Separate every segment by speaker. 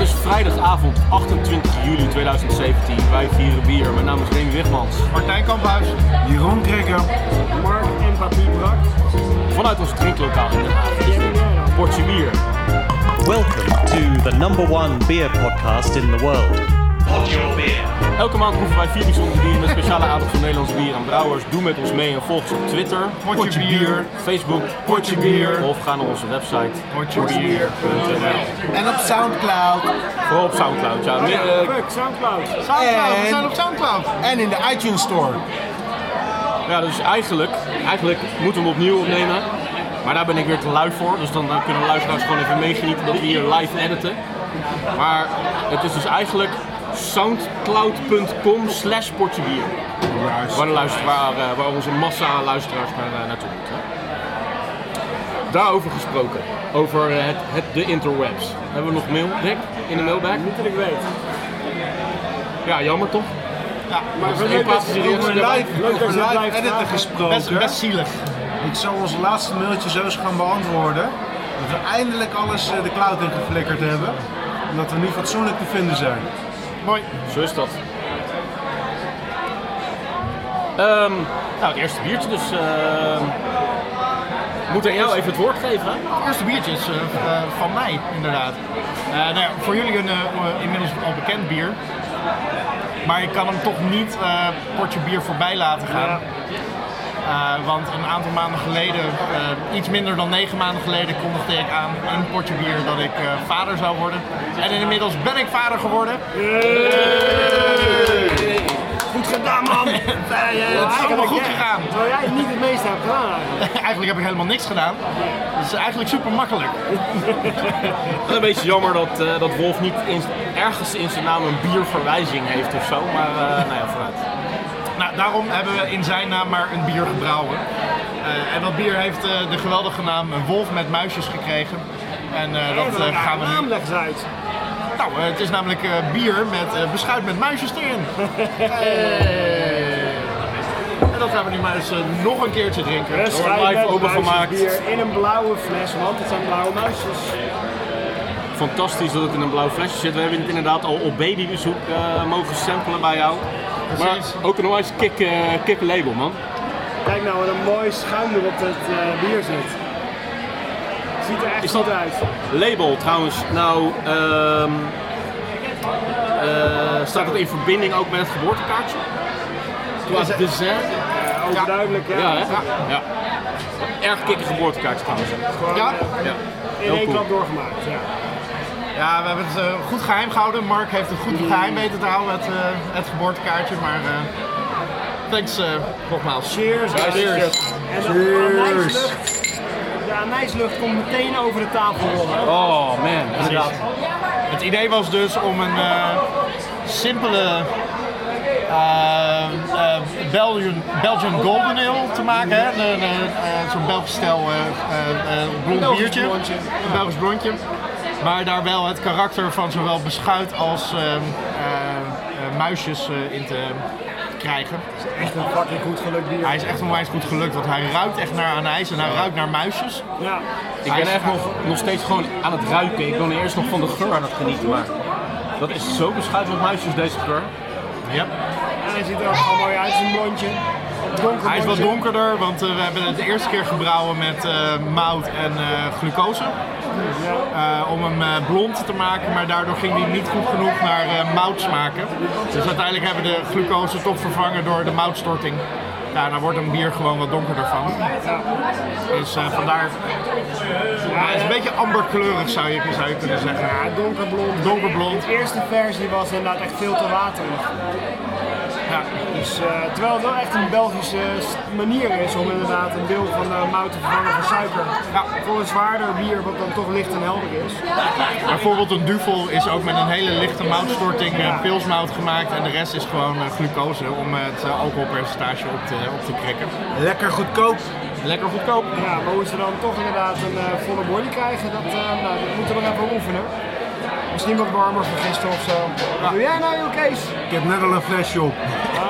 Speaker 1: is vrijdagavond 28 juli 2017. Wij vieren bier. Mijn naam is Remy Wigmans.
Speaker 2: Martijn Kamphuis.
Speaker 3: Jeroen Krikker.
Speaker 4: Mark en Papier Brak.
Speaker 1: Vanuit ons drinklokaal in Den Haag. Portje bier.
Speaker 5: Welcome to the number one beer podcast in the world. Pod your beer.
Speaker 1: Elke maand proeven wij vier bijzondere bieren met speciale aandacht voor Nederlands bier en brouwers. Doe met ons mee en volg ons op Twitter,
Speaker 2: Potje bier.
Speaker 1: Facebook,
Speaker 2: Potje bier.
Speaker 1: Of ga naar onze website,
Speaker 2: Potje
Speaker 1: potjebier.nl.
Speaker 3: En op Soundcloud.
Speaker 1: Vooral op Soundcloud.
Speaker 2: Oh
Speaker 1: Ja. Nee, eh,
Speaker 4: Fuck, Soundcloud.
Speaker 2: Soundcloud, we
Speaker 3: En-
Speaker 2: zijn op Soundcloud.
Speaker 3: En in de iTunes Store.
Speaker 1: Ja, dus eigenlijk, eigenlijk moeten we hem opnieuw opnemen. Maar daar ben ik weer te lui voor. Dus dan, dan kunnen de luisteraars gewoon even meegenieten dat we hier live editen. Maar het is dus eigenlijk soundcloud.com slash portjebier. Waar, de luister- waar, eh, waar onze massa luisteraars naar, eh, naartoe moeten. Daarover gesproken. Over eh, het, het, de interwebs. Hebben we nog mail, Rick? In de mailbag?
Speaker 4: Niet dat ik weet.
Speaker 1: Ja, jammer toch?
Speaker 2: Ja,
Speaker 4: Maar
Speaker 1: is één plaats die
Speaker 3: Over
Speaker 1: erin-
Speaker 3: live,
Speaker 4: Leuk dat
Speaker 3: over
Speaker 4: je het
Speaker 3: live
Speaker 4: blijft
Speaker 3: editen
Speaker 4: vragen.
Speaker 2: best,
Speaker 3: gesproken.
Speaker 2: best zielig.
Speaker 3: Ik zal ons laatste mailtje zo eens gaan beantwoorden. Dat we eindelijk alles eh, de cloud in geflikkerd hebben. En dat we nu fatsoenlijk te vinden zijn.
Speaker 2: Mooi.
Speaker 1: Zo is dat. Ehm, nou, het eerste biertje dus. ehm moet aan jou even het woord geven. hè?
Speaker 2: Het eerste biertje is eh, eh, van mij, inderdaad. Eh, nou ja, voor jullie een eh, inmiddels al bekend bier. Maar ik kan hem toch niet eh potje bier voorbij laten gaan. Eh, want een aantal maanden geleden, eh, iets minder dan negen maanden geleden, kondigde ik aan een potje bier dat ik eh, vader zou worden. En inmiddels ben ik vader geworden.
Speaker 4: Goed gedaan, man. Het
Speaker 2: het is allemaal goed gegaan.
Speaker 4: Terwijl jij niet het meeste hebt gedaan eigenlijk.
Speaker 2: Eigenlijk heb ik helemaal niks gedaan. Dat is eigenlijk super makkelijk.
Speaker 1: Wel Een beetje jammer dat, eh, dat Wolf niet in- ergens in zijn naam een bierverwijzing heeft of zo. Maar eh nou ja, vooruit.
Speaker 2: Nou, daarom hebben we in zijn naam maar een bier gebrouwen. Eh, en dat bier heeft eh, de geweldige naam Wolf met Muisjes gekregen. En eh, dat eh, gaan we
Speaker 4: naam
Speaker 2: nu...
Speaker 4: leg eens uit.
Speaker 2: Nou, eh, het is namelijk eh, bier met eh, beschuit met muisjes erin. En dat gaan we nu maar eens eh, nog een keertje drinken.
Speaker 4: Bestrijd
Speaker 1: live
Speaker 4: met
Speaker 1: opengemaakt.
Speaker 4: muisjesbier in een blauwe fles, want het zijn blauwe muisjes.
Speaker 1: Fantastisch dat het in een blauw flesje zit. We hebben het inderdaad al op babybezoek eh mogen samplen bij jou. Maar
Speaker 2: Precies.
Speaker 1: ook een onwijs kick, eh, kick label man.
Speaker 4: Kijk nou, wat een mooi schuim er op het eh, bier zit. Ziet er echt
Speaker 1: Is dat-
Speaker 4: goed uit.
Speaker 1: Label trouwens, nou ehm, eh, staat het in verbinding ook met het geboortekaartje? Qua dessert?
Speaker 4: Ja, overduidelijk, ja.
Speaker 1: Ja, hè? Ja. Erg kikke geboortekaartje trouwens.
Speaker 4: Gewoon,
Speaker 2: Ja.
Speaker 4: eh,
Speaker 1: Ja.
Speaker 4: in één
Speaker 1: cool.
Speaker 4: klap doorgemaakt. Ja.
Speaker 2: Ja, we hebben het eh, goed geheim gehouden. Mark heeft het goed geheim weten te houden, het, eh, het geboortekaartje. Maar eh, thanks eh, nogmaals.
Speaker 4: Cheers.
Speaker 2: Cheers.
Speaker 4: En de anijslucht, de anijslucht komt meteen over de tafel rollen.
Speaker 1: Oh man, inderdaad.
Speaker 2: Het idee was dus om een eh, simpele eh, eh, Belgian, Belgian Golden Ale te maken. hè. Een, een, eh, Zo'n Belgisch stijl eh, eh, eh, blond
Speaker 4: Belgisch
Speaker 2: biertje.
Speaker 4: blondje.
Speaker 2: Een Belgisch blondje. Maar daar wel het karakter van zowel beschuit als eh, eh, eh, muisjes eh, in te krijgen.
Speaker 4: Echt een fucking goed gelukt bier.
Speaker 2: Hij is echt onwijs goed gelukt, want hij ruikt echt naar anijs en hij ruikt naar muisjes.
Speaker 4: Ja.
Speaker 1: Ik ben echt nog, nog steeds gewoon aan het ruiken. Ik ben eerst nog van de geur aan het genieten. Maar dat is zo beschuit met muisjes deze geur.
Speaker 2: Ja.
Speaker 4: En hij ziet er ook gewoon mooi uit, zijn blondje. Donker
Speaker 2: Hij is wat
Speaker 4: blondje.
Speaker 2: donkerder, want eh, we hebben het de eerste keer gebrouwen met eh, mout en eh, glucose. Eh, om hem eh, blond te maken, maar daardoor ging hij niet goed genoeg naar eh mout smaken. Dus uiteindelijk hebben we de glucose toch vervangen door de moutstorting. Daarna wordt een bier gewoon wat donkerder van. Dus eh, vandaar. Ja, het is een beetje amberkleurig zou je, zou je kunnen zeggen.
Speaker 4: Ja, donkerblond.
Speaker 2: Donkerblond.
Speaker 4: De eerste versie was inderdaad echt veel te waterig.
Speaker 2: Ja.
Speaker 4: Dus, eh, terwijl het wel echt een Belgische s- manier is om inderdaad een deel van de mout te vervangen voor suiker.
Speaker 2: Ja.
Speaker 4: Voor een zwaarder bier wat dan toch licht en helder is.
Speaker 2: Bijvoorbeeld een duvel is ook met een hele lichte moutstorting eh, pilsmout gemaakt en de rest is gewoon eh, glucose om eh, het eh, alcoholpercentage op te, op te krikken.
Speaker 3: Lekker goedkoop.
Speaker 2: Lekker goedkoop.
Speaker 4: Ja, maar hoe ze dan toch inderdaad een eh, volle body krijgen, dat, eh, nou, dat moeten we nog even oefenen. Misschien wat warmer van gisteren of zo. Doe jij nou joh Kees?
Speaker 3: Ik heb net al een flesje op.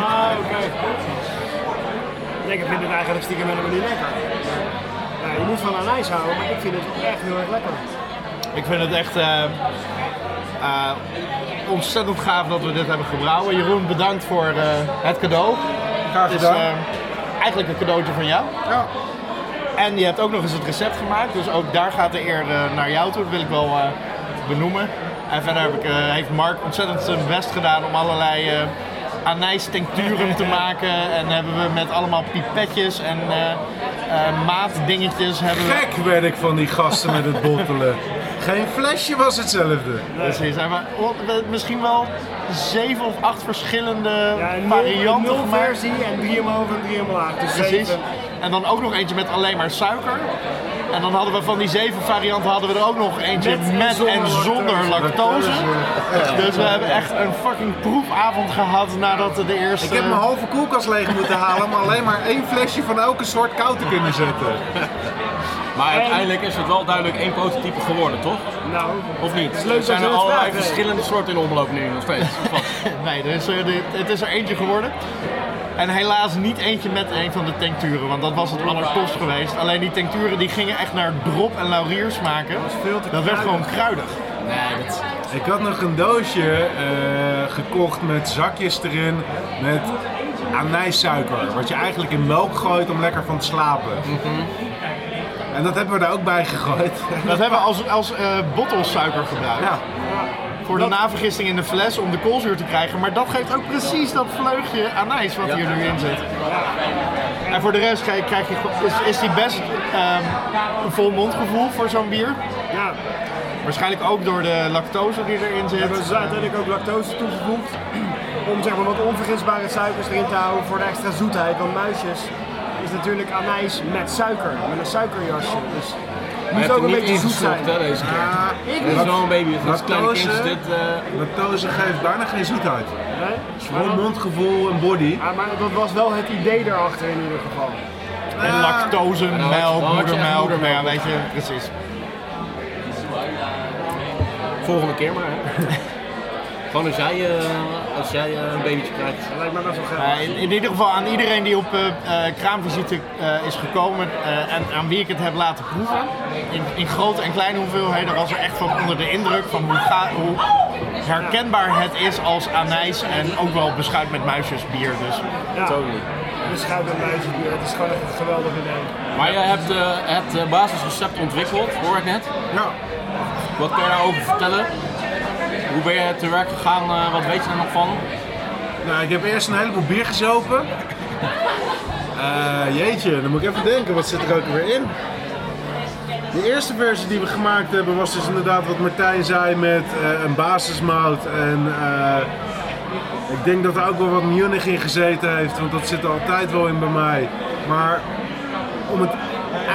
Speaker 4: Ah, oké. Nee, Ik vind het eigenlijk stiekem helemaal niet lekker. Nou, je moet van anijs houden, maar ik vind het echt heel erg lekker.
Speaker 2: Ik vind het echt eh, Eh, ontzettend gaaf dat we dit hebben gebrouwen. Jeroen, bedankt voor eh, het cadeau.
Speaker 3: Graag
Speaker 2: Het is
Speaker 3: gedaan.
Speaker 2: eh, eigenlijk een cadeautje van jou.
Speaker 3: Ja.
Speaker 2: En je hebt ook nog eens het recept gemaakt, dus ook daar gaat de eer eh, naar jou toe. Dat wil ik wel eh, benoemen. En verder heb ik, eh, heeft Mark ontzettend zijn best gedaan om allerlei eh anijstincturen te maken. En hebben we met allemaal pipetjes en eh, eh, maatdingetjes. Hebben we,
Speaker 3: Gek werd ik van die gasten met het bottelen. Geen flesje was hetzelfde.
Speaker 2: Precies, en we- we- misschien wel zeven of acht verschillende
Speaker 4: Ja, een Eh, nul- een
Speaker 2: varianten
Speaker 4: nul
Speaker 2: gemaakt.
Speaker 4: versie en drie omhoog en drie omlaag. Dus
Speaker 2: Precies.
Speaker 4: zeven.
Speaker 2: En dan ook nog eentje met alleen maar suiker. En dan hadden we van die zeven varianten hadden we er ook nog eentje
Speaker 4: Met en
Speaker 2: met, en
Speaker 4: zonder
Speaker 2: zonder lactose.
Speaker 3: eh,
Speaker 2: Dus we hebben echt een fucking proefavond gehad nadat de eerste...
Speaker 3: Ik heb mijn halve koelkast leeg moeten halen om alleen maar één flesje van elke soort koud te kunnen zetten.
Speaker 1: Maar uiteindelijk is het wel duidelijk één prototype geworden, toch?
Speaker 4: Nou,
Speaker 1: Of niet?
Speaker 4: leuk
Speaker 1: er zijn
Speaker 4: dat
Speaker 1: er
Speaker 4: je dat
Speaker 1: allerlei
Speaker 4: vraagt, hè?
Speaker 1: verschillende soorten in omloop nu nog steeds. Of wat?
Speaker 2: Nee, er is er- het is er eentje geworden. En helaas niet eentje met een van de tincturen, want dat was het allertofst geweest. Alleen die tincturen die gingen echt naar drop en laurier smaken.
Speaker 3: veel te
Speaker 2: Dat werd gewoon kruidig.
Speaker 1: nee, dat...
Speaker 3: Ik had nog een doosje eh, gekocht met zakjes erin met anijssuiker. Wat je eigenlijk in melk gooit om lekker van te slapen. En dat hebben we daar ook bij gegooid.
Speaker 2: Dat hebben we als, als eh, bottelsuiker gebruikt.
Speaker 3: Ja,
Speaker 2: Voor de navergisting in de fles om de koolzuur te krijgen. Maar dat geeft ook precies dat vleugje anijs wat hier nu in zit. En voor de rest krijg, krijg je, is, is die best ehm, een vol mondgevoel voor zo'n bier.
Speaker 4: ja,
Speaker 2: Waarschijnlijk ook door de lactose die erin zit.
Speaker 4: hebben ze uiteindelijk ook lactose toegevoegd. Om zeg maar wat onvergisbare suikers erin te houden voor de extra zoetheid. Want muisjes is natuurlijk anijs met suiker, met een suikerjasje. Dus het
Speaker 1: Maar
Speaker 4: moet
Speaker 1: je hebt
Speaker 4: ook
Speaker 1: er
Speaker 4: een
Speaker 1: niet
Speaker 4: beetje zoet zijn.
Speaker 1: ingesnopt, hè, deze keer.
Speaker 4: Ik
Speaker 1: Dit is
Speaker 4: niet.
Speaker 1: wel een baby, dus het is een kleine
Speaker 3: Lactose.
Speaker 1: kindje dit. eh,
Speaker 3: lactose geeft bijna geen zoetheid.
Speaker 4: Nee? Maar,
Speaker 3: Gewoon mondgevoel en body.
Speaker 4: dat- ah, maar dat was wel het idee daarachter in ieder geval.
Speaker 2: En lactose, melk,
Speaker 1: dan had je echt
Speaker 2: moedermelk.
Speaker 1: moedermelk.
Speaker 2: Ja, weet je, precies.
Speaker 1: volgende keer maar, hè. Gewoon als jij, eh, als jij eh, een babytje krijgt.
Speaker 4: Dat lijkt me best wel gek.
Speaker 2: Eh, in, in ieder geval aan iedereen die op eh eh, kraamvisite eh, is gekomen eh, en aan wie ik het heb laten proeven. In, in grote en kleine hoeveelheden was er echt van onder de indruk van hoe, ga, hoe herkenbaar het is als anijs en ook wel beschuit met muisjesbier. Dus
Speaker 4: Ja,
Speaker 1: Totally.
Speaker 4: een schuim en muisjesbier. Het is gewoon echt een geweldig idee.
Speaker 1: Maar jij hebt eh, het eh, basisrecept ontwikkeld, hoor ik net.
Speaker 3: Ja.
Speaker 1: Wat kun je daarover vertellen? Hoe ben je te werk gegaan? eh, wat weet je er nog van?
Speaker 3: Nou, ik heb eerst een heleboel bier gezopen. Eh, jeetje, dan moet ik even denken, wat zit er ook weer in? De eerste versie die we gemaakt hebben was dus inderdaad wat Martijn zei met eh, een basismout. En eh, ik denk dat er ook wel wat Munich in gezeten heeft, want dat zit er altijd wel in bij mij. Maar om het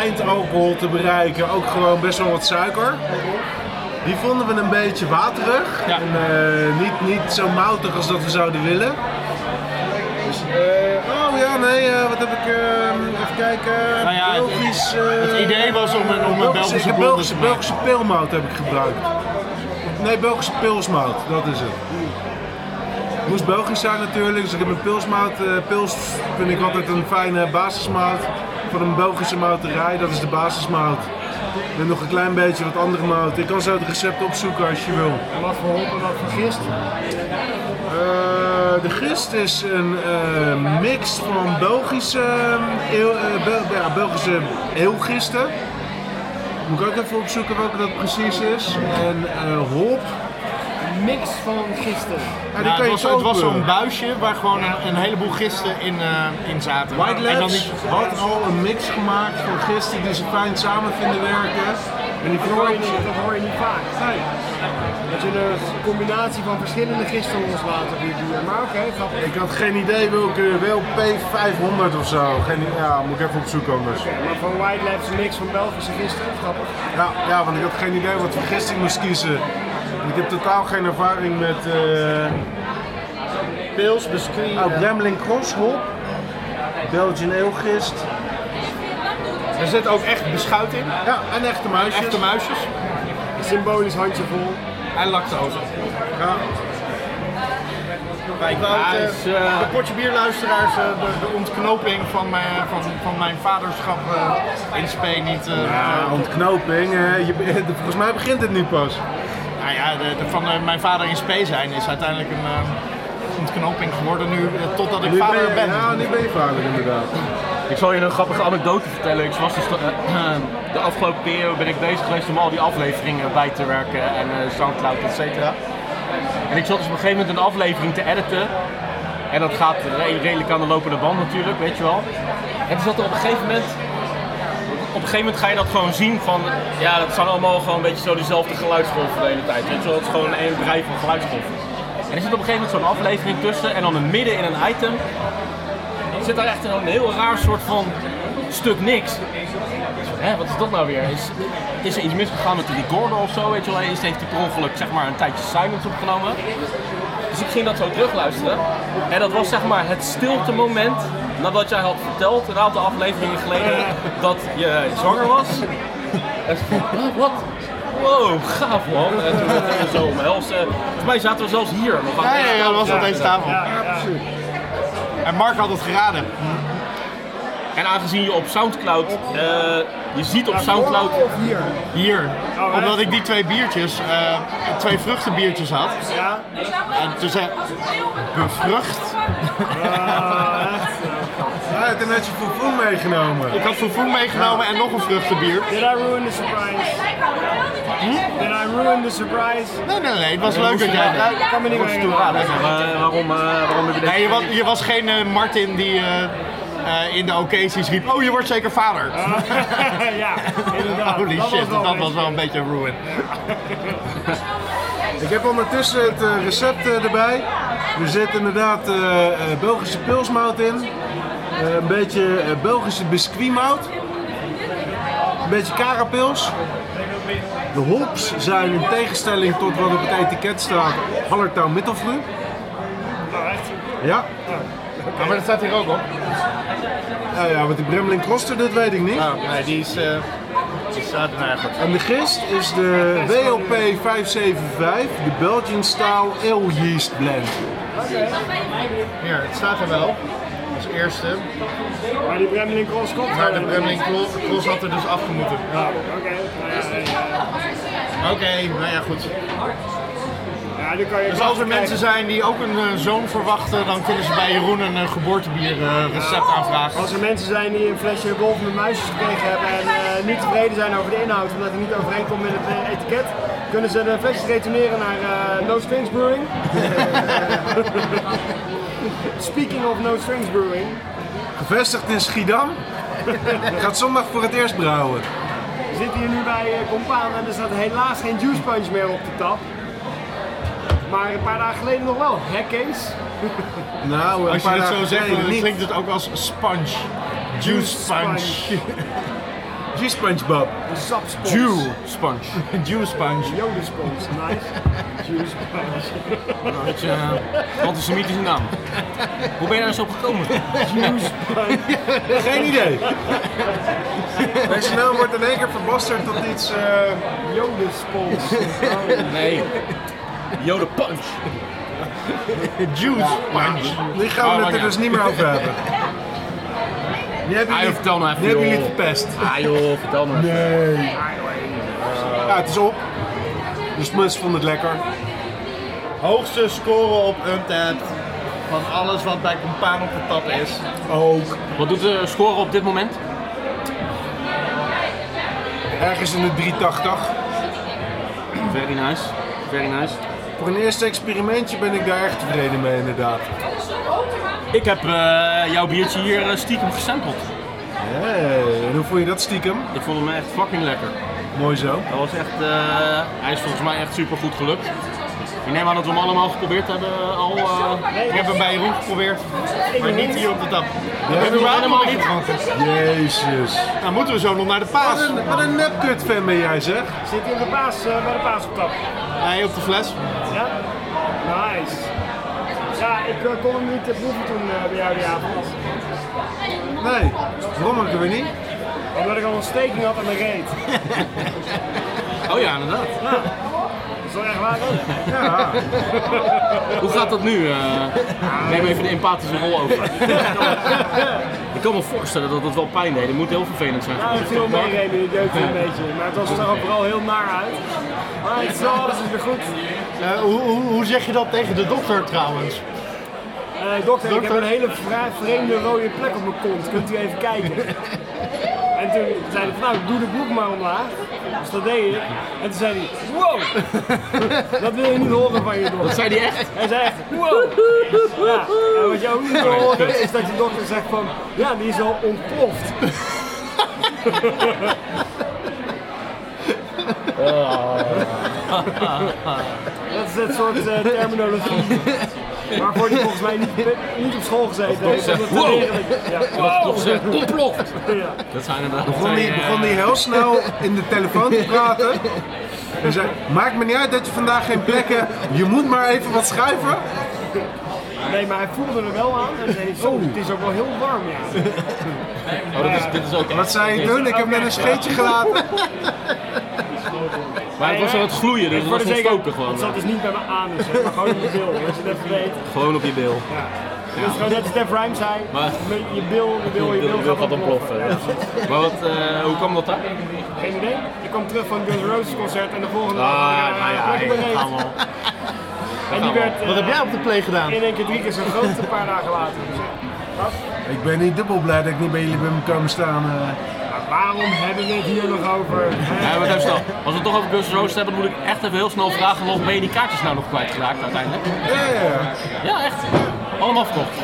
Speaker 3: eindalcohol te bereiken ook gewoon best wel wat suiker. Die vonden we een beetje waterig
Speaker 2: Ja.
Speaker 3: en eh, niet, niet zo moutig als dat we zouden willen. Dus, eh, oh ja, nee, eh, wat heb ik, eh, even kijken,
Speaker 2: Nou ja, het-
Speaker 3: Belgisch... eh,
Speaker 2: het idee was om een- om een Belgische
Speaker 3: ik heb
Speaker 2: blonde
Speaker 3: Belgische, dus
Speaker 2: te maken.
Speaker 3: Belgische peelmout heb ik gebruikt. Nee, Belgische pilsmout, dat is het. Het moest Belgisch zijn natuurlijk, dus ik heb een pilsmout. eh, pils vind ik altijd een fijne basismout van een Belgische mouterij, dat is de basismout. Met nog een klein beetje wat andere mout. Ik kan zo het recept opzoeken als je wil.
Speaker 4: En wat voor hop en wat voor gist.
Speaker 3: Eh, de gist is een eh, mix van Belgische, eh, eeuw- eh, Bel- ja, Belgische eeuwgisten. Moet ik ook even opzoeken welke dat precies is. En eh hop.
Speaker 4: Een mix van gisten.
Speaker 3: Ja, die
Speaker 2: ja, het,
Speaker 3: kan je
Speaker 2: was, het was
Speaker 3: kopen.
Speaker 2: zo'n buisje waar gewoon een, een heleboel gisten in, eh, in zaten.
Speaker 3: White
Speaker 2: en dan
Speaker 3: Labs
Speaker 2: niet,
Speaker 3: had al een mix gemaakt van gisten die ze fijn samen vinden werken. En die
Speaker 4: Dat hoor je
Speaker 3: verhoor-
Speaker 4: niet, dat hoor je niet vaak. Dat je een combinatie van verschillende gisten loslaat op je bier. Maar oké, grappig.
Speaker 3: Ik had geen idee welke, wel P500 of zo. Geen, ja, moet ik even opzoeken anders.
Speaker 4: Maar van White Labs een mix van Belgische gisten. Grappig.
Speaker 3: Ja, ja, want ik had geen idee wat voor gist ik moest kiezen. Want Ik heb totaal geen ervaring met eh
Speaker 2: pils, biscuit.
Speaker 3: oh, Gremlin Cross Hop, Belgian Ale gist.
Speaker 2: Er zit ook echt beschuit in.
Speaker 3: Ja, en echte muisjes.
Speaker 2: Echte muisjes.
Speaker 4: Symbolisch handjevol.
Speaker 2: En lactose.
Speaker 3: Ja.
Speaker 2: Maar ik wou het, eh,
Speaker 1: is, eh,
Speaker 2: de potje bierluisteraars, eh, de, de ontknoping van mijn, van, van mijn vaderschap eh, in Spee niet. eh,
Speaker 3: Ja, ontknoping. eh, je, be- volgens mij begint het nu pas.
Speaker 2: eh, Nou ja, de, de- van eh, mijn vader in spe zijn is uiteindelijk een eh, ontknoping geworden nu, eh, totdat ik
Speaker 3: Nu ben
Speaker 2: vader
Speaker 3: je,
Speaker 2: ben.
Speaker 3: ja, nu ben je vader inderdaad.
Speaker 1: Ik zal je een grappige anekdote vertellen. Ik was dus de, eh, de afgelopen periode ben ik bezig geweest om al die afleveringen bij te werken en eh, Soundcloud, et cetera. En ik zat dus op een gegeven moment een aflevering te editen. En dat gaat re- redelijk aan de lopende band natuurlijk, weet je wel. En toen zat er op een gegeven moment... Op een gegeven moment ga je dat gewoon zien van... Ja, dat zijn allemaal gewoon een beetje zo dezelfde geluidsgolven de hele tijd. Weet je wel, het is gewoon één rij van geluidsgolven. En er zit op een gegeven moment zo'n aflevering tussen en dan een midden in een item zit daar echt een, een heel raar soort van stuk niks. Hè, wat is dat nou weer? Is, is er iets misgegaan met de recorder of zo? Weet je wel, eens heeft hij per ongeluk zeg maar, een tijdje silence opgenomen. Dus ik ging dat zo terugluisteren. En dat was zeg maar het stilte moment nadat jij had verteld, een aantal afleveringen geleden, dat je zwanger was. En ze van, "Huh, wat? Wow, gaaf man. En toen werd het zo omhelzen. Volgens mij zaten we zelfs hier. nog aan
Speaker 2: Ja, ja, ja, dat was op
Speaker 1: tafel.
Speaker 2: deze tafel. En Mark had het geraden.
Speaker 1: En aangezien je op Soundcloud, eh, je ziet op Soundcloud
Speaker 4: Of hier.
Speaker 2: Hier. Omdat ik die twee biertjes, eh, twee vruchtenbiertjes had.
Speaker 4: Ja.
Speaker 2: En toen zei bevrucht.
Speaker 3: Hij heeft een netje foefoe meegenomen.
Speaker 2: Ik had foefoe meegenomen en nog een vruchtenbier.
Speaker 4: Did I ruin the surprise? Hm? Did I ruin the surprise?
Speaker 2: Nee, nee, nee. Het was leuk dat jij het
Speaker 4: Ik kan me niet meer
Speaker 1: Ja,
Speaker 4: herinneren.
Speaker 1: dat is, eh, waarom, eh, waarom heb je dit?
Speaker 2: Nee, je was, je was geen eh, Martin die eh, eh, in de occasions riep, oh je wordt zeker vader.
Speaker 4: ja, inderdaad.
Speaker 2: Holy
Speaker 4: Dat
Speaker 2: shit,
Speaker 4: wel
Speaker 2: dat
Speaker 4: een
Speaker 2: was wel een beetje ruin.
Speaker 3: Ik heb ondertussen het eh, recept eh, erbij. Er zit inderdaad eh, eh, Belgische pilsmout in. Eh, een beetje eh, Belgische biscuitmout. Een beetje karapils. De hops zijn in tegenstelling tot wat op het etiket staat, Hallertau Mittelfru. Ja,
Speaker 2: Maar dat staat hier ook op.
Speaker 3: nou ja, wat die Bremling Kroster, dat weet ik niet.
Speaker 2: nee, die is... eh, die staat er eigenlijk.
Speaker 3: En de gist is de WLP 575, de Belgian Style Ale Yeast Blend.
Speaker 2: Hier, het staat er wel. Als eerste.
Speaker 4: Maar die Bremling Cross komt
Speaker 2: Maar de
Speaker 4: wel.
Speaker 2: Bremling Cross, Cross had er dus af moeten.
Speaker 4: Ja, Oké, Nou ja, eh,
Speaker 2: Oké, nou ja goed.
Speaker 4: ja, dan kan je
Speaker 2: Dus als er mensen zijn die ook een eh, zoon verwachten, dan kunnen ze bij Jeroen een eh, geboortebierrecept aanvragen.
Speaker 4: Als er mensen zijn die een flesje golf met muisjes gekregen hebben en eh, niet tevreden zijn over de inhoud omdat het niet overeenkomt met het eh, etiket, kunnen ze de flesjes retourneren naar eh, No Strings Brewing. Speaking of No Strings Brewing,
Speaker 3: Gevestigd in Schiedam. Gaat zondag voor het eerst brouwen.
Speaker 4: we zitten hier nu bij eh, Compaan en er staat helaas geen juice punch meer op de tap. Maar een paar dagen geleden nog wel, hè Kees?
Speaker 3: Nou,
Speaker 2: Als je het zo zegt, dan
Speaker 3: niet.
Speaker 2: klinkt het ook als sponge. Juice sponge.
Speaker 3: G-SpongeBob.
Speaker 4: Een sapspons.
Speaker 1: Jew sponge.
Speaker 2: Juice sponge.
Speaker 4: Jodespons, nice. Juice punch.
Speaker 1: Weet je, eh, antisemitische naam. Hoe ben je daar zo op gekomen?
Speaker 4: Juice punch.
Speaker 3: Geen idee. Deze naam wordt in één keer verbasterd tot iets... eh,
Speaker 4: Jodespons.
Speaker 1: Nee. Jode punch.
Speaker 2: Juice sponge.
Speaker 3: die gaan
Speaker 1: Oh,
Speaker 3: we
Speaker 1: maakt
Speaker 3: het er dus niet meer over hebben. Die hebben
Speaker 1: Ah, joh,
Speaker 3: jullie,
Speaker 1: vertel nou even,
Speaker 3: die hebben
Speaker 1: joh.
Speaker 3: jullie verpest.
Speaker 1: Ah joh, vertel me.
Speaker 3: Ja, het is op. Dus mensen vonden het lekker.
Speaker 2: Hoogste score op Untapped van alles wat bij Compaan op de tap is.
Speaker 3: Ook.
Speaker 1: Wat doet de score op dit moment?
Speaker 3: Ergens in de 380.
Speaker 1: Very nice. Very nice.
Speaker 3: Voor een eerste experimentje ben ik daar echt tevreden mee inderdaad.
Speaker 1: Ik heb eh, jouw biertje hier eh, stiekem gesampled.
Speaker 3: Hey, en hoe vond je dat stiekem?
Speaker 1: Ik vond hem echt fucking lekker.
Speaker 3: Mooi zo.
Speaker 1: Dat was echt, eh, hij is volgens mij echt super goed gelukt. Ik neem aan dat we hem allemaal geprobeerd hebben eh, al. eh,
Speaker 2: Ik heb hem bij Jeroen geprobeerd, maar niet hier op de tap. Dat
Speaker 3: hebben we
Speaker 2: helemaal
Speaker 1: niet.
Speaker 3: Jezus.
Speaker 2: Nou moeten we zo nog naar de
Speaker 3: Wat
Speaker 2: paas.
Speaker 3: een, wat een nepkut fan ben jij zeg.
Speaker 4: Zit hij op de paas, eh, bij de paas op tap?
Speaker 2: Nee, op de fles.
Speaker 4: Ja? Nice. Ja, ik eh, kon hem niet eh, proeven toen eh, bij jou die avond.
Speaker 3: Nee, waarom ik weer niet?
Speaker 4: Omdat ik al een steking had aan mijn reet.
Speaker 1: Oh ja, inderdaad.
Speaker 4: Dus is wel echt waar. hè?
Speaker 1: Hoe gaat dat nu? eh neem even de empathische rol over. Ik kan me voorstellen dat dat wel pijn deed. Het moet heel vervelend zijn.
Speaker 4: Nou, het viel mee, Remy. Het deukte een beetje. Maar het was er ook vooral heel naar uit. Maar het is wel alles is weer goed.
Speaker 2: Eh, hoe, hoe, hoe zeg je dat tegen de dokter trouwens?
Speaker 4: Eh, dokter, ik heb een hele vra- vreemde rode plek op mijn kont. Kunt u even kijken? En toen zei hij, van, nou, doe de broek maar omlaag. Dus dat deed ik. En toen zei hij, wow! Dat wil je niet horen van je dokter.
Speaker 1: Dat zei die echt.
Speaker 4: Hij zei echt, wow! Ja, en wat je ook niet
Speaker 1: Oh,
Speaker 4: wil horen is dat je dokter zegt van, ja, die is al ontploft. Dat is het soort eh, terminologie. Waarvoor die volgens mij niet, niet op school gezeten heeft.
Speaker 1: zegt,
Speaker 4: om het te
Speaker 1: wow!
Speaker 4: leren dat je- Ja, wow!
Speaker 1: Toch ze ontploft.
Speaker 4: Oh. Ja.
Speaker 1: Dat zijn inderdaad. eh,
Speaker 3: Begon die, begon die heel snel in de telefoon te praten. En zei, maakt me niet uit dat je vandaag geen plek hebt. Je moet maar even wat schuiven.
Speaker 4: Nee, maar hij voelde er wel aan. En zei, zo, het is ook wel heel warm, ja.
Speaker 1: Oh, dat is, dit is ook echt.
Speaker 3: Wat zei je doen? Ik heb net een scheetje gelaten.
Speaker 1: Maar het was aan het gloeien, dus het was ontstoken
Speaker 4: Het
Speaker 1: gewoon. eh.
Speaker 4: zat dus niet bij mijn anus, hè, maar gewoon in je bil. Als je het even weet.
Speaker 1: Gewoon op je bil.
Speaker 4: Dus gewoon net als Def Rhyme zei,
Speaker 1: Maar-
Speaker 4: met je bil, je bil, je
Speaker 1: Je
Speaker 4: bil,
Speaker 1: bil gaat ontploffen.
Speaker 4: Ja, precies.
Speaker 1: Maar wat, eh, hoe kwam dat daar?
Speaker 4: Geen idee. Ik kwam terug van het Guns N' Roses concert en de volgende
Speaker 1: Ah,
Speaker 4: dag, eh,
Speaker 1: nou ja,
Speaker 4: werd ik
Speaker 1: hey,
Speaker 4: bereed.
Speaker 1: gaan we al.
Speaker 4: En die werd eh,
Speaker 2: Wat heb jij op de play gedaan?
Speaker 4: in één keer drie keer zo groot een paar dagen later. Dus, eh,
Speaker 3: Ik ben niet dubbel blij dat ik niet bij jullie ben komen staan. eh.
Speaker 4: maar waarom hebben we het hier nog over? Hè?
Speaker 1: Ja, maar even snel. Als we het toch over Guns N' Roses hebben, moet ik echt even heel snel vragen nog ben je die kaartjes nou nog kwijtgeraakt uiteindelijk?
Speaker 3: Ja, ja, ja.
Speaker 1: Ja, echt. Allemaal verkocht.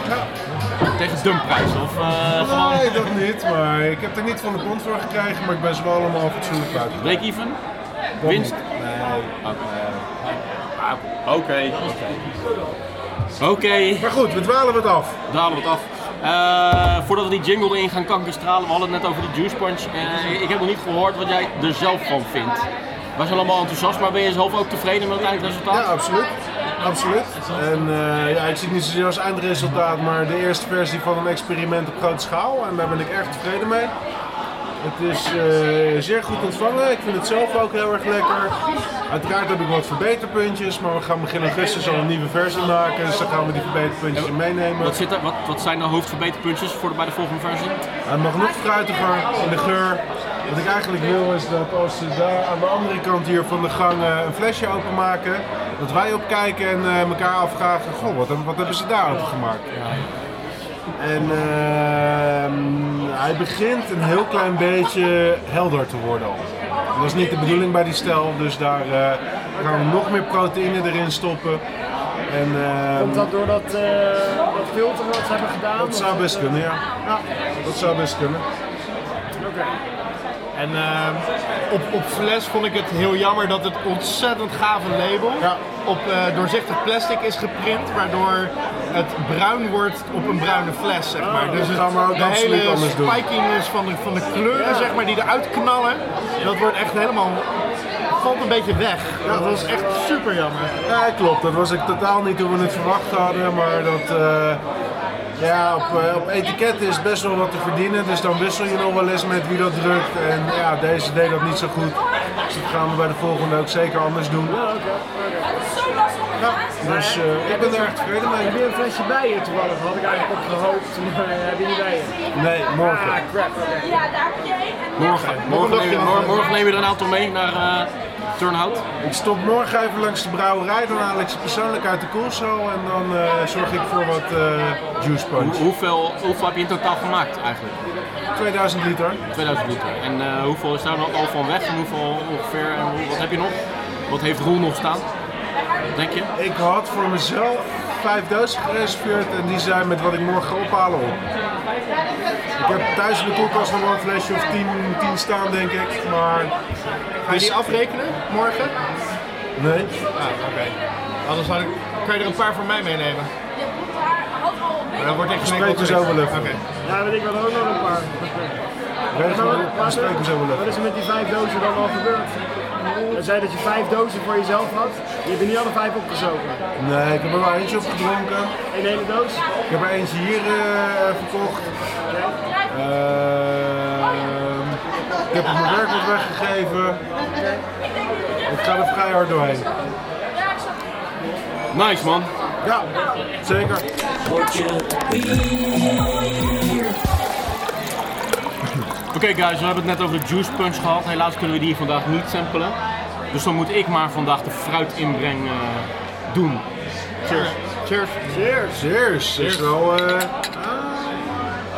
Speaker 1: Tegen dumpprijs of eh, gewoon
Speaker 3: Nee, dat niet. Maar ik heb er niet van de kont voor gekregen. Maar ik ben ze wel allemaal fatsoenlijk uit.
Speaker 1: break-even? Winst?
Speaker 3: Nee.
Speaker 1: Ah, Oké. Oké,
Speaker 3: Maar goed, we dwalen wat af.
Speaker 1: dalen we het af. Eh, voordat we die jingle in gaan kankerstralen, we hadden het net over die juice punch. Eh, ik heb nog niet gehoord wat jij er zelf van vindt. Wij zijn allemaal enthousiast, maar ben je zelf ook tevreden met het eindresultaat?
Speaker 3: Ja, absoluut. Absoluut. En eh, ja, ik zie het niet zozeer als eindresultaat, maar de eerste versie van een experiment op grote schaal. En daar ben ik erg tevreden mee. Het is eh, zeer goed ontvangen. Ik vind het zelf ook heel erg lekker. Uiteraard heb ik wat verbeterpuntjes, maar we gaan begin augustus al een nieuwe versie maken. Dus dan gaan we die verbeterpuntjes in meenemen.
Speaker 1: Wat, zit er, wat, wat zijn de hoofdverbeterpuntjes voor de, bij de volgende versie?
Speaker 3: Hij mag nog fruitiger in de geur. Wat ik eigenlijk wil is dat als ze daar aan de andere kant hier van de gang eh, een flesje openmaken, dat wij opkijken en eh, elkaar afvragen, goh, wat, hebben- wat hebben ze daar opengemaakt? En ehm, hij begint een heel klein beetje helder te worden al. Dat is niet de bedoeling bij die stijl, dus daar eh, gaan we nog meer proteïne erin stoppen. En ehm,
Speaker 4: Komt dat door dat, eh, dat filter wat ze hebben gedaan?
Speaker 3: dat zou best kunnen, ja. ja. Dat zou best kunnen.
Speaker 2: En ehm, op, op fles vond ik het heel jammer dat het ontzettend gave label
Speaker 3: Ja.
Speaker 2: op eh, doorzichtig plastic is geprint, waardoor het bruin wordt op een bruine fles, zeg maar. dus het,
Speaker 3: Oh, gaan we ook
Speaker 2: de
Speaker 3: absoluut
Speaker 2: hele
Speaker 3: anders doen.
Speaker 2: spiking is van de, van de kleuren, zeg maar, die eruit knallen, dat wordt echt helemaal, valt een beetje weg. Dat was echt super jammer.
Speaker 3: Ja, klopt. Dat was ik totaal niet hoe we het verwacht hadden. Maar dat, eh, ja, op, eh, op etiketten is best wel wat te verdienen. Dus dan wissel je nog wel eens met wie dat drukt. En ja, deze deed dat niet zo goed. Dus dat gaan we bij de volgende ook zeker anders doen. Ja, dus eh, ik ben er echt tevreden
Speaker 4: Heb
Speaker 3: mee.
Speaker 4: je een flesje bij je toevallig? Had ik eigenlijk op gehoopt, maar eh, heb je niet bij je?
Speaker 3: Nee, morgen.
Speaker 4: Ah, crap. oké.
Speaker 6: Ja, daar heb je één.
Speaker 1: Morgen. Morgen neem je, mor- morgen neem je er een aantal mee naar eh Turnhout.
Speaker 3: Ik stop morgen even langs de brouwerij. Dan haal ik ze persoonlijk uit de koelcel. En dan eh, zorg ik voor wat eh, juice punch.
Speaker 1: Hoeveel, hoeveel heb je in totaal gemaakt eigenlijk?
Speaker 3: 2000 liter.
Speaker 1: 2000 liter. En eh, hoeveel is daar nou al van weg en hoeveel ongeveer? En hoe- wat heb je nog? Wat heeft Roel nog staan? Denk je?
Speaker 3: Ik had voor mezelf 5000 gereserveerd en die zijn met wat ik morgen ga ophalen op. Ik heb thuis in de koelkast nog wel een flesje of 10, 10 staan, denk ik. Maar
Speaker 2: Ga je die afrekenen morgen?
Speaker 3: Dus- nee,
Speaker 2: Ah, oké. Anders had ik, kan je er een paar voor mij meenemen. Maar dat wordt echt geen
Speaker 3: spreken we zo wel even.
Speaker 2: Oké.
Speaker 4: Ja, weet ik wel, ook nog een paar.
Speaker 3: Regel,
Speaker 4: Maar-
Speaker 3: we spreken zo wel
Speaker 4: Wat
Speaker 3: even.
Speaker 4: is er met die vijf dozen dan al gebeurd? Je zei dat je vijf dozen voor jezelf had. Je hebt er niet alle vijf opgezogen.
Speaker 3: Nee, ik heb er wel eentje op gedronken.
Speaker 4: Eén hele doos.
Speaker 3: Ik heb er eentje hier eh, verkocht. Ehm, ik heb op mijn werk wat weggegeven. Ik ga er vrij hard doorheen.
Speaker 1: Nice man.
Speaker 3: Ja, zeker.
Speaker 1: Oké guys, we hebben het net over de juice punch gehad. Helaas kunnen we die vandaag niet samplen. Dus dan moet ik maar vandaag de fruit inbreng eh, doen.
Speaker 2: Cheers. Cheers.
Speaker 4: Cheers.
Speaker 3: Cheers. Is wel, eh,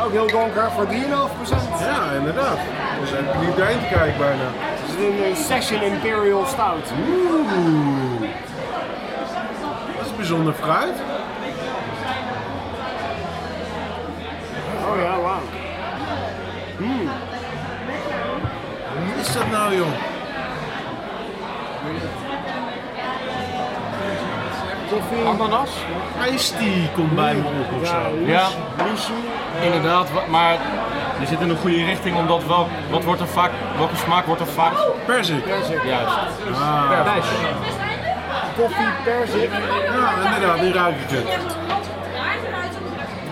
Speaker 4: Ook heel donker voor 3,5%. Het
Speaker 3: ja, inderdaad. We zijn er niet doorheen te kijken bijna.
Speaker 4: is een eh, Session Imperial Stout.
Speaker 3: Oeh. Dat is bijzonder fruit.
Speaker 4: Oh ja, wauw.
Speaker 3: Wat is dat nou, joh?
Speaker 2: Ananas?
Speaker 3: Ice tea komt bij me op of zo.
Speaker 1: Ja, inderdaad. wa- Maar je zit in de goede richting omdat wel, wat wordt er vaak, welke smaak wordt er vaak
Speaker 3: Perzik.
Speaker 1: juist.
Speaker 4: Koffie, perzik.
Speaker 3: Ja, inderdaad, die ruik ik het.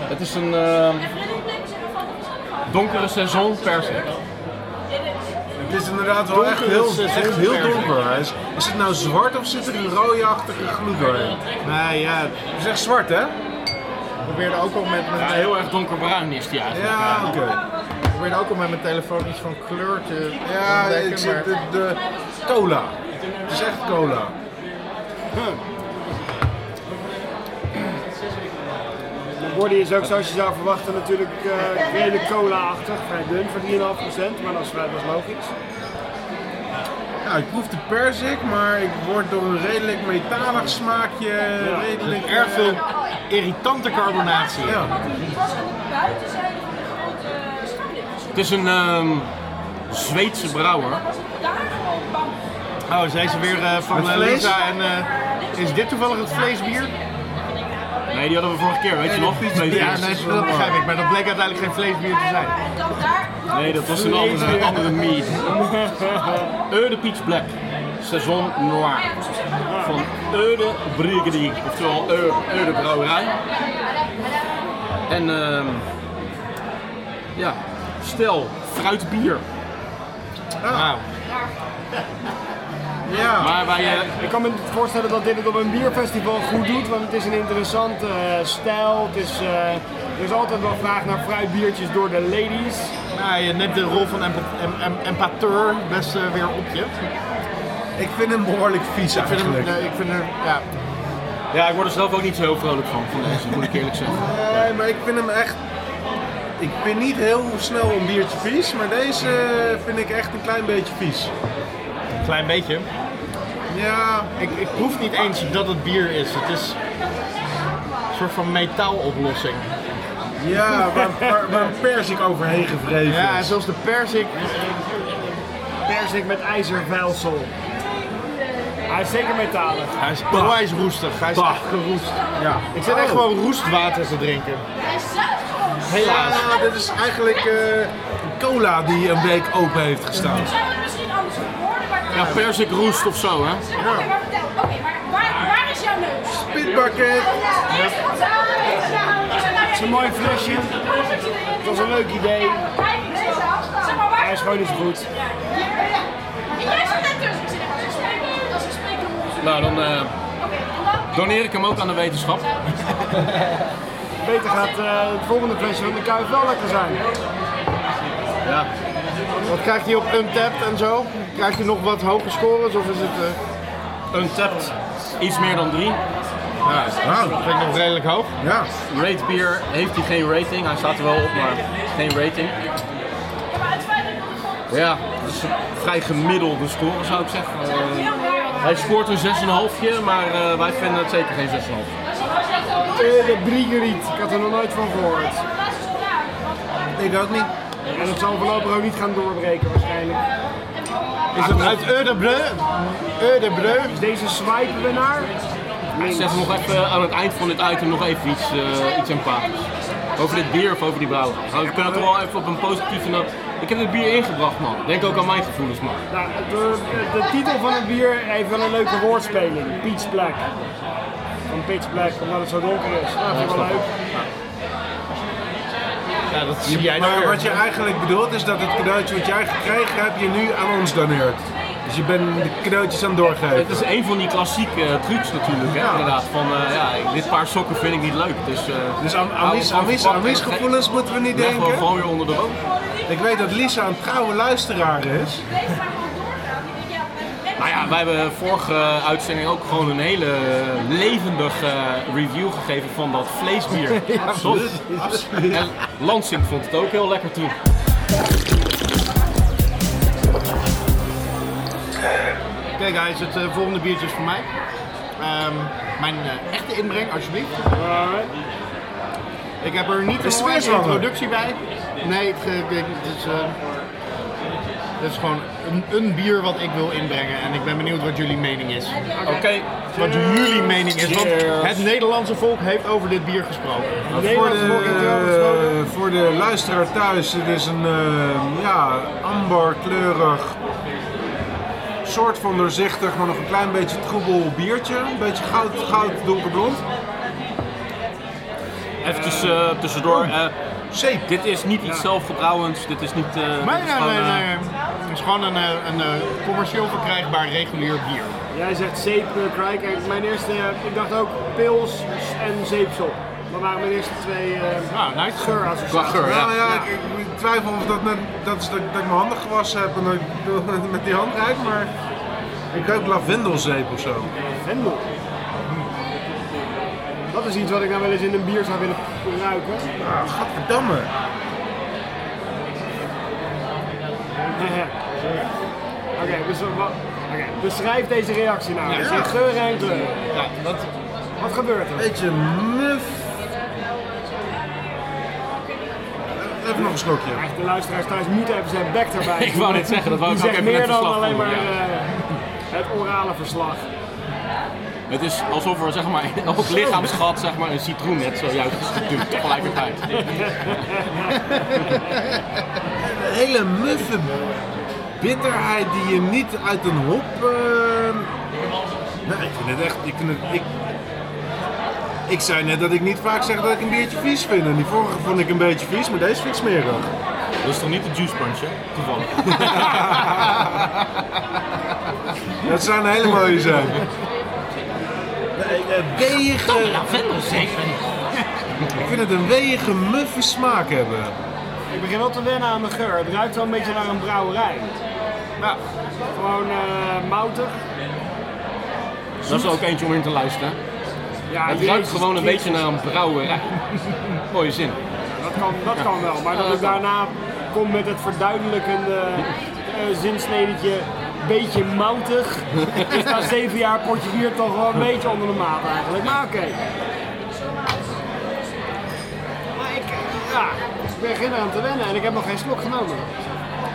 Speaker 1: Het is een eh, donkere saison persik.
Speaker 3: Het is inderdaad wel echt heel,
Speaker 2: is
Speaker 3: echt heel donker. Hij Is, is het nou zwart of zit er een roodachtige gloed doorheen?
Speaker 2: Nee, ja.
Speaker 3: Het is echt zwart, hè?
Speaker 2: Ik probeerde ook al met
Speaker 1: Ja,
Speaker 2: mijn,
Speaker 1: heel erg donkerbruin is die eigenlijk.
Speaker 3: Ja, oké.
Speaker 2: ik probeerde ook al met mijn telefoon iets van kleur te
Speaker 3: Ja,
Speaker 2: ontdekken,
Speaker 3: ik zie
Speaker 2: maar-
Speaker 3: de, de cola. Het is echt cola.
Speaker 4: De body is ook zoals je zou verwachten natuurlijk eh redelijk cola-achtig. Vrij dun voor 3,5%, maar dat is, vrij- dat is logisch.
Speaker 3: Ja, ik proef de perzik, maar ik word door een redelijk metalig smaakje. Redelijk
Speaker 2: Erg
Speaker 3: eh,
Speaker 2: veel irritante carbonatie.
Speaker 3: Ja.
Speaker 6: eh, Dus
Speaker 1: Het is een ehm, Zweedse brouwer.
Speaker 2: Oh, zijn ze weer eh, van
Speaker 3: Met
Speaker 2: eh,
Speaker 3: vlees?
Speaker 2: Lisa en... eh, is dit toevallig het vleesbier?
Speaker 1: Nee, die hadden we vorige keer, weet je nog? Tweede
Speaker 2: Ja,
Speaker 1: keer.
Speaker 2: nee, dat begrijp ik. Maar dat bleek uiteindelijk geen vleesbier te zijn.
Speaker 1: Nee, dat was een andere, andere mead. Eude Peach Black, Saison Noir. Van Eude Brigadier, oftewel Eu- Eude Brouwerij. En ehm ja, stel, fruitbier.
Speaker 2: Wauw.
Speaker 3: Ja,
Speaker 1: Maar wij, eh,
Speaker 4: Ik kan me voorstellen dat dit het op een bierfestival goed doet, want het is een interessante eh, stijl. Het is, eh, er is altijd wel vraag naar fruitbiertjes door de ladies.
Speaker 2: Nou, je neemt de rol van empa- em- em- empateur best eh, weer op je.
Speaker 3: ik vind hem behoorlijk vies
Speaker 2: Ik vind hem,
Speaker 3: eigenlijk.
Speaker 2: eh, ik vind hem, ja.
Speaker 1: ja, ik word er zelf ook niet zo heel vrolijk van, van deze, moet ik eerlijk zeggen.
Speaker 3: Nee, maar ik vind hem echt... Ik ben niet heel snel een biertje vies, maar deze vind ik echt een klein beetje vies.
Speaker 2: Klein beetje.
Speaker 3: Ja,
Speaker 2: Ik, ik proef niet eens dat het bier is. Het is een soort van metaaloplossing.
Speaker 3: ja, waar, waar, waar een perzik overheen gevreven
Speaker 2: Ja, en
Speaker 3: is.
Speaker 2: zelfs de persik.
Speaker 4: Persik met ijzervijlsel. Hij is zeker metalig.
Speaker 2: Hij is onwijs roestig. Hij is
Speaker 3: Bah.
Speaker 2: echt geroest.
Speaker 3: Ja.
Speaker 2: Ik zit echt
Speaker 3: Oh.
Speaker 2: gewoon roestwater te drinken.
Speaker 3: Helaas. Ja, dit is eigenlijk eh, cola die een week open heeft gestaan.
Speaker 1: Ja, persik roest of zo, hè?
Speaker 6: Oké, maar waar, waar is jouw neus?
Speaker 3: Pitbakken.
Speaker 6: Het is
Speaker 4: een mooi flesje.
Speaker 6: Het
Speaker 4: was een leuk idee. Hij is gewoon niet zo goed.
Speaker 6: Jij zat net tussen. Ik zit echt als een Dat is een spreker.
Speaker 1: Nou, dan eh,
Speaker 6: Oké, en dan?
Speaker 1: doneer ik hem ook aan de wetenschap.
Speaker 4: Beter gaat eh, het volgende flesje van de kuif wel lekker zijn.
Speaker 1: Ja.
Speaker 2: Wat krijgt hij op Untapped en zo? Krijgt hij nog wat hoge scores of is het... eh,
Speaker 1: Untapped, iets meer dan drie.
Speaker 3: Nou.
Speaker 2: dat vind ik eh, nog redelijk hoog.
Speaker 3: Ja,
Speaker 1: Rate Beer heeft hij geen rating. Hij staat er wel op, maar geen rating.
Speaker 6: Ja, maar het feit dat ik op de grond
Speaker 1: Ja, dat is een vrij gemiddelde score zou ik zeggen. Eh,
Speaker 6: heel raar.
Speaker 1: hij scoort een 6,5, maar eh, wij vinden het zeker geen 6,5.
Speaker 6: Als je als je dat zo doet.
Speaker 4: Eh, De Briegeriet, ik had er nog nooit van gehoord.
Speaker 6: Dat is zo raar. Want
Speaker 3: ik ook niet.
Speaker 4: En dat zal voorlopig ook niet gaan doorbreken waarschijnlijk.
Speaker 2: Is
Speaker 3: Ah.
Speaker 2: het uit Eudebreu? Eudebreu?
Speaker 4: Dus deze swipen we naar
Speaker 1: Ik zeg nog even aan het eind van dit item nog even iets, eh iets empathisch. Over dit bier of over die blauwe. Nou, we kunnen toch wel even op een positieve noot. Ik heb dit bier ingebracht, man. Denk ook aan mijn gevoelens, man.
Speaker 4: Nou, de, de titel van het bier heeft wel een leuke woordspeling. Peach Black. Van Pitch Black, omdat het zo donker is. Nou, vind ik wel leuk.
Speaker 2: Ja, dat zie jij nou
Speaker 3: Maar
Speaker 2: weer.
Speaker 3: wat je eigenlijk bedoelt is dat het cadeautje wat jij gekregen hebt, je nu aan ons doneert. Dus je bent de knootjes aan het doorgeven.
Speaker 1: Het is een van die klassieke eh, trucs natuurlijk, hè, inderdaad. Van, eh, ja, dit paar sokken vind ik niet leuk, dus... eh,
Speaker 3: Dus aan, aan,
Speaker 1: hou
Speaker 3: Lies,
Speaker 1: het
Speaker 3: aan,
Speaker 1: gewoon
Speaker 3: Lies,
Speaker 1: verpakt
Speaker 3: aan Lies
Speaker 1: en
Speaker 3: gevoelens moeten we niet
Speaker 1: Leg gewoon,
Speaker 3: denken.
Speaker 1: gewoon weer onder de boom.
Speaker 3: Ik weet dat Lisa een trouwe luisteraar is.
Speaker 6: Deze gaan gewoon doorgaan. Die denken, ja, we hebben net-
Speaker 1: Nou ja, wij hebben vorige eh, uitzending ook gewoon een hele eh, levendige eh, review gegeven van dat vleesbier. Absoluut. En Lansing vond het ook heel lekker toen.
Speaker 2: Kijk guys, het eh, volgende biertje is voor mij. Ehm, mijn eh, echte inbreng, alsjeblieft. Ik heb er niet
Speaker 3: Is
Speaker 2: een
Speaker 3: het weer
Speaker 2: lange
Speaker 3: zwanger?
Speaker 2: introductie bij. Nee, het, ge- ik- het is, eh, het is gewoon een, een bier wat ik wil inbrengen. En ik ben benieuwd wat jullie mening is.
Speaker 1: Oké,
Speaker 2: Wat jullie mening is. Want
Speaker 1: Cheers.
Speaker 2: het Nederlandse volk heeft over dit bier gesproken.
Speaker 3: Voor
Speaker 4: Nederlands volk heeft jou gesproken.
Speaker 3: de, voor de luisteraar thuis, het is een eh, ja, amberkleurig, soort van doorzichtig, maar nog een klein beetje troebel biertje. Een beetje goud, goud donkerblond.
Speaker 1: eventjes eh, tussendoor. eh,
Speaker 3: Oh, Zeep.
Speaker 1: dit is niet iets zelfgebrouwens, dit is niet... eh,
Speaker 2: Maar
Speaker 1: dit is
Speaker 2: nee,
Speaker 1: gewoon,
Speaker 2: nee,
Speaker 1: eh,
Speaker 2: nee. Het is gewoon een, eh, een eh, commercieel verkrijgbaar regulier bier.
Speaker 4: Jij zegt zeep, eh, Krijk. En Mijn eerste, eh, ik dacht ook pils en zeepsel. Dat waren mijn eerste twee eh
Speaker 2: Nou, nice.
Speaker 1: Qua
Speaker 4: geurassociaties.
Speaker 1: geur, ja.
Speaker 3: Nou ja, Ik, ik twijfel of dat, net, dat, is, dat, ik- dat ik mijn handen gewassen heb en dat ik met die hand ruik, maar ik ruik lavendelzeep of zo.
Speaker 4: Hendel. Dat is iets wat ik nou wel eens in een bier zou willen ruiken.
Speaker 3: Ah, gadverdamme.
Speaker 4: Oké, dus wat- oké, beschrijf deze reactie nou. Je zegt geur en kleur.
Speaker 2: Ja, dat,
Speaker 4: Wat gebeurt er?
Speaker 3: Beetje muf. Even nog een slokje.
Speaker 4: Echt, de luisteraars thuis moeten even zijn bek erbij.
Speaker 1: Ik wou net zeggen, dat wou
Speaker 4: Die
Speaker 1: ik ook
Speaker 4: zegt
Speaker 1: even
Speaker 4: meer
Speaker 1: net
Speaker 4: dan
Speaker 1: verslag
Speaker 4: alleen
Speaker 1: van
Speaker 4: maar
Speaker 1: doen, ja.
Speaker 4: eh, het orale verslag.
Speaker 1: Het is alsof er zeg maar, in elk lichaamsgat zeg maar, een citroen net zojuist is geduwd tegelijkertijd.
Speaker 3: Een hele muffe bitterheid die je niet uit een hop. eh, Nee, ik vind het echt. Ik, vind het, ik, ik zei net dat ik niet vaak zeg dat ik een biertje vies vind. En die vorige vond ik een beetje vies, maar deze vind ik smerig.
Speaker 1: Dat is toch niet de juice punch, hè? Toevallig.
Speaker 3: Dat zou een hele mooie zijn. Nee, eh, Weeige, ik vind het een weeige, muffe smaak hebben.
Speaker 4: Ik begin wel te wennen aan de geur. Het ruikt wel een beetje naar een brouwerij.
Speaker 2: ja.
Speaker 4: Nou, Gewoon eh moutig.
Speaker 1: Dat is er ook eentje om in te luisteren.
Speaker 4: Ja,
Speaker 3: Oh,
Speaker 1: Het ruikt
Speaker 4: jezus
Speaker 1: gewoon een beetje
Speaker 4: Christus.
Speaker 1: naar een brouwerij. Mooie zin.
Speaker 4: Dat kan, dat kan wel, maar dat ik daarna kom met het verduidelijkende eh zinsnedetje. Beetje moutig. Is na zeven jaar potje bier toch wel een beetje onder de maat eigenlijk. Maar oké. Maar ik, ja, ik begin eraan te wennen en ik heb nog geen slok genomen.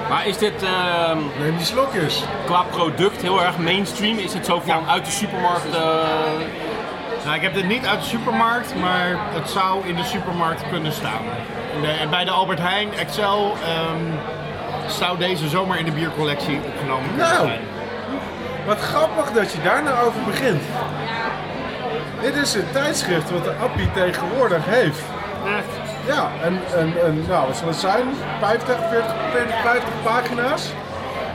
Speaker 1: Maar is dit ehm,
Speaker 3: Neem die slokjes.
Speaker 1: qua product heel erg mainstream? Is het zo van uit de supermarkt? eh,
Speaker 2: Nou, ik heb dit niet uit de supermarkt, maar het zou in de supermarkt kunnen staan. In de- en bij de Albert Heijn, Excel, ehm, zou deze zomaar in de biercollectie opgenomen kunnen
Speaker 3: Nou.
Speaker 2: zijn.
Speaker 3: Wat grappig dat je daar nou over begint. Dit is het tijdschrift wat de Appie tegenwoordig heeft.
Speaker 4: Echt.
Speaker 3: Ja, en, en, en nou, wat zal het zijn? 50, 40, 40 50 pagina's?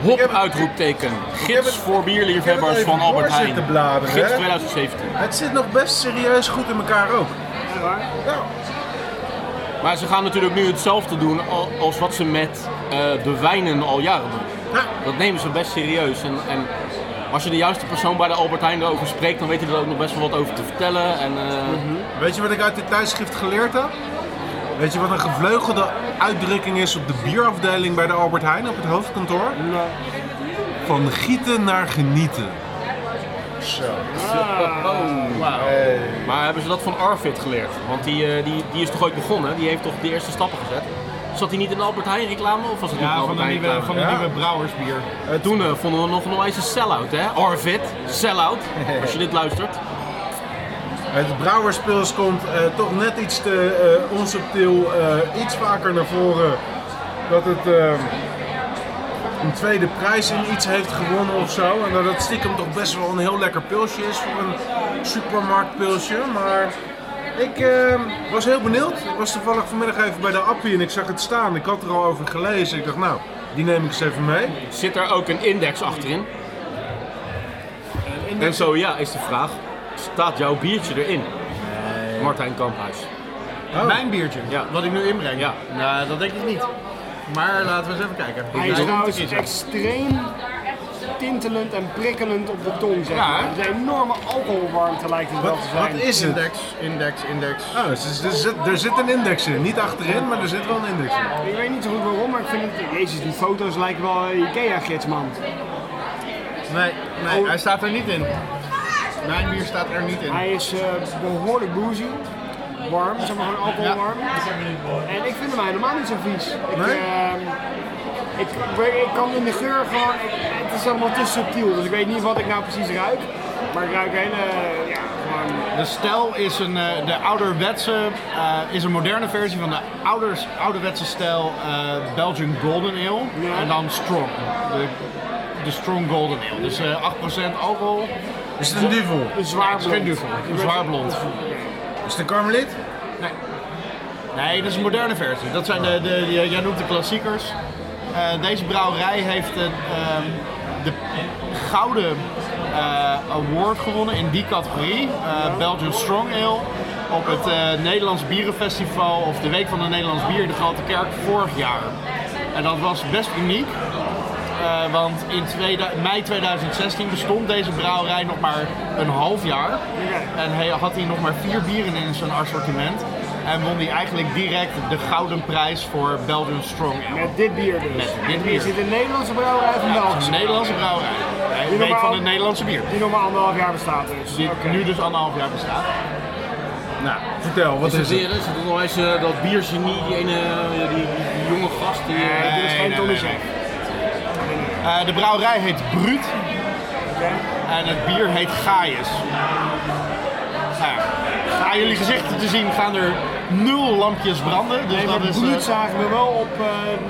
Speaker 1: hop
Speaker 3: heb het-
Speaker 1: uitroepteken.
Speaker 3: heb
Speaker 1: Gids
Speaker 3: het-
Speaker 1: voor
Speaker 3: ik heb
Speaker 1: bierliefhebbers
Speaker 3: het even
Speaker 1: van Albert
Speaker 3: door
Speaker 1: Heijn.
Speaker 3: zitten bladeren,
Speaker 1: Gids
Speaker 3: hè?
Speaker 1: 2017.
Speaker 3: Het zit nog best serieus goed in elkaar ook.
Speaker 4: Echt waar?
Speaker 3: Ja.
Speaker 1: Maar ze gaan natuurlijk nu hetzelfde doen al- als wat ze met eh, de wijnen al jaren doen. Dat nemen ze best serieus. En, en als je de juiste persoon bij de Albert Heijn erover spreekt, dan weet hij er ook nog best wel wat over te vertellen. En, eh,
Speaker 3: Weet je wat ik uit dit tijdschrift geleerd heb? Weet je wat een gevleugelde uitdrukking is op de bierafdeling bij de Albert Heijn op het hoofdkantoor? Van gieten naar genieten. Zo.
Speaker 1: Maar hebben ze dat van Arvid geleerd? Want die, eh, die, die is toch ooit begonnen? Die heeft toch de eerste stappen gezet? Zat hij niet in de Albert Heijn reclame? Of was het niet
Speaker 2: Ja,
Speaker 1: in
Speaker 2: van
Speaker 1: Albert
Speaker 2: de
Speaker 1: Heijn
Speaker 2: nieuwe,
Speaker 1: reclame?
Speaker 2: van de
Speaker 3: Ja.
Speaker 2: nieuwe brouwersbier.
Speaker 1: Eh, Toen eh, vonden we nog een wijze sell-out, hè? Arvid, sell-out. Als je dit luistert.
Speaker 3: Het brouwerspils komt eh, toch net iets te eh, onsubtiel, eh, iets vaker naar voren. Dat het eh, een tweede prijs in iets heeft gewonnen of zo. En dat het stiekem toch best wel een heel lekker pilsje is voor een supermarktpilsje. Maar ik eh, was heel benieuwd. Ik was toevallig vanmiddag even bij de Appie en ik zag het staan. Ik had er al over gelezen. Ik dacht, nou, die neem ik eens even mee.
Speaker 1: Zit er ook een index achterin?
Speaker 4: in de-
Speaker 1: En zo ja, is de vraag, staat jouw biertje erin? Martijn Kamphuis.
Speaker 2: Mijn biertje,
Speaker 1: Ja.
Speaker 2: wat ik nu inbreng.
Speaker 1: Ja.
Speaker 2: Nou, dat denk ik niet. Maar laten we eens even kijken.
Speaker 4: Hij
Speaker 2: Ik
Speaker 4: is
Speaker 2: denk-
Speaker 4: trouwens extreem tintelend en prikkelend op de tong, zeg
Speaker 2: Ja,
Speaker 4: maar.
Speaker 2: hè?
Speaker 4: Het is een enorme alcoholwarmte lijkt het wel
Speaker 3: Wat,
Speaker 4: te
Speaker 3: wat
Speaker 4: zijn.
Speaker 3: is het?
Speaker 2: Index, index, index.
Speaker 3: Oh, er zit- er zit, er zit een index in. Niet achterin, maar er zit wel een index in.
Speaker 4: Ik weet niet zo goed waarom, maar ik vind het... Jezus, die foto's lijken wel eh, Ikea-gids, man.
Speaker 2: Nee, nee
Speaker 4: Oh.
Speaker 2: hij staat er niet in. Mijn bier staat er niet in.
Speaker 4: Hij is eh, behoorlijk boozy. Warm, zeg maar gewoon alcoholwarm. En ik vind hem helemaal niet zo vies. Ik,
Speaker 3: Nee?
Speaker 4: ehm, ik, ik kan in de geur gewoon... ik- het is allemaal te subtiel, dus ik weet niet wat ik nou precies ruik. Maar ik ruik hele... ja, gewoon...
Speaker 2: De stijl is een, eh, de ouderwetse, eh, is een moderne versie van de ouders, ouderwetse stijl eh, Belgian Golden Ale.
Speaker 4: Ja.
Speaker 2: En dan Strong. De, de Strong Golden Ale. Dus eh, 8% alcohol.
Speaker 3: Is het een duvel?
Speaker 4: Een zwaar
Speaker 2: Nee, het is geen duvel. Een zwaar blond.
Speaker 3: Is het een karmeliet?
Speaker 2: Nee. nee, dat is een moderne versie. Dat zijn de, de, die- jij noemt de klassiekers. Eh, deze brouwerij heeft een, ehm, de gouden eh, award gewonnen in die categorie. eh, Belgian Strong Ale. Op het eh, Nederlands Bierenfestival of de Week van het Nederlands Bier in de Grote Kerk vorig jaar. En dat was best uniek. Eh, want in tweeda- mei 2016 bestond deze brouwerij nog maar een half jaar. En hij, had hij nog maar vier bieren in zijn assortiment. En won hij eigenlijk direct de gouden prijs voor Belgian Strong Ale.
Speaker 4: Met dit bier dus.
Speaker 2: Met dit bier.
Speaker 4: Hier zit een Nederlandse brouwerij van
Speaker 2: Ja, het is
Speaker 4: België.
Speaker 2: een Nederlandse brouwerij. Hij weet
Speaker 4: Die
Speaker 2: van
Speaker 4: normaal-
Speaker 2: het Nederlandse bier.
Speaker 4: Die nog maar anderhalf jaar bestaat dus.
Speaker 2: Die
Speaker 4: Oké.
Speaker 2: nu dus anderhalf jaar bestaat.
Speaker 3: Nou, vertel,
Speaker 1: Is
Speaker 3: wat
Speaker 1: het
Speaker 3: is het?
Speaker 1: weer? Is het nog eens eh, dat biergenie, die ene eh, die, die- die jonge gast die... eh,
Speaker 4: Nee, dit is
Speaker 2: Nee,
Speaker 4: geen
Speaker 2: nee,
Speaker 4: Tommy
Speaker 2: nee,
Speaker 4: Zeg.
Speaker 2: Eh, de brouwerij heet Bruut. En het bier heet Gaius. Nou ja, aan jullie gezichten te zien gaan er nul lampjes branden. Dus
Speaker 4: Nee, maar
Speaker 2: dat is, eh,
Speaker 4: bloed zagen we wel op eh,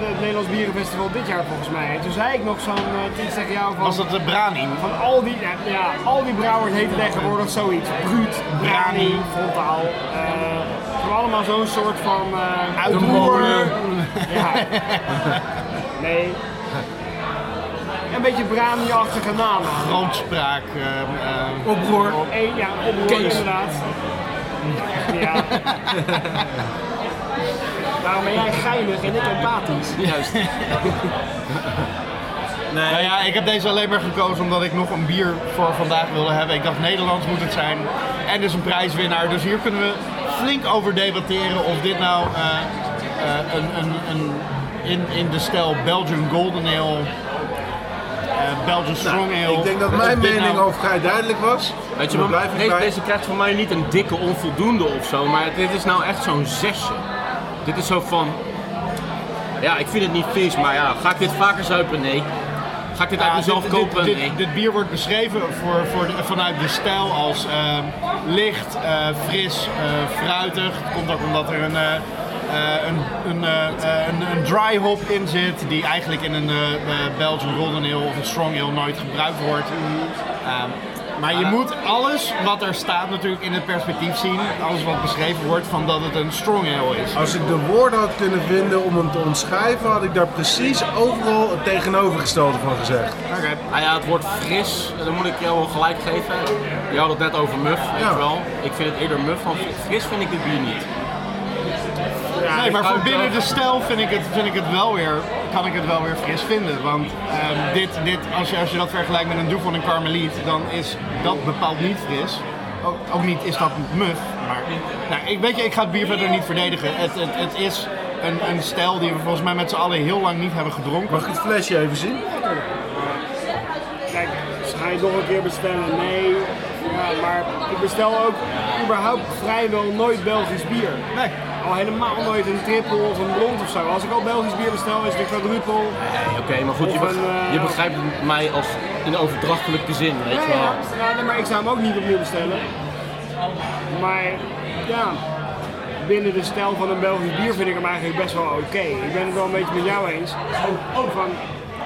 Speaker 4: het Nederlands Bierenfestival dit jaar volgens mij. En Toen zei ik nog zo'n uh, iets tegen jou van,
Speaker 2: was dat de Brani?
Speaker 4: van al die, ja, ja, al die brouwers heten tegenwoordig zoiets. Bruut, Brani,
Speaker 2: Brani.
Speaker 4: Frontaal. eh, Gewoon allemaal zo'n soort van... eh,
Speaker 2: Uit de
Speaker 4: boer.
Speaker 2: molen.
Speaker 4: Ja. Nee. Een beetje Brani-achtige namen.
Speaker 2: Grootspraak. ehm, eh,
Speaker 3: Oproer.
Speaker 4: Eén, ja, oproer
Speaker 1: Kees.
Speaker 4: inderdaad. Ja. Daarom ben jij geinig en ik empathisch.
Speaker 1: Juist.
Speaker 2: Nou ja, ik heb deze alleen maar gekozen omdat ik nog een bier voor vandaag wilde hebben. Ik dacht Nederlands moet het zijn. En dus een prijswinnaar. Dus hier kunnen we flink over debatteren of dit nou eh, eh, een, een, een, in, in de stijl Belgian Golden Ale, eh, Belgian Strong Ale.
Speaker 3: Nou, Ik denk dat
Speaker 2: of
Speaker 3: mijn
Speaker 2: dit
Speaker 3: mening
Speaker 2: nou-
Speaker 3: over vrij duidelijk was.
Speaker 1: Weet je,
Speaker 3: Dan
Speaker 1: maar
Speaker 3: blijf ik
Speaker 1: deze,
Speaker 3: bij.
Speaker 1: deze krijgt voor mij niet een dikke onvoldoende of zo, maar dit is nou echt zo'n zesje. Dit is zo van, ja, ik vind het niet vies, maar ja, ga ik dit vaker zuipen? Nee. Ga ik dit
Speaker 2: Ja,
Speaker 1: uit mezelf
Speaker 2: dit- dit-
Speaker 1: kopen?
Speaker 2: Dit,
Speaker 1: nee.
Speaker 2: dit bier wordt beschreven voor, voor de- vanuit de stijl als eh, licht, eh, fris, eh, fruitig. Het komt ook omdat er een, eh, eh, een, een, eh, eh, een, een dry hop in zit, die eigenlijk in een eh, eh, Belgian Golden Ale of een Strong Ale nooit gebruikt wordt. Ehm, maar
Speaker 1: Eh.
Speaker 2: je moet alles wat er staat natuurlijk in het perspectief zien. Alles wat beschreven wordt van dat het een Strong Ale is.
Speaker 3: Als ik de woorden had kunnen vinden om hem te omschrijven, had ik daar precies overal het tegenovergestelde van gezegd.
Speaker 1: Ah ja, het wordt fris, dan moet ik jou wel gelijk geven. Je had het net over muf, weet
Speaker 3: Ja.
Speaker 1: je wel. Ik vind het eerder muf, want fris vind ik het bier niet.
Speaker 2: Nee, maar voor
Speaker 1: ruikt
Speaker 2: binnen
Speaker 1: ook.
Speaker 2: de stijl vind ik het, vind ik het wel weer, kan ik het wel weer fris vinden. Want ehm, dit, dit, als, je, als je dat vergelijkt met een doe van een karmeliet, dan is dat bepaald niet fris. Ook, ook niet is dat muf. Maar nou, ik, weet je, ik ga het bier verder niet verdedigen. Het, het, het is een, een stijl die we volgens mij met z'n allen heel lang niet hebben gedronken.
Speaker 3: Mag ik het flesje even zien?
Speaker 4: Kijk, dus ga je nog een keer bestellen? Nee. Ja, maar ik bestel ook überhaupt vrijwel nooit Belgisch bier.
Speaker 2: Nee.
Speaker 4: Al helemaal nooit een triple of een blond of zo. Als ik al Belgisch bier bestel, is het een quadruple.
Speaker 1: Nee, Oké, maar goed, je,
Speaker 4: Of
Speaker 1: beg-
Speaker 4: een, eh,
Speaker 1: je begrijpt mij als in overdrachtelijke zin, weet je wel.
Speaker 4: Ja, ja. Ja, nee, maar ik zou hem ook niet opnieuw bestellen. Maar ja, binnen de stijl van een Belgisch bier vind ik hem eigenlijk best wel oké. Ik ben het wel een beetje met jou eens. Van,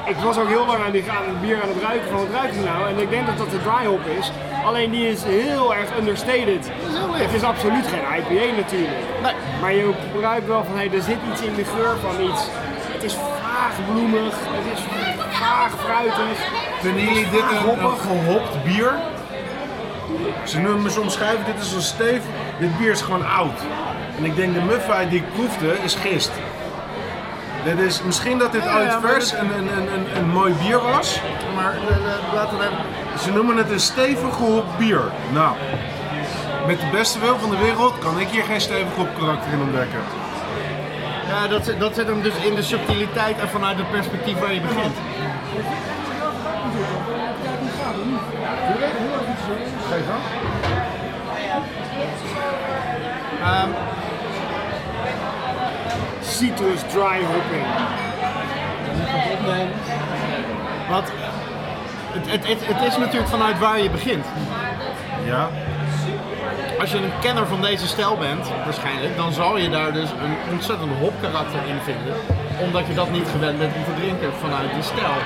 Speaker 4: ik was ook heel lang aan, die, aan het bier aan het ruiken van wat ruikt het nou? En ik denk dat dat de dry hop is. Alleen die is heel erg understated. Het is absoluut geen IPA natuurlijk.
Speaker 2: Nee.
Speaker 4: Maar je ruikt wel van, hey, er zit iets in de geur van iets. Het is vaag bloemig, het is vaag fruitig.
Speaker 3: Vinden jullie dit eh, een, een
Speaker 4: Hoppig.
Speaker 3: gehopt bier? Ze noemen ze omschrijven, dit is een steef, dit bier is gewoon oud. En ik denk de muffheid die ik proefde is gist. Dit is, misschien dat dit
Speaker 2: Ja,
Speaker 3: uit
Speaker 2: ja, maar
Speaker 3: vers
Speaker 2: dit-
Speaker 3: een, een, een, een, een mooi bier was, maar eh, eh, laten we Ze noemen het een stevig gehopt bier. Nou, met de beste wil van de wereld kan ik hier geen stevig gehopt karakter in ontdekken.
Speaker 2: Ja, dat, dat zit hem dus in de subtiliteit en vanuit het perspectief waar je begint.
Speaker 4: Citrus dry hopping.
Speaker 2: Want het, het, het, het is natuurlijk vanuit waar je begint.
Speaker 3: Ja,
Speaker 2: Als je een kenner van deze stijl bent, waarschijnlijk, dan zal je daar dus een ontzettend hopkarakter in vinden. Omdat je dat niet gewend bent om te drinken vanuit die stijl.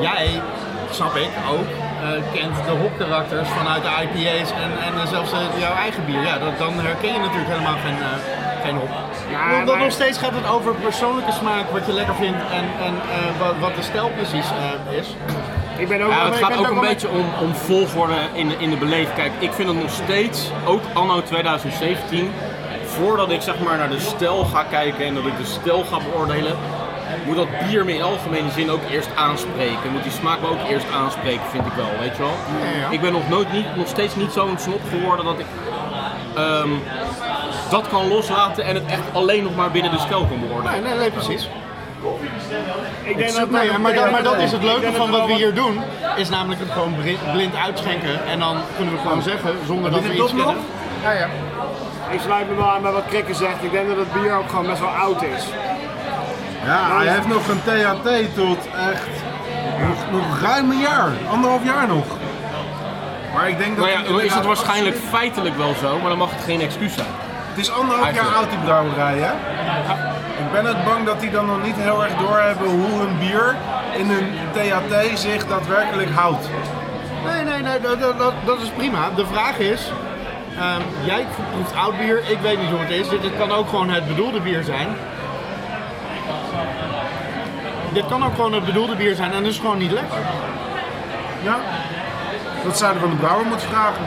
Speaker 2: Jij, snap ik ook, eh, kent de hopkarakters vanuit de IPA's en, en eh, zelfs eh, jouw eigen bier. Ja, dat, dan herken je natuurlijk helemaal geen, eh, geen hop.
Speaker 4: Ja,
Speaker 2: Omdat
Speaker 4: maar-
Speaker 2: nog steeds gaat het over persoonlijke smaak, wat je lekker vindt en, en eh, wat, wat de stijl precies eh, is.
Speaker 4: Ik ben ook
Speaker 1: Ja,
Speaker 4: ik
Speaker 1: het gaat
Speaker 4: ben
Speaker 1: ook een
Speaker 4: wel
Speaker 1: beetje om, om volgorde in de, in de beleving. Kijk, ik vind het nog steeds, ook anno 2017, voordat ik zeg maar naar de stijl ga kijken en dat ik de stijl ga beoordelen, moet dat bier me in algemene zin ook eerst aanspreken. Moet die smaak me ook eerst aanspreken, vind ik wel, weet je wel.
Speaker 2: ja.
Speaker 1: Ik ben nog, nooit, niet, nog steeds niet zo'n snop geworden dat ik ehm, dat kan loslaten en het echt alleen nog maar binnen de stijl kan beoordelen.
Speaker 2: Nee, nee, nee, precies.
Speaker 4: Ik denk dat
Speaker 2: Nee, maar, dat, maar dat is het
Speaker 4: Ik denk
Speaker 2: leuke
Speaker 4: dat
Speaker 2: van
Speaker 4: er
Speaker 2: wat we
Speaker 4: wel
Speaker 2: hier doen, is namelijk het gewoon bri- blind uitschenken. En dan kunnen we gewoon zeggen, zonder dat
Speaker 3: Heb je
Speaker 2: we
Speaker 3: dit
Speaker 2: iets
Speaker 3: toch nog?
Speaker 2: kennen.
Speaker 4: Ik sluit me wel aan bij wat Krikke zegt. Ik denk dat het bier ook gewoon best wel oud is.
Speaker 3: ja hij heeft nog een THT tot echt nog, nog ruim een jaar, anderhalf jaar nog. Maar ik denk dat...
Speaker 1: Nou ja,
Speaker 3: hij
Speaker 1: dan is
Speaker 3: inderdaad
Speaker 1: dat waarschijnlijk
Speaker 3: absoluut-
Speaker 1: feitelijk wel zo, maar dan mag het geen excuus zijn.
Speaker 3: Het is anderhalf jaar
Speaker 1: Eigenlijk.
Speaker 3: oud die brouwerij, hè? Ik ben het bang dat die dan nog niet heel erg doorhebben hoe hun bier in hun THT zich daadwerkelijk houdt.
Speaker 2: Nee, nee, nee, dat, dat- dat, dat is prima. De vraag is, ehm, jij proeft oud bier, ik weet niet hoe het is. Dit, dit kan ook gewoon het bedoelde bier zijn. Dit kan ook gewoon het bedoelde bier zijn en dat is gewoon niet lekker.
Speaker 3: Ja? Dat zouden we van de brouwer moeten vragen.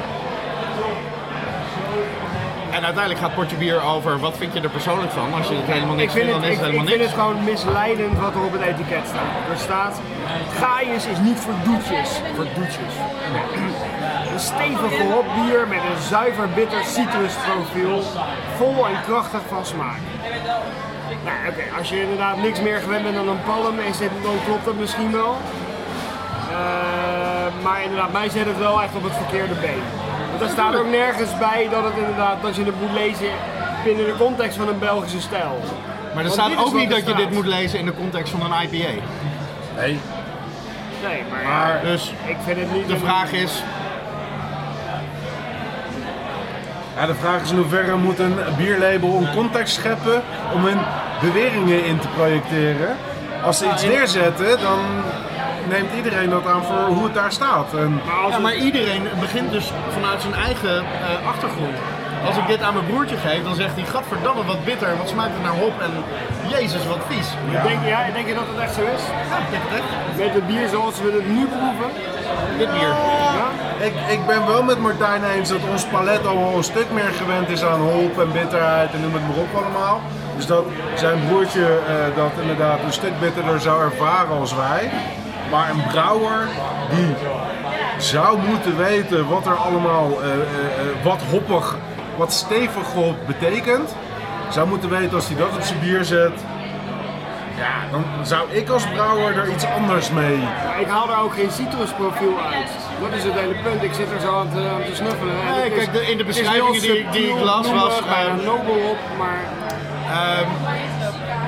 Speaker 2: En uiteindelijk gaat Portje Bier over, wat vind je er persoonlijk van? Als je het helemaal
Speaker 4: Ik
Speaker 2: niks
Speaker 4: vind
Speaker 2: vindt, dan
Speaker 4: het,
Speaker 2: is
Speaker 4: ik,
Speaker 2: het
Speaker 4: ik
Speaker 2: helemaal
Speaker 4: vind
Speaker 2: niks.
Speaker 4: het gewoon misleidend wat er op het etiket staat. Er staat, gaaiers is niet voor doetjes. Voor doetjes. Een stevig gehop bier met een zuiver bitter citrusprofiel, vol en krachtig van smaak. Nou oké, als je inderdaad niks meer gewend bent dan een palm, is dit, dan klopt dat misschien wel. Eh, maar inderdaad, mij zet het wel echt op het verkeerde been. Want er staat ook nergens bij dat, het inderdaad, dat je het moet lezen binnen de context van een Belgische stijl.
Speaker 2: Maar er
Speaker 4: Want
Speaker 2: staat
Speaker 4: dit is
Speaker 2: ook
Speaker 4: wat
Speaker 2: niet
Speaker 4: er
Speaker 2: dat je
Speaker 4: staat.
Speaker 2: dit moet lezen in de context van een IPA.
Speaker 3: Nee.
Speaker 4: Nee, maar, ja,
Speaker 2: Maar dus
Speaker 4: ik vind het niet...
Speaker 2: de vraag is,
Speaker 3: Ja, de vraag is in hoeverre moet een bierlabel een context scheppen om hun beweringen in te projecteren. Als ze iets neerzetten, dan neemt iedereen dat aan voor hoe het daar staat. En
Speaker 4: Maar als
Speaker 2: Ja, maar
Speaker 4: het-
Speaker 2: iedereen begint dus vanuit zijn eigen eh, achtergrond. Als ik dit aan mijn broertje geef, dan zegt hij, gadverdamme, wat bitter, wat smaakt het naar hop en jezus, wat vies.
Speaker 4: Denk, ja, denk je dat het echt zo is?
Speaker 2: Ja, dit, dit,
Speaker 4: Met het bier zoals we het nu proeven?
Speaker 2: dit bier.
Speaker 4: Ja?
Speaker 3: ik, ik ben wel met Martijn eens dat ons palet al wel een stuk meer gewend is aan hop en bitterheid en noem het maar op allemaal. Dus dat zijn broertje eh, dat inderdaad een stuk bitterder zou ervaren als wij. Maar een brouwer die zou moeten weten wat er allemaal, eh, eh, eh, wat hoppig, wat stevig hop betekent. Zou moeten weten als hij dat op zijn bier zet. Ja, dan zou ik als brouwer er iets anders mee.
Speaker 4: Maar Ik haal er ook geen citrusprofiel uit. Dat is het hele punt. Ik zit er zo aan te, aan te snuffelen. En
Speaker 2: Nee,
Speaker 4: het
Speaker 2: kijk, de- in de
Speaker 4: het is
Speaker 2: beschrijvingen
Speaker 4: heel
Speaker 2: die ik- die ik
Speaker 4: subtiel,
Speaker 2: las was,
Speaker 4: bloemig, bijna
Speaker 2: eh,
Speaker 4: nobel op, maar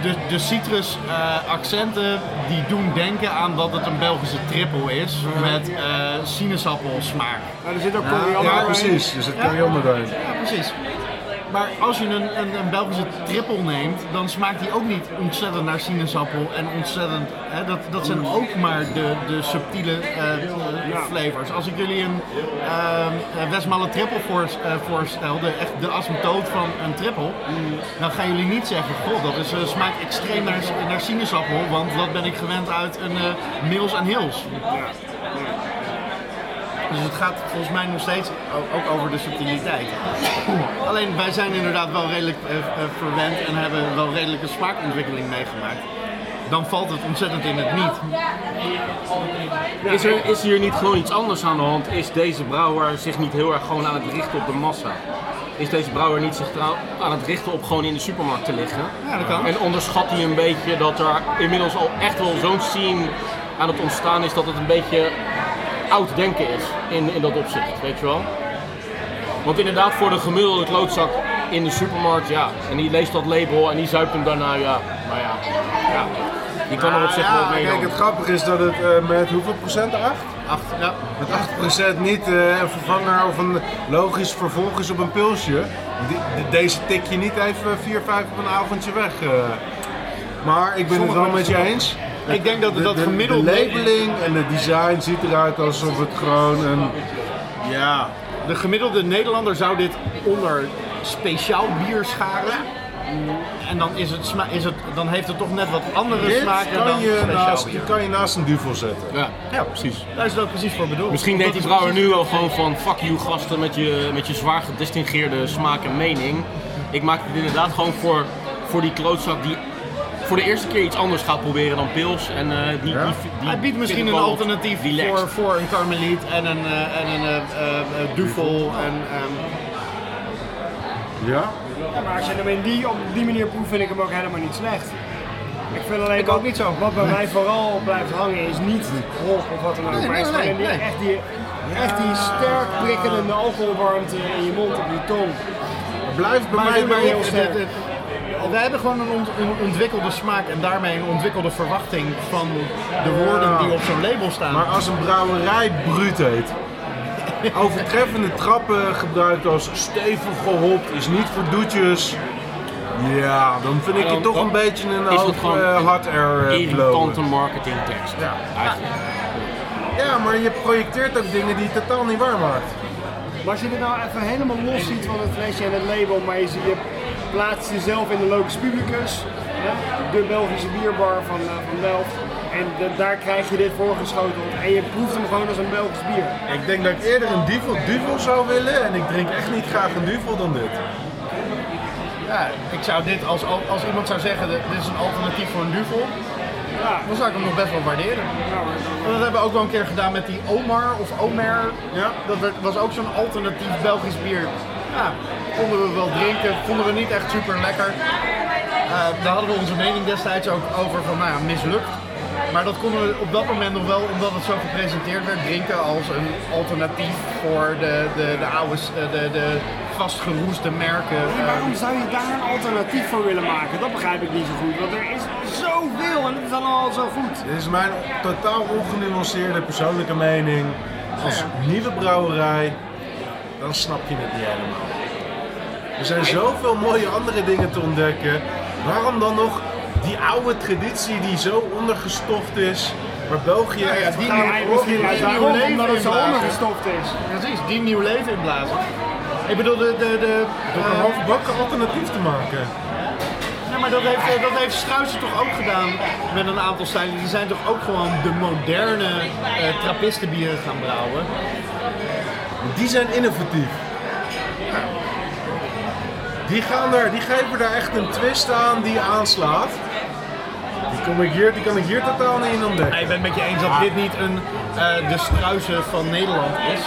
Speaker 2: De, de citrus eh, accenten die doen denken aan dat het een Belgische trippel is met eh sinaasappelsmaak.
Speaker 4: maar er zit ook koriander
Speaker 3: Ja,
Speaker 4: in.
Speaker 3: precies. Dus het koriander daarin.
Speaker 2: Ja, precies. Maar als je een, een, een Belgische trippel neemt, dan smaakt die ook niet ontzettend naar sinaasappel en ontzettend... Hè, dat, dat zijn ook maar de, de subtiele eh, eh, flavors. Als ik jullie een ehm Westmalle trippel voors- eh, voorstel, de, echt de asymptoot van een trippel, dan gaan jullie niet zeggen, god, dat is, eh, smaakt extreem naar, naar sinaasappel, want dat ben ik gewend uit een eh Mills en Hills. Dus het gaat volgens mij nog steeds o- ook over de subtiliteit. Alleen wij zijn inderdaad wel redelijk eh, eh, verwend en hebben wel redelijke smaakontwikkeling meegemaakt. Dan valt het ontzettend in het niet.
Speaker 1: Is, er, is hier niet gewoon iets anders aan de hand? Is deze brouwer zich niet heel erg gewoon aan het richten op de massa? Is deze brouwer niet zich trouw- aan het richten op gewoon in de supermarkt te liggen?
Speaker 2: Ja, dat kan.
Speaker 1: En onderschat hij een beetje dat er inmiddels al echt wel zo'n scene aan het ontstaan is dat het een beetje oud denken is in, in dat opzicht, weet je wel? Want inderdaad, voor de gemiddelde klootzak in de supermarkt, ja. En die leest dat label en die zuipt hem daarna, ja. Maar ja, ja. die kan er op zich
Speaker 3: Ja,
Speaker 1: wel mee
Speaker 3: Ah, kijk, het grappige is dat het eh, met hoeveel procent? 8?
Speaker 2: Acht, ja.
Speaker 3: Met 8% niet eh, een vervanger of een logisch vervolg is op een pilsje. Die- de- deze tik je niet even 4, 5 op een avondje weg. eh. Maar ik ben het wel
Speaker 2: Sommige
Speaker 3: met je
Speaker 2: mensen-
Speaker 3: eens.
Speaker 2: Ik denk dat
Speaker 3: De-
Speaker 2: dat
Speaker 3: de-
Speaker 2: gemiddeld
Speaker 3: De labeling en het design ziet eruit alsof het gewoon een. Ja.
Speaker 2: De gemiddelde Nederlander zou dit onder speciaal bier scharen. En dan, is het sma- is het, dan heeft het toch net wat andere
Speaker 3: Dit
Speaker 2: smaken dan
Speaker 3: kan je,
Speaker 2: speciaal
Speaker 3: naast,
Speaker 2: bier.
Speaker 3: kan je naast een duvel zetten.
Speaker 1: Ja.
Speaker 2: Ja, precies. Daar is het ook precies voor bedoeld.
Speaker 1: Misschien denkt
Speaker 2: Dat
Speaker 1: die
Speaker 2: is
Speaker 1: brouwer nu al gewoon van fuck you gasten met je, met je zwaar gedistingeerde smaak en mening. Ik maak het inderdaad gewoon voor, voor die klootzak die voor de eerste keer iets anders gaat proberen dan pils. En, eh, die,
Speaker 3: Ja.
Speaker 1: die, die-
Speaker 2: Hij biedt misschien een
Speaker 1: vindt wel wat
Speaker 2: alternatief
Speaker 1: relaxed.
Speaker 2: voor, voor een karmeliet en een, eh, en een eh, eh, eh, duvel. En, ehm,
Speaker 3: Ja?
Speaker 4: Ja, maar als je hem in die, op die manier proeft, vind ik hem ook helemaal niet slecht. Ik vind alleen
Speaker 2: Ik
Speaker 4: wat,
Speaker 2: ook niet zo.
Speaker 4: Wat bij mij vooral blijft hangen is niet hop of wat dan ook.
Speaker 2: Nee,
Speaker 4: maar is
Speaker 2: nee,
Speaker 4: gewoon
Speaker 2: nee,
Speaker 4: die-
Speaker 2: nee.
Speaker 4: echt die, echt die sterk prikkelende alcoholwarmte in je mond, op je tong.
Speaker 3: Blijft bij
Speaker 4: Maar
Speaker 3: mij
Speaker 4: dit-
Speaker 3: bij
Speaker 4: maar
Speaker 2: het-
Speaker 4: dit-
Speaker 2: het- het- wij hebben gewoon een, ont- een ontwikkelde smaak en daarmee een ontwikkelde verwachting van de woorden die op zo'n label staan.
Speaker 3: Maar als een brouwerij bruut heet. Overtreffende trappen gebruikt als stevig gehopt, is niet voor doetjes. Ja, dan vind ik
Speaker 1: Dan-
Speaker 3: het toch
Speaker 1: dan
Speaker 3: een beetje
Speaker 1: is
Speaker 3: een
Speaker 1: het
Speaker 3: hoog
Speaker 1: gewoon
Speaker 3: eh,
Speaker 1: een
Speaker 3: hard air eh,
Speaker 1: Irritante
Speaker 3: blowen.
Speaker 1: marketingtekst.
Speaker 3: Ja.
Speaker 1: Eigenlijk.
Speaker 3: Ja, maar je projecteert ook dingen die je totaal niet waar maakt.
Speaker 4: Maar als je dit nou even helemaal los ziet van het flesje en het label, maar je, ziet- je plaatst jezelf in de Locus Publicus, hè, de Belgische bierbar van, eh, van Delft. En de- daar krijg je dit voorgeschoteld en je proeft hem gewoon als een Belgisch bier.
Speaker 3: Ik denk dat ik eerder een duvel duvel zou willen en ik drink echt niet graag een duvel dan dit.
Speaker 2: Ja, ik zou dit, als, als iemand zou zeggen, dit is een alternatief voor een duvel,
Speaker 4: Ja,
Speaker 2: dan zou ik hem nog best wel waarderen.
Speaker 4: nou,
Speaker 2: En dat hebben we ook wel een keer gedaan met die Omar of Omer.
Speaker 3: Ja.
Speaker 2: Dat werd- was ook zo'n alternatief Belgisch bier. Ja, konden we wel drinken, vonden we niet echt super lekker. Eh, daar hadden we onze mening destijds ook over van, nou ja, mislukt. Maar dat konden we op dat moment nog wel, omdat het zo gepresenteerd werd, drinken als een alternatief voor de, de, de oude, s- eh, de, de vastgeroeste merken. eh,
Speaker 4: Ja, Waarom zou je daar een alternatief voor willen maken? Dat begrijp ik niet zo goed. Want er is zoveel en het is allemaal zo goed.
Speaker 3: Dit is mijn totaal ongenuanceerde persoonlijke mening. Als nieuwe brouwerij, dan snap je het niet helemaal. Er zijn zoveel mooie andere dingen te ontdekken. Waarom dan nog die oude traditie die zo ondergestoft is, waar België
Speaker 2: Nou ja,
Speaker 3: echt
Speaker 2: die
Speaker 3: gaan
Speaker 2: Ja,
Speaker 4: Ja,
Speaker 2: maar
Speaker 4: misschien
Speaker 2: ook
Speaker 4: juist
Speaker 2: een nieuw
Speaker 4: daarom,
Speaker 2: leven
Speaker 4: omdat het zo
Speaker 2: inblazen.
Speaker 4: ondergestopt is.
Speaker 2: Precies, die nieuw leven inblazen. Ik bedoel, de... de, de eh,
Speaker 3: door een halfbakken alternatief Eh, te maken.
Speaker 2: Ja, maar dat heeft, eh, dat heeft Struisen toch ook gedaan met een aantal stijlen. Die zijn toch ook gewoon de moderne eh trappistenbieren gaan brouwen.
Speaker 3: Die zijn innovatief. Die, gaan er, die geven daar echt een twist aan die aanslaat. Die, kom ik hier, die kan ik hier totaal niet in ontdekken.
Speaker 2: ik ben het met je eens dat dit niet een, eh, de Struisen van Nederland is.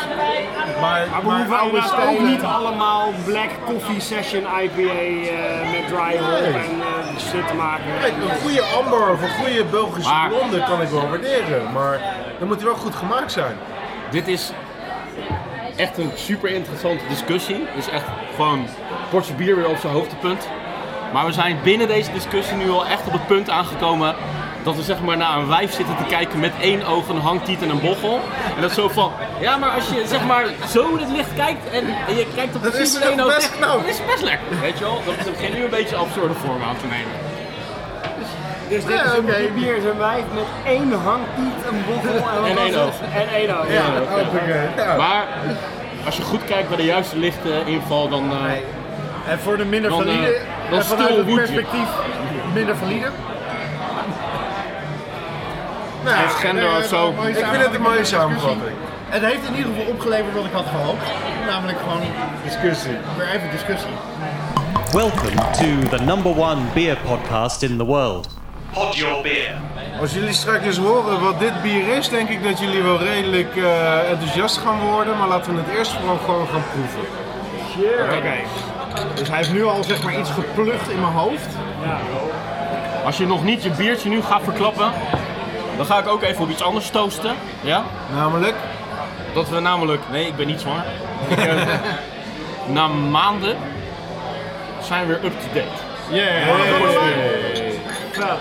Speaker 2: Maar,
Speaker 4: Maar we hoeven
Speaker 2: oude
Speaker 4: inderdaad ook
Speaker 2: stijlen-
Speaker 4: niet allemaal Black Coffee Session IPA eh, met dry hop
Speaker 3: Nee.
Speaker 4: en eh, shit te maken.
Speaker 3: Kijk, een goede amber of een goede Belgische
Speaker 1: Maar-
Speaker 3: blonde kan ik wel waarderen, maar dan moet hij wel goed gemaakt zijn.
Speaker 1: Dit is echt een super interessante discussie. Het is echt gewoon een portje bier weer op zijn hoogtepunt. Maar we zijn binnen deze discussie nu al echt op het punt aangekomen dat we zeg maar naar een wijf zitten te kijken met één oog, een hangtiet en een bochel. En dat is zo van, ja maar als je zeg maar zo in het licht kijkt en, en je kijkt op
Speaker 3: Dat
Speaker 1: precies
Speaker 3: is
Speaker 1: met één
Speaker 3: toch
Speaker 1: oog
Speaker 3: best
Speaker 1: weg,
Speaker 3: knap?
Speaker 1: dat is best lekker. Weet je wel, dat is- dat begint nu een beetje een absurde vorm aan te nemen.
Speaker 4: Dus dit
Speaker 2: Ja,
Speaker 4: is een
Speaker 2: oké.
Speaker 4: dit bier is een wijk met één hangpiet, een bochel en, wat
Speaker 1: En
Speaker 4: was
Speaker 1: één
Speaker 4: het?
Speaker 1: oog.
Speaker 4: En één oog.
Speaker 3: Ja, hoppakee. Ja.
Speaker 1: Maar als je goed kijkt bij de juiste lichten inval, dan... eh,
Speaker 2: En voor de minder
Speaker 1: Dan, eh,
Speaker 2: valide,
Speaker 1: dan
Speaker 2: en vanuit
Speaker 1: stil
Speaker 2: het
Speaker 1: moet je.
Speaker 2: perspectief minder valide.
Speaker 3: Nou,
Speaker 1: Transgender of zo. Nou
Speaker 3: Ik vind het een mooie samenvatting.
Speaker 2: Het heeft in ieder geval opgeleverd wat ik had gehoopt. Namelijk gewoon
Speaker 3: Discussie.
Speaker 2: weer even discussie.
Speaker 5: Welcome to the number one beer podcast in the world. Pod Your Beer.
Speaker 3: Als jullie straks eens horen wat dit bier is, denk ik dat jullie wel redelijk eh, enthousiast gaan worden. Maar laten we het eerst vooral gewoon gaan proeven.
Speaker 2: Oké. Dus hij heeft nu al zeg maar iets geplucht in mijn hoofd.
Speaker 1: Als je nog niet je biertje nu gaat verklappen, dan ga ik ook even op iets anders toosten. Ja?
Speaker 3: Namelijk,
Speaker 1: Dat we namelijk. Nee, ik ben niet zwaar. Ik, eh, na maanden zijn we weer up-to-date.
Speaker 2: Yeah.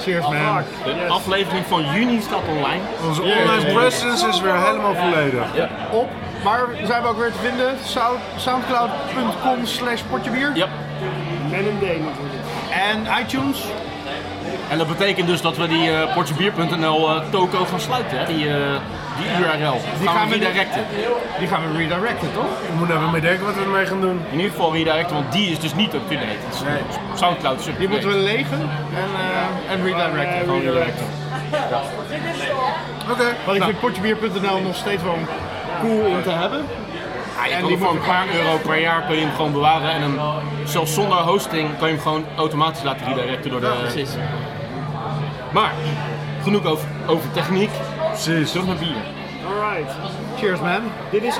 Speaker 2: Cheers man.
Speaker 1: De aflevering van juni staat online.
Speaker 3: onze online presence is weer helemaal volledig.
Speaker 2: Op. Waar zijn we ook weer te vinden? Sound- Soundcloud.com slash potjebier.
Speaker 1: Ja.
Speaker 4: Met een D natuurlijk.
Speaker 2: En iTunes.
Speaker 1: En dat betekent dus dat we die eh portjebier.nl eh, toko gaan sluiten, hè? Die, eh, die URL. Die gaan, we redirecten.
Speaker 2: Die gaan we redirecten toch?
Speaker 3: Ik moet even meedenken wat we ermee gaan doen.
Speaker 1: In ieder geval redirecten, want die is dus niet up-to-date. Dus Soundcloud is up-to-date.
Speaker 2: Die moeten we legen en, eh, en redirecten.
Speaker 4: Gewoon redirecten.
Speaker 3: Oké. Nou.
Speaker 2: Want ik vind potjebier.nl nog steeds wel cool om te hebben.
Speaker 1: Ja, je
Speaker 2: En
Speaker 1: kan
Speaker 2: die
Speaker 1: hem voor
Speaker 2: moet
Speaker 1: een paar euro per jaar kun je hem gewoon bewaren en hem zelfs zonder hosting kan je hem gewoon automatisch laten redirecten door de. precies. Maar genoeg over, over techniek.
Speaker 3: Precies.
Speaker 1: Terug naar bier.
Speaker 4: Alright.
Speaker 2: Cheers man.
Speaker 4: Dit is 8%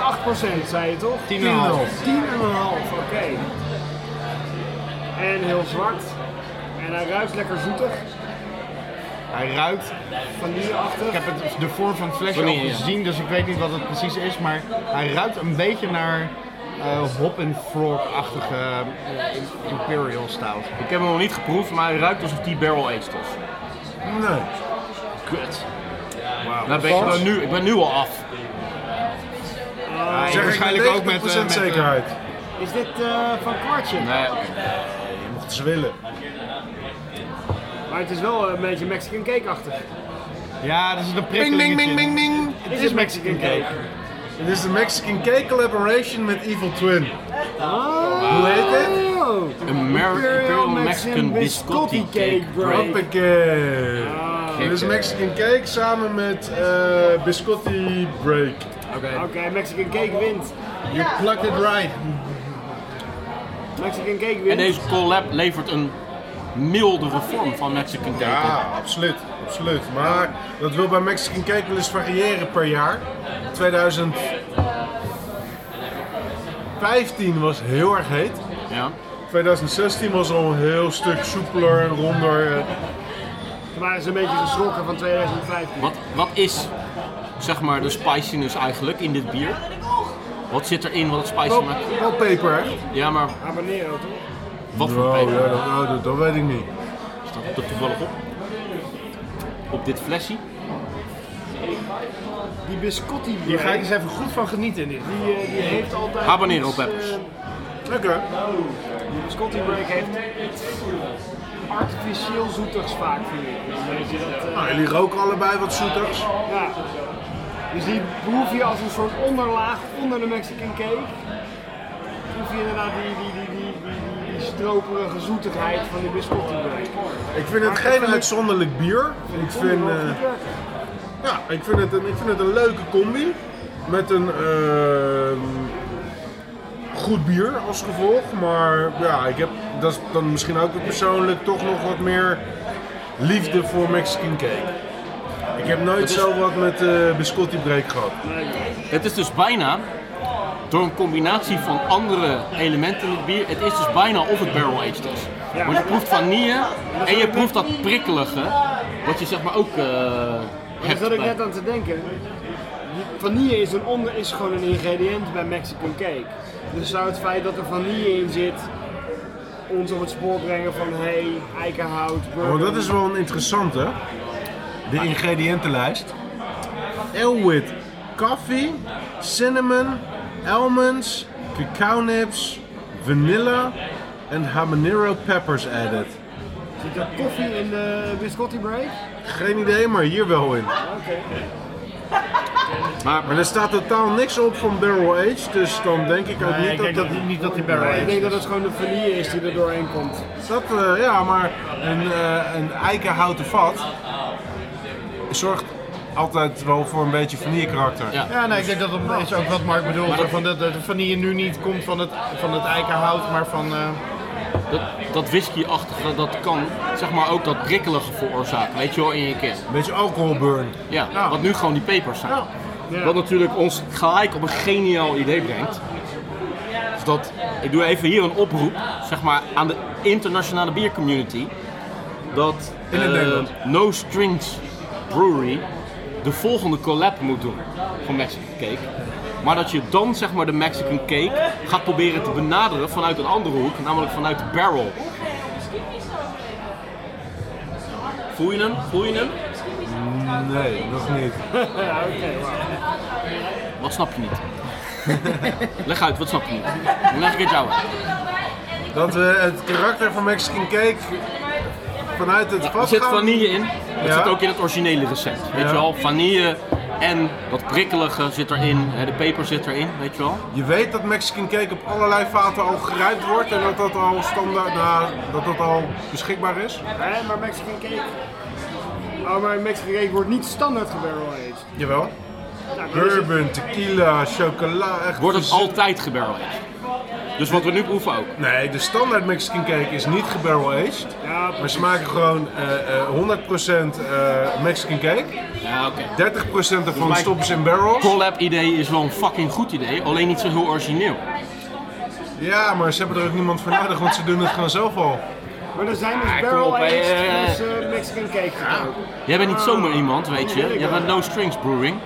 Speaker 4: zei je toch?
Speaker 2: 10
Speaker 4: 10,5, oké. En heel zwart. En hij ruikt lekker zoetig.
Speaker 2: Hij ruikt.
Speaker 4: Van die
Speaker 2: Ik
Speaker 4: achter.
Speaker 2: heb het, de vorm van het flesje
Speaker 1: Vanille,
Speaker 2: al
Speaker 1: ja.
Speaker 2: gezien, dus ik weet niet wat het precies is. Maar hij ruikt een beetje naar eh, hop en frog-achtige eh, imperial stout.
Speaker 1: Ik heb hem nog niet geproefd, maar hij ruikt alsof die barrel aged was.
Speaker 3: Nee.
Speaker 1: Kut. Nou, ben ik, ben nu, ik ben nu al af.
Speaker 2: Hij
Speaker 3: Zeg
Speaker 2: waarschijnlijk ook met, eh,
Speaker 3: procent
Speaker 2: met, eh,
Speaker 3: zekerheid.
Speaker 4: Is dit eh, van kwartje?
Speaker 1: Nee,
Speaker 3: Wat ze willen.
Speaker 4: Maar het is wel een beetje Mexican cake-achtig.
Speaker 2: ja, dat is een prikkelingetje.
Speaker 3: ding.
Speaker 4: Dit is Mexican cake.
Speaker 3: Dit is de Mexican Cake Collaboration met Evil Twin. Hoe heet het?
Speaker 4: Oh,
Speaker 1: American Imperial Mexican Biscotti Cake Break.
Speaker 3: Hoppakee. eh.
Speaker 1: Ah.
Speaker 3: Dit is Mexican Cake samen met eh, Biscotti Break.
Speaker 4: Oké, Mexican cake wint.
Speaker 2: You plucked it right.
Speaker 4: Mexican cake
Speaker 1: En
Speaker 4: wint.
Speaker 1: deze collab levert een mildere vorm van Mexican cake. op.
Speaker 3: Ja, absoluut. absoluut. Maar dat wil bij Mexican Cake wel eens variëren per jaar. 2015 was heel erg heet.
Speaker 1: Ja.
Speaker 3: 2016 was al een heel stuk soepeler en ronder. eh,
Speaker 4: Ze waren een beetje geschrokken van 2015.
Speaker 1: Wat, wat is zeg maar de spiciness eigenlijk in dit bier? Wat zit erin wat het spicy maakt?
Speaker 3: Wel peper, hè?
Speaker 1: Ja, maar
Speaker 4: Abonneren ook, toch?
Speaker 1: wat voor
Speaker 3: Wow,
Speaker 1: peper?
Speaker 3: ja, dat, nou, dat, dat weet ik niet.
Speaker 1: Staat het er toevallig op? Op dit flesje?
Speaker 4: Die biscotti break,
Speaker 2: Hier ga ik eens even goed van genieten in dit.
Speaker 4: die, eh, die heeft altijd...
Speaker 1: Habanero
Speaker 4: iets,
Speaker 1: peppers.
Speaker 4: eh,
Speaker 3: Lekker.
Speaker 4: Die biscotti break heeft iets artificieel zoetigs vaak, vind ik. Dus weet je, dat, eh,
Speaker 3: Nou, jullie roken allebei wat zoeters.
Speaker 4: ja. Dus die proef je als een soort onderlaag onder de Mexican cake. Proef je inderdaad die, die, die, die, die, die, die stroperige zoetigheid van die biscotti break.
Speaker 3: Ik vind het geen uitzonderlijk bier. Ik vind, eh, ja, ik vind, het, een, ik vind het een leuke combi. Met een ehm, goed bier als gevolg. Maar ja, ik heb, dat is dan misschien ook weer persoonlijk toch nog wat meer liefde voor Mexican cake. Ik heb nooit zo wat met eh biscotti break gehad.
Speaker 1: Het is dus bijna, door een combinatie van andere elementen in het bier, het is dus bijna of het barrel aged is. Want je proeft vanille en je proeft dat prikkelige, wat je zeg maar ook eh,
Speaker 4: Dus Dat
Speaker 1: hebt.
Speaker 4: zat ik
Speaker 1: bij-
Speaker 4: net aan te denken. Vanille is, een onder, is gewoon een ingrediënt bij Mexican cake. Dus zou het feit dat er vanille in zit ons op het spoor brengen van hey, eikenhout, burger.
Speaker 3: Maar Oh, dat is wel een interessante. De ingrediëntenlijst. Elwit, koffie, cinnamon, almonds, cacao nibs, vanilla en habanero peppers added.
Speaker 4: Zit er koffie in de biscotti break?
Speaker 3: Geen idee, maar hier wel in. Maar er staat totaal niks op van barrel aged, dus dan denk ik ook
Speaker 2: Nee,
Speaker 3: niet
Speaker 2: ik
Speaker 3: dat
Speaker 2: denk
Speaker 3: dat...
Speaker 2: dat, niet dat die barrel
Speaker 4: Ik
Speaker 2: is.
Speaker 4: denk dat het gewoon de vanille is die er doorheen komt.
Speaker 3: dat eh, ja, maar een, eh, een eikenhouten vat zorgt altijd wel voor een beetje vanille karakter.
Speaker 1: Ja.
Speaker 2: Ja, nee, ik denk dat dat is ook wat Mark bedoelt.
Speaker 1: dat-
Speaker 2: van dat de vanille nu niet komt van het, van het eikenhout, maar van... eh,
Speaker 1: Dat, dat whisky-achtige, dat kan zeg maar ook dat prikkelige veroorzaken, weet je wel, in je kern.
Speaker 3: Een beetje alcoholburn.
Speaker 1: Ja,
Speaker 3: Nou.
Speaker 1: wat nu gewoon die pepers zijn.
Speaker 4: Ja.
Speaker 1: Wat natuurlijk ons gelijk op een geniaal idee brengt. Is dat, ik doe even hier een oproep zeg maar, aan de internationale biercommunity. Dat
Speaker 3: In het
Speaker 1: eh,
Speaker 3: Nederland.
Speaker 1: No Strings Brewery de volgende collab moet doen van Mexican Cake. Maar dat je dan zeg maar, de Mexican Cake gaat proberen te benaderen vanuit een andere hoek, namelijk vanuit de barrel. Voel je hem? Voel je hem?
Speaker 3: Nee, nog niet.
Speaker 4: Ja, oké, wauw.
Speaker 1: Wat snap je niet? Leg uit, wat snap je niet? Dan leg ik het jou uit.
Speaker 3: Dat we het karakter van Mexican Cake vanuit het
Speaker 1: Er
Speaker 3: vast
Speaker 1: zit
Speaker 3: gaan.
Speaker 1: vanille in. Dat
Speaker 3: Ja.
Speaker 1: zit ook in het originele recept. Weet
Speaker 3: Ja.
Speaker 1: je wel, vanille en dat prikkelige zit erin. hè, De peper zit erin, weet je wel.
Speaker 3: Je weet dat Mexican Cake op allerlei vaten al gerijpt wordt en dat dat al standaard, nou, dat dat al beschikbaar is.
Speaker 4: Hè, maar Mexican cake. Oh, maar Mexican cake wordt niet standaard gebarrel aged.
Speaker 3: Jawel.
Speaker 4: Nou, dan is het-
Speaker 3: Bourbon, tequila, chocola, echt
Speaker 1: Wordt het
Speaker 3: verzi-
Speaker 1: altijd gebarrel Dus wat we nu proeven ook.
Speaker 3: Nee, de standaard Mexican cake is niet gebarrel aged.
Speaker 4: Ja,
Speaker 3: Maar ze maken gewoon eh, eh, 100% eh, Mexican cake.
Speaker 1: Ja, oké.
Speaker 3: 30% ervan
Speaker 1: mij-
Speaker 3: stoppen ze in barrels.
Speaker 1: Collab idee is wel een fucking goed idee, alleen niet zo heel origineel.
Speaker 3: Ja, maar ze hebben er ook niemand voor nodig, want ze doen het gewoon zelf al.
Speaker 4: maar er zijn
Speaker 1: Ah,
Speaker 4: dus
Speaker 1: kom
Speaker 4: barrel
Speaker 1: op, hè.
Speaker 4: aged plus eh, Mexican cake gebruikt.
Speaker 1: Jij bent niet zomaar iemand, weet je. Jij bent No Strings Brewing.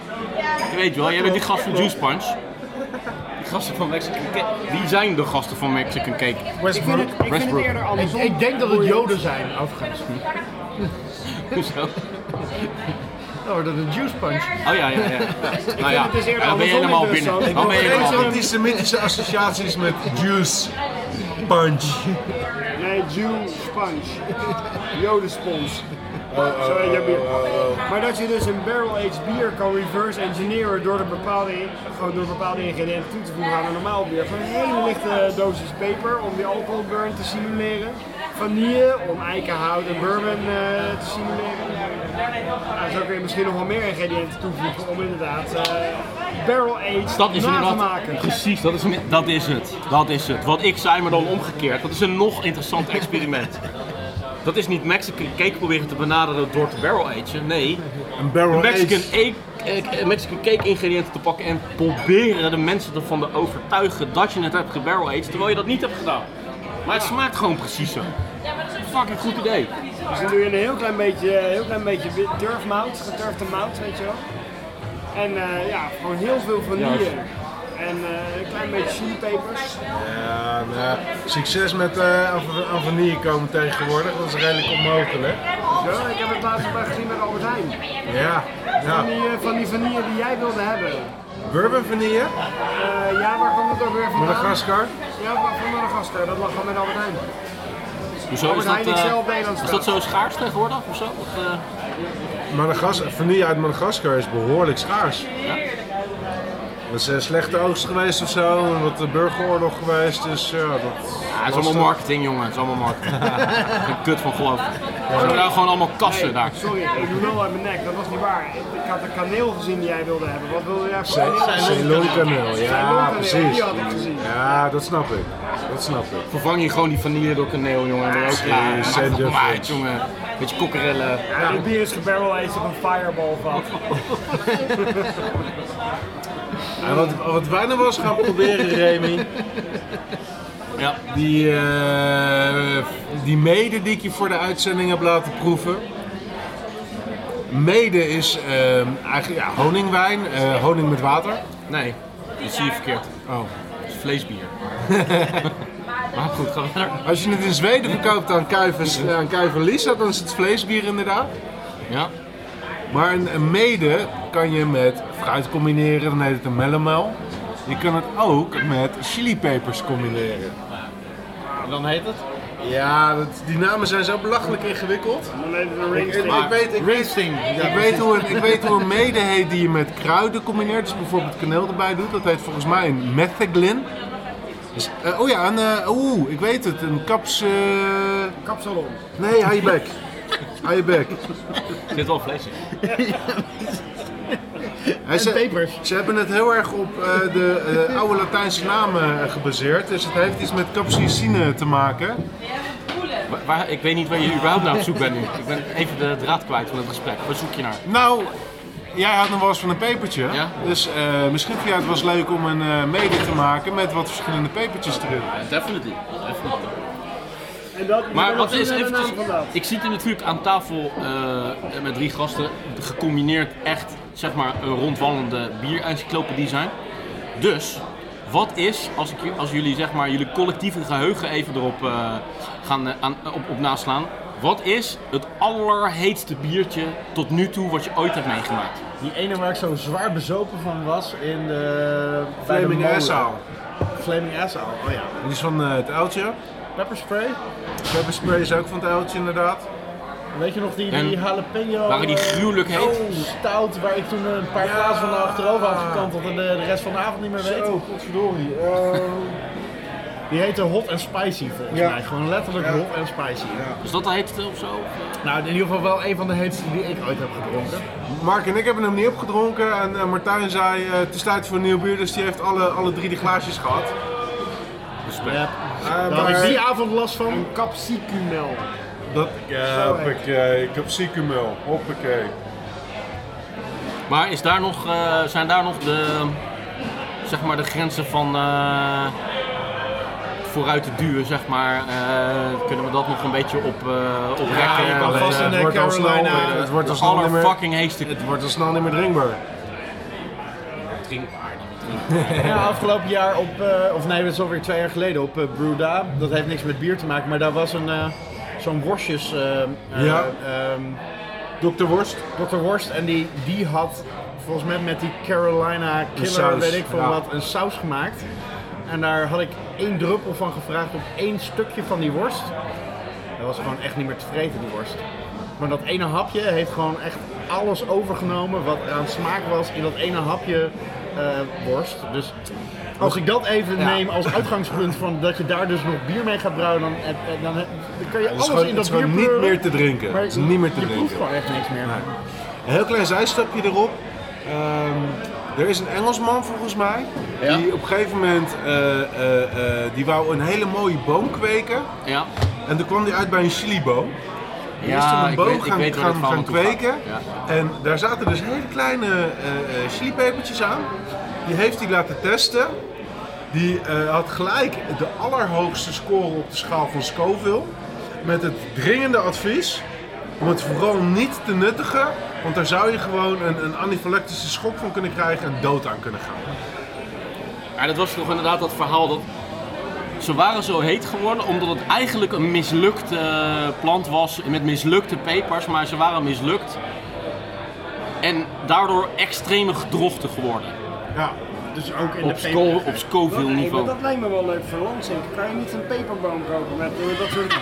Speaker 1: Je weet wel, jij bent die gast van Juice Punch. Die gasten van Mexican Cake. Die zijn de gasten van Mexican Cake.
Speaker 4: Ik vind het, ik vind het
Speaker 1: Westbrook.
Speaker 4: eerder
Speaker 2: ik,
Speaker 4: andersom.
Speaker 2: ik denk dat het joden zijn, overigens.
Speaker 1: Hoezo?
Speaker 2: Oh, dat is juice punch.
Speaker 1: Oh ja, ja, ja. Nou ja,
Speaker 4: het dus eerder
Speaker 1: dan ben je
Speaker 4: andersom
Speaker 1: helemaal
Speaker 4: interessant.
Speaker 1: binnen.
Speaker 4: Ik
Speaker 1: Dan ben je
Speaker 4: wil
Speaker 1: helemaal
Speaker 3: Geen
Speaker 4: geen
Speaker 1: binnen.
Speaker 3: antisemitische associaties met juice, punch.
Speaker 4: Nee, Jew sponge. Jodenspons. Zo heet dat bier. Maar dat je dus een barrel aged bier kan reverse engineeren door, de bepaalde, gewoon door bepaalde ingrediënten toe te voegen aan een normaal bier. Van een hele lichte dosis peper om die alcoholburn te simuleren. Vanille om eikenhout en bourbon eh, te simuleren. Nou, zo kun je misschien nog wel meer ingrediënten toevoegen om inderdaad eh, barrel
Speaker 1: Dat is
Speaker 4: aged na te
Speaker 1: inderdaad,
Speaker 4: maken.
Speaker 1: precies, dat is, dat is het. Dat is het. Wat ik zei, maar dan omgekeerd. Dat is een nog interessant experiment. Dat is niet Mexican cake proberen te benaderen door te barrel agen. Nee,
Speaker 3: Een barrel
Speaker 1: Mexican,
Speaker 3: aged.
Speaker 1: ake- eh, eh, Mexican cake ingrediënten te pakken en proberen de mensen ervan te overtuigen dat je het hebt gebarrel aged, terwijl je dat niet hebt gedaan. Maar het smaakt gewoon precies zo. Fucking goed idee.
Speaker 4: Dus dan doe je een heel klein beetje, heel klein beetje wit turfmout, geturfde mout, weet je wel. En eh, ja, gewoon heel veel vanille. En eh, een klein beetje chilipepers.
Speaker 3: Ja, nou, succes met eh aan- aan vanille komen tegenwoordig, dat is redelijk onmogelijk.
Speaker 4: Zo, ik heb het laatst nog wel gezien met Albert Heijn.
Speaker 3: Ja,
Speaker 4: Van
Speaker 3: ja.
Speaker 4: die, eh, van die vanille die jij wilde hebben.
Speaker 3: Bourbon vanille,
Speaker 4: Eh, ja, waar kwam het ook weer vandaan?
Speaker 3: Madagaskar.
Speaker 4: Ja, waar- van Madagaskar. Dat lag gewoon met Albert Heijn.
Speaker 1: Hoezo is
Speaker 4: Albert
Speaker 1: dat,
Speaker 4: Heijn
Speaker 1: eh,
Speaker 4: zelf Nederlands
Speaker 1: is dat zo schaars tegenwoordig of zo? Of, eh,
Speaker 3: Madagas vanille uit Madagaskar is behoorlijk schaars. Er is een slechte oogst geweest of zo, en wat de burgeroorlog geweest, dus ja, dat...
Speaker 1: Ja, het is allemaal marketing, jongen. Het is allemaal marketing. Geen kut van geloof. Ze hebben daar gewoon allemaal kassen daar.
Speaker 4: Sorry, ik lul uit mijn nek. Dat was niet waar. Ik had de kaneel gezien die jij wilde hebben. Wat wilde jij voor kaneel?
Speaker 3: Ceylon kaneel, ja
Speaker 4: Ceylon-kaneel,
Speaker 3: precies.
Speaker 4: die had ik gezien.
Speaker 3: Ja, dat snap ik. Dat snap ik.
Speaker 1: Vervang je gewoon die vanille door kaneel, jongen. Ben je ook klaar.
Speaker 3: Precies,
Speaker 1: Maakt
Speaker 3: en
Speaker 1: toch maar uit,
Speaker 3: duffels.
Speaker 1: jongen. Beetje kokkerellen.
Speaker 4: Ja, dit bier is gebarrel aged op een fireball van.
Speaker 3: En wat, wat wij nog wel eens gaan proberen, Remy,
Speaker 1: Ja.
Speaker 3: die, eh, die mede die ik je voor de uitzending heb laten proeven. Mede is eh, eigenlijk ja, honingwijn, eh, honing met water.
Speaker 1: Nee, dat zie je verkeerd.
Speaker 3: Oh.
Speaker 1: Dat is vleesbier. maar goed, gaan we verder.
Speaker 3: Als je het in Zweden verkoopt aan Kuivers, aan Kuiver Lisa, dan is het vleesbier inderdaad.
Speaker 1: Ja.
Speaker 3: Maar een, een mede kan je met fruit combineren, dan heet het een melomel. Je kan het ook met chilipepers combineren.
Speaker 2: Dan heet het?
Speaker 3: Ja, dat, die namen zijn zo belachelijk ingewikkeld.
Speaker 4: Dan heet het een
Speaker 3: Ik, ik,
Speaker 4: ring.
Speaker 3: ik weet, ik,
Speaker 2: Rinsting. Ja,
Speaker 3: ik weet hoe een, ik weet hoe een mede heet die je met kruiden combineert. Dus bijvoorbeeld kaneel erbij doet. Dat heet volgens mij een metheglin. Dus, eh, oh ja, een, eh, oeh, ik weet het. Een kaps... eh,
Speaker 4: Kapsalon.
Speaker 3: Nee, hou je bek. Hou je bek.
Speaker 1: Er zit wel vlees in.
Speaker 3: Hij
Speaker 2: En pepers.
Speaker 3: Ze hebben het heel erg op eh, de eh, oude Latijnse namen eh, gebaseerd. Dus het heeft iets met capsaicine te maken.
Speaker 1: Wa- waar- ik weet niet waar je überhaupt naar op zoek bent nu. Ik ben even de draad kwijt van het gesprek. Waar zoek je naar?
Speaker 3: Nou, jij had nog wel eens van een pepertje.
Speaker 1: Ja.
Speaker 3: Dus eh, misschien vind jij het wel eens leuk om een eh mede te maken met wat verschillende pepertjes erin.
Speaker 1: Definitely. Definitely.
Speaker 4: En dat,
Speaker 1: Maar wat is
Speaker 4: even
Speaker 1: eventjes, ik zit hier natuurlijk aan tafel eh, met drie gasten, gecombineerd echt zeg maar een rondwallende bierencyclopedie zijn. Dus, wat is, als, ik, ju- als jullie zeg maar jullie collectieve geheugen even erop eh, gaan eh, aan, op, op naslaan, wat is het allerheetste biertje tot nu toe wat je ooit hebt meegemaakt?
Speaker 7: Die ene waar ik zo zwaar bezopen van was in de... bij de
Speaker 3: Flaming
Speaker 7: molen.
Speaker 3: Esau.
Speaker 7: Flaming Esau, oh ja.
Speaker 3: Die is van eh, het uiltje.
Speaker 7: Pepperspray.
Speaker 3: Pepperspray is ook van het uiltje inderdaad.
Speaker 7: Weet je nog die,
Speaker 1: En
Speaker 7: die jalapeno...
Speaker 1: waren die gruwelijk heet?
Speaker 7: Oh, stout, waar ik toen een paar glazen van achterover had gekanteld en de, de rest van de avond niet meer weet.
Speaker 3: Zo, godverdorie.
Speaker 7: Die heette Hot and Spicy volgens
Speaker 3: Ja.
Speaker 7: mij. Gewoon letterlijk Hot and Spicy.
Speaker 1: Is dat de heetste of zo?
Speaker 7: Nou, in ieder geval wel een van de heetste die ik ooit heb gedronken.
Speaker 3: Mark en ik hebben hem niet opgedronken. En eh, Martijn zei, eh, het is tijd voor een nieuw bier, dus die heeft alle, alle drie die glaasjes gehad.
Speaker 1: Respect.
Speaker 7: Ja.
Speaker 3: Eh,
Speaker 7: Daar had ik
Speaker 3: maar-
Speaker 7: die avond last van.
Speaker 4: Capsicumel.
Speaker 3: Dat, hoppakee, capsicumel, hoppakee.
Speaker 1: Maar is daar nog, eh, zijn daar nog de, zeg maar de grenzen van eh, vooruit te duwen, zeg maar? eh, kunnen we dat nog een beetje op, eh oprekken?
Speaker 7: je kan
Speaker 1: Of,
Speaker 7: vast
Speaker 1: eh,
Speaker 7: een-
Speaker 3: het, wordt al snel,
Speaker 7: Carolina,
Speaker 3: eh, het, wordt al
Speaker 1: de
Speaker 3: snel niet meer,
Speaker 1: allerfucking heetste
Speaker 3: het wordt al snel niet meer drinkbaar.
Speaker 1: drinkbaar.
Speaker 7: Ja, afgelopen jaar op, eh, of nee, dat is alweer twee jaar geleden op eh Bruda. Dat heeft niks met bier te maken, maar daar was een eh, zo'n worstjes. eh, eh,
Speaker 3: Ja.
Speaker 7: ehm,
Speaker 3: Dr. Worst?
Speaker 7: Dr. Worst en die, die had volgens mij met die Carolina Killer,
Speaker 3: saus,
Speaker 7: weet ik veel
Speaker 3: ja.
Speaker 7: wat, een saus gemaakt. En daar had ik één druppel van gevraagd op één stukje van die worst. Dat was gewoon echt niet meer te vreten, die worst. Maar dat ene hapje heeft gewoon echt alles overgenomen wat er aan smaak was in dat ene hapje eh, worst. Dus als ik dat even neem als uitgangspunt van dat je daar dus nog bier mee gaat brouwen, dan, eh, eh, dan, eh, dan kan je
Speaker 3: Het
Speaker 7: alles
Speaker 3: is gewoon, het
Speaker 7: in dat
Speaker 3: is
Speaker 7: bier
Speaker 3: gewoon niet
Speaker 7: pleuren,
Speaker 3: meer te drinken.
Speaker 7: maar
Speaker 3: Het is niet meer te
Speaker 7: je proeft
Speaker 3: drinken.
Speaker 7: gewoon echt niks meer.
Speaker 3: Een heel klein zijstapje erop. Ehm, er is een Engelsman volgens mij, die op een gegeven moment, eh, eh, eh, die wou een hele mooie boom kweken.
Speaker 1: Ja,
Speaker 3: En toen kwam hij uit bij een chiliboom. Die is toen
Speaker 1: ja
Speaker 3: een
Speaker 1: ik
Speaker 3: boom
Speaker 1: weet, ik
Speaker 3: gaan,
Speaker 1: weet waar
Speaker 3: gaan,
Speaker 1: het verhaal
Speaker 3: gaan
Speaker 1: naartoe gaat.
Speaker 3: kweken.
Speaker 1: Ja.
Speaker 3: En daar zaten dus hele kleine eh eh, chilipepertjes aan. Die heeft hij laten testen. Die eh, had gelijk de allerhoogste score op de schaal van Scoville. Met het dringende advies om het vooral niet te nuttigen. Want daar zou je gewoon een, een anafylactische schok van kunnen krijgen en dood aan kunnen gaan.
Speaker 1: Maar dat was toch inderdaad dat verhaal dat ze waren zo heet geworden omdat het eigenlijk een mislukte eh, plant was met mislukte pepers, maar ze waren mislukt en daardoor extreme gedrochten geworden
Speaker 3: Ja,
Speaker 7: Dus ook in
Speaker 1: op, Sco op Scoville
Speaker 4: Hey, maar
Speaker 1: niveau.
Speaker 4: dat lijkt me wel leuk voor Lansing. Kan je niet een peperboom kopen met eh, dat soort...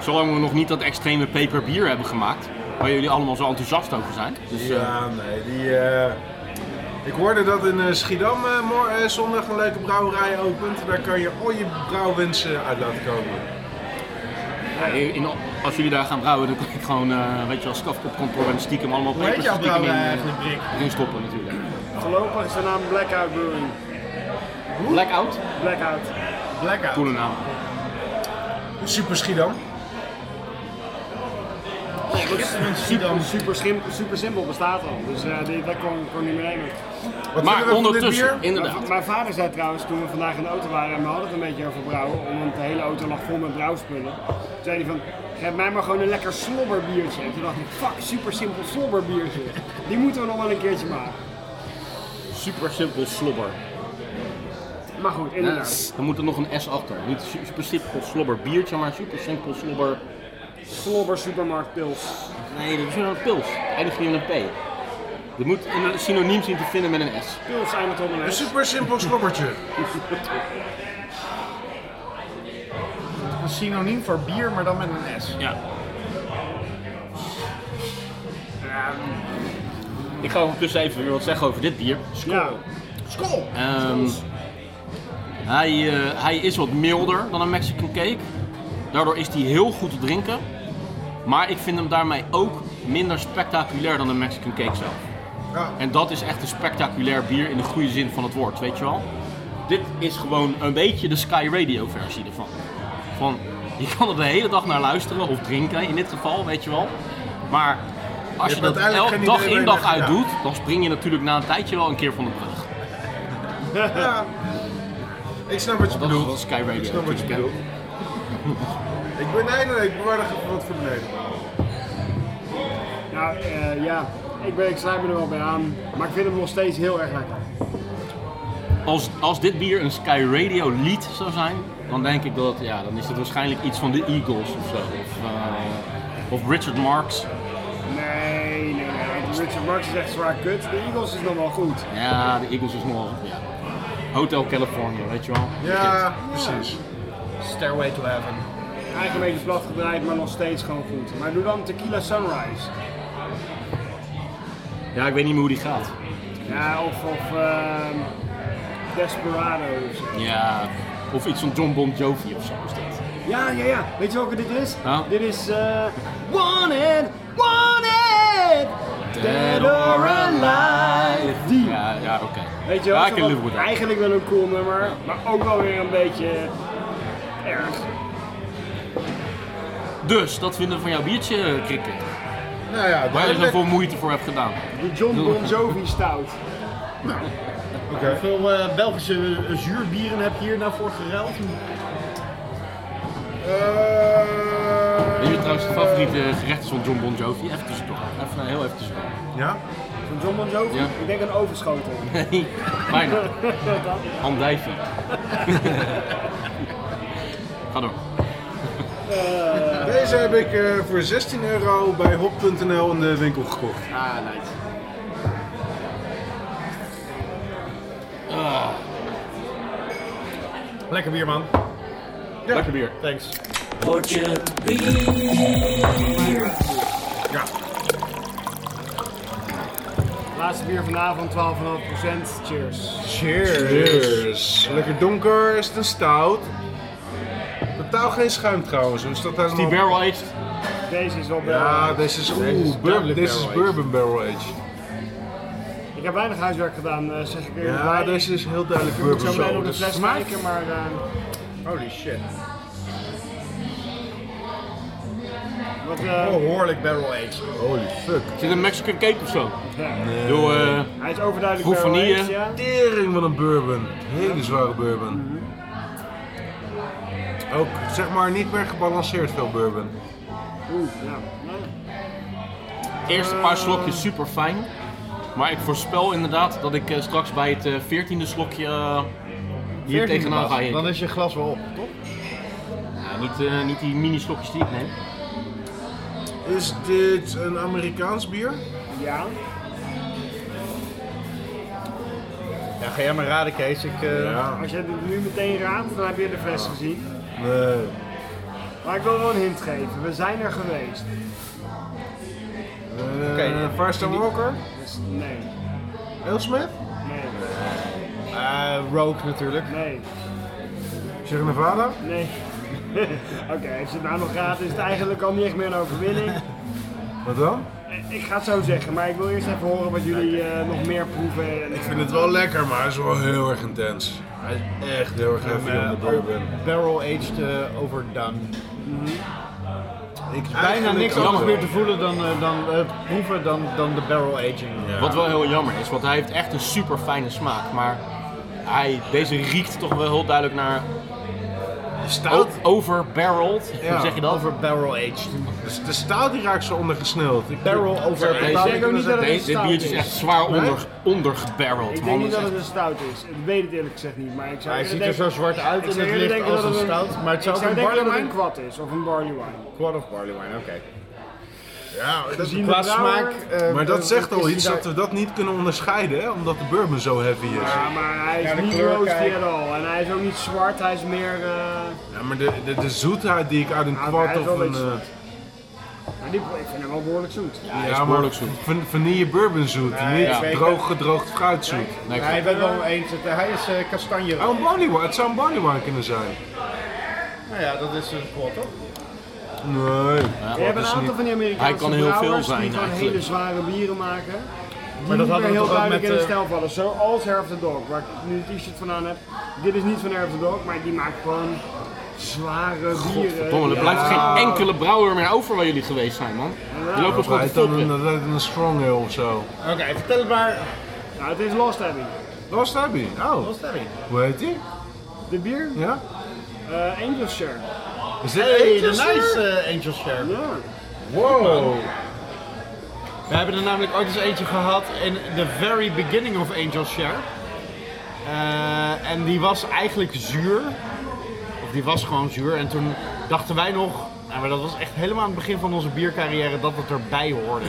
Speaker 1: Zolang we nog niet dat extreme peperbier hebben gemaakt, waar jullie allemaal zo enthousiast over zijn. Dus, eh,
Speaker 3: ja nee, die... eh, Ik hoorde dat in eh, Schiedam eh, mor- eh, zondag een leuke brouwerij opent. Daar kan je al je brouwwensen uit laten komen.
Speaker 1: in- als jullie daar gaan brouwen, dan kan ik gewoon, eh, weet je wel, skaf op kantoor en stiekem allemaal
Speaker 7: Hoe heet
Speaker 1: pepers
Speaker 7: jouw
Speaker 1: stiekem in, eh,
Speaker 7: brouwerij eigenlijk, Rick?
Speaker 1: erin stoppen natuurlijk.
Speaker 4: Voorlopig is de naam Blackout Brewing.
Speaker 1: Blackout?
Speaker 4: Blackout.
Speaker 7: Blackout.
Speaker 1: Coole naam.
Speaker 3: Super Schiedam.
Speaker 4: Super, super, schim- super simpel bestaat al, dus eh die, dat kon, kon niet meer nemen.
Speaker 3: Wat vinden we
Speaker 1: Maar
Speaker 3: van dit
Speaker 1: ondertussen,
Speaker 3: bier?
Speaker 1: inderdaad.
Speaker 4: Mijn vader zei trouwens, toen we vandaag in de auto waren en we hadden het een beetje over brouwen, omdat de hele auto lag vol met brouwspullen, toen zei hij van, geef mij maar gewoon een lekker slobberbiertje. En toen dacht ik, fuck, super simpel slobberbiertje. Die moeten we nog wel een keertje maken.
Speaker 1: Super simpel slobber.
Speaker 4: Maar goed, inderdaad.
Speaker 1: Dan moet er nog een S achter. Niet su- super simpel slobber biertje, maar super simpel slobber.
Speaker 4: Slobber supermarktpils.
Speaker 1: Nee, dat is een pils. Eindigt niet in een P. Je moet een eh, synoniem zien te vinden met een S.
Speaker 4: Pils zijn het onder
Speaker 3: Een super simpel slobbertje.
Speaker 7: Een synoniem voor bier, maar dan met een S.
Speaker 1: Ja. Ik ga ondertussen even weer wat zeggen over dit bier.
Speaker 4: Ja.
Speaker 7: Skol!
Speaker 1: Ehm, hij, eh, hij is wat milder dan een Mexican cake. Daardoor is hij heel goed te drinken. Maar ik vind hem daarmee ook minder spectaculair dan de Mexican cake zelf. En dat is echt een spectaculair bier in de goede zin van het woord, weet je wel. Dit is gewoon een beetje de Sky Radio versie ervan. Van, je kan er de hele dag naar luisteren, of drinken in dit geval, weet je wel. Maar als je,
Speaker 3: hebt
Speaker 1: dat
Speaker 3: uiteindelijk
Speaker 1: elke
Speaker 3: geen
Speaker 1: dag
Speaker 3: idee waar
Speaker 1: in
Speaker 3: je
Speaker 1: dag
Speaker 3: naar
Speaker 1: uit
Speaker 3: gaat.
Speaker 1: doet, dan spring je natuurlijk na een tijdje wel een keer van de brug.
Speaker 3: Ik snap wat je
Speaker 1: Dat is wel
Speaker 3: bedoelt.
Speaker 1: Sky Radio.
Speaker 3: Ik snap wat je
Speaker 1: natuurlijk, hè.
Speaker 3: bedoelt. Ik ben nee, nee, nee, ik bewaar er even wat voor de Nederland.
Speaker 4: Nou eh, ja, ik, ben, ik sluit me er wel bij aan. Maar ik vind hem nog steeds heel erg lekker.
Speaker 1: Als, als dit bier een Sky Radio lied zou zijn, dan denk ik dat ja, dan is het waarschijnlijk iets van de Eagles of zo. Of, eh, of Richard Marx.
Speaker 4: Nee, nee, nee. Richard Marx is echt zwaar kut. De Eagles is nog wel goed.
Speaker 1: Ja, de Eagles is nog. Ja. Hotel California, weet je wel.
Speaker 3: Ja, precies.
Speaker 7: Stairway to Heaven.
Speaker 4: Eigenlijk een beetje plat gedraaid, maar nog steeds gewoon goed. Maar doe dan Tequila Sunrise.
Speaker 1: Ja, ik weet niet meer hoe die gaat.
Speaker 4: Ja, of, of ehm, Desperado. of zo.
Speaker 1: Ja, of iets van John Bon Jovi of zo is dat.
Speaker 4: Ja, ja, ja. Weet je welke dit is?
Speaker 1: Nou?
Speaker 4: Dit is eh Wanted, Wanted, Dead or Alive. Die.
Speaker 1: Ja, ja oké.
Speaker 4: Weet je wel,
Speaker 1: ja, ik
Speaker 4: zo
Speaker 1: kan
Speaker 4: wat-
Speaker 1: live with that.
Speaker 4: eigenlijk wel een cool nummer, maar ook wel weer een beetje erg.
Speaker 1: Dus, dat vinden we van jouw biertje, Krikke.
Speaker 3: Nou
Speaker 1: Waar
Speaker 3: ja,
Speaker 1: je er
Speaker 3: duidelijk.
Speaker 1: zoveel moeite voor hebt gedaan.
Speaker 4: De John Bon Jovi stout. Eh,
Speaker 7: Hoeveel eh, Belgische eh, zuurbieren heb je hier nou voor geruild?
Speaker 3: Eh,
Speaker 1: Weet je trouwens de favoriete gerecht is van John Bon Jovi? Even tussendoor. Even eh, heel even tussendoor.
Speaker 3: Ja?
Speaker 4: Van John Bon Jovi?
Speaker 1: Ja.
Speaker 4: Ik denk een overschotel.
Speaker 1: Nee, bijna. Andijvie. Ga door.
Speaker 3: Deze heb ik eh, voor 16 euro bij hop.nl in de winkel gekocht.
Speaker 4: Ah, nice.
Speaker 7: Lekker bier, man.
Speaker 1: Lekker bier.
Speaker 7: Thanks.
Speaker 4: Laatste bier vanavond, 12,5%. Cheers.
Speaker 7: Cheers.
Speaker 3: Cheers. Lekker donker, is het een stout. Totaal geen schuim trouwens, dus dat helemaal...
Speaker 1: Die barrel aged.
Speaker 4: Deze is wel eh, bel.
Speaker 3: Ja, deze is, oeh,
Speaker 7: is
Speaker 3: bur-
Speaker 7: duidelijk
Speaker 3: deze is
Speaker 7: barrel aged.
Speaker 3: bourbon barrel aged.
Speaker 4: Ik heb weinig huiswerk gedaan, eh, zeg ik er
Speaker 3: Ja,
Speaker 4: bij.
Speaker 3: deze is heel duidelijk
Speaker 4: Ik
Speaker 3: bourbon
Speaker 4: zou bijna op de
Speaker 3: barrel aged.
Speaker 4: fles kijken, maar eh,
Speaker 7: Holy shit.
Speaker 4: wat, eh,
Speaker 3: Oh.
Speaker 7: Behoorlijk barrel aged.
Speaker 3: Holy fuck.
Speaker 1: Zit een Mexican cake of zo?
Speaker 4: ja.
Speaker 1: Doe, eh,
Speaker 4: hij is overduidelijk
Speaker 1: Proef
Speaker 4: barrel
Speaker 1: vanille.
Speaker 4: aged, ja.
Speaker 3: Tering van een bourbon. Hele zware bourbon. Ook zeg maar niet meer gebalanceerd veel bourbon.
Speaker 4: Oeh, ja. Nou,
Speaker 1: eerst een paar slokjes super fijn. Maar ik voorspel inderdaad dat ik eh, straks bij het veertiende slokje eh, hier tegenaan ga
Speaker 7: Dan
Speaker 1: hikken.
Speaker 7: is je glas wel op.
Speaker 1: Ja, niet, eh, niet die mini slokjes die ik neem.
Speaker 3: Is dit een Amerikaans bier?
Speaker 4: Ja,
Speaker 7: Ja, ga jij maar raden, Kees. Ik, eh,
Speaker 4: als je het nu meteen raadt, dan heb je de fles gezien.
Speaker 3: Nee.
Speaker 4: Maar ik wil wel een hint geven. We zijn er geweest.
Speaker 3: Oké,
Speaker 7: Oké.
Speaker 3: First and Walker?
Speaker 4: Dus nee,
Speaker 3: Ailsmith?
Speaker 4: nee,
Speaker 7: eh, Rogue natuurlijk.
Speaker 4: nee,
Speaker 3: Sierra Nevada?
Speaker 4: nee. Oké, als je het nou nog raadt, is het eigenlijk al niet echt meer een overwinning.
Speaker 3: Wat dan?
Speaker 4: Eh, Ik ga het zo zeggen, maar ik wil eerst even horen wat jullie eh, nog meer proeven. En, eh,
Speaker 3: Ik vind het wel lekker, maar hij is wel heel erg intens. Hij is echt heel erg heavy
Speaker 7: Eh,
Speaker 3: on the bourbon.
Speaker 7: barrel aged eh, overdone.
Speaker 3: Mhm. Ik
Speaker 7: Bijna niks anders meer
Speaker 3: meer
Speaker 7: te voelen dan, eh, dan eh, proeven dan, dan de barrel aging.
Speaker 1: Wat wel heel jammer is, want hij heeft echt een super fijne smaak. Maar hij, deze riekt toch wel heel duidelijk naar
Speaker 3: stout.
Speaker 1: o- overbarreled.
Speaker 3: Ja,
Speaker 1: Hoe zeg je dat?
Speaker 7: Over barrel aged.
Speaker 3: Dus de stout die raakt zo ondergesneld. Ik
Speaker 7: Barrel over.
Speaker 1: Deze-
Speaker 4: ik denk ook niet dat het een
Speaker 1: Deze, dit
Speaker 4: stout
Speaker 1: biertje is
Speaker 4: is.
Speaker 1: echt zwaar onder, ondergebarreld.
Speaker 4: Ik
Speaker 1: man.
Speaker 4: denk niet
Speaker 1: Dat
Speaker 4: dat
Speaker 1: is
Speaker 4: het een stout is. Ik weet het eerlijk gezegd niet, maar ik zou
Speaker 7: Hij
Speaker 4: eerder
Speaker 7: ziet er zo
Speaker 4: denken-
Speaker 7: zwart uit
Speaker 4: ik
Speaker 7: in
Speaker 4: zou
Speaker 7: het
Speaker 4: eerder
Speaker 7: licht
Speaker 4: denken
Speaker 7: als
Speaker 4: dat
Speaker 7: een
Speaker 4: het een-
Speaker 7: stout. Maar het
Speaker 4: Ik
Speaker 7: zou ook
Speaker 4: zou
Speaker 7: een
Speaker 4: denken
Speaker 7: barley
Speaker 4: dat het een
Speaker 7: wine.
Speaker 4: kwad is of een barley wine.
Speaker 7: Quad of barley wine, oké.
Speaker 3: Ja, dat-
Speaker 4: Gezien
Speaker 7: Qua
Speaker 4: de brouwer-
Speaker 7: smaak. eh,
Speaker 3: maar dat
Speaker 7: eh,
Speaker 3: zegt
Speaker 7: is
Speaker 3: al
Speaker 7: die
Speaker 3: iets
Speaker 7: daar-
Speaker 3: dat we dat niet kunnen onderscheiden, hè? omdat de bourbon zo heavy is.
Speaker 4: Ja, maar hij is
Speaker 7: Ja, de
Speaker 4: niet
Speaker 7: kleur,
Speaker 4: roosty
Speaker 7: kijk.
Speaker 4: at all. En hij is ook niet zwart, hij is meer... eh,
Speaker 3: Ja, maar de, de, de zoetheid die ik uit een
Speaker 4: Ah,
Speaker 3: kwart
Speaker 4: hij is
Speaker 3: of
Speaker 4: wel
Speaker 3: een...
Speaker 4: een beetje
Speaker 3: eh,
Speaker 4: nou, die, ik vind hem wel behoorlijk zoet.
Speaker 1: hij is
Speaker 3: ja, maar
Speaker 1: behoorlijk zoet.
Speaker 3: van- vanille bourbon zoet,
Speaker 7: Nee,
Speaker 3: niet
Speaker 7: ja.
Speaker 3: droog gedroogd fruit zoet.
Speaker 1: Nee,
Speaker 7: Ja, ik ben wel eens. het- Hij is eh kastanje.
Speaker 3: Oh, een barley wine. Het zou een barley wine kunnen zijn.
Speaker 7: Nou ja, dat is een quad toch?
Speaker 3: Nee.
Speaker 4: Je hebt een aantal van die Amerikaanse
Speaker 1: Hij kan heel veel
Speaker 4: brouwers
Speaker 1: zijn,
Speaker 4: die gewoon
Speaker 1: eigenlijk.
Speaker 4: hele zware bieren maken. Die
Speaker 2: Maar dat
Speaker 4: niet
Speaker 2: hadden
Speaker 4: meer
Speaker 2: we
Speaker 4: heel
Speaker 2: toch ook
Speaker 4: duidelijk
Speaker 2: met,
Speaker 4: in de
Speaker 2: eh,
Speaker 4: stijl vallen. Zoals Hair of the Dog, waar ik nu een t-shirt van aan heb. Dit is niet van Hair of the Dog, maar die maakt gewoon zware bieren.
Speaker 1: Godverdomme, er
Speaker 4: Ja.
Speaker 1: blijft geen enkele brouwer meer over waar jullie geweest zijn, man. Die lopen ons gewoon te
Speaker 3: Hij dan een,
Speaker 1: foppen.
Speaker 3: dat lijkt een strong ale of zo.
Speaker 2: Oké, vertel het maar.
Speaker 4: Nou, het is Lost Abbey.
Speaker 3: Lost Abbey. Oh,
Speaker 2: Wat is dat weer?
Speaker 3: hoe heet die?
Speaker 4: De bier,
Speaker 3: Ja?
Speaker 4: eh Angel Share.
Speaker 3: Is dit
Speaker 2: Hey, de
Speaker 3: Angel's
Speaker 2: nice
Speaker 3: Share?
Speaker 2: eh, Angel Share.
Speaker 4: Ja.
Speaker 3: Wow.
Speaker 2: We hebben er namelijk ooit eens eentje gehad in the very beginning of Angel Share. Eh, en die was eigenlijk zuur. Of die was gewoon zuur. En toen dachten wij nog, nou, maar dat was echt helemaal aan het begin van onze biercarrière, dat het erbij hoorde.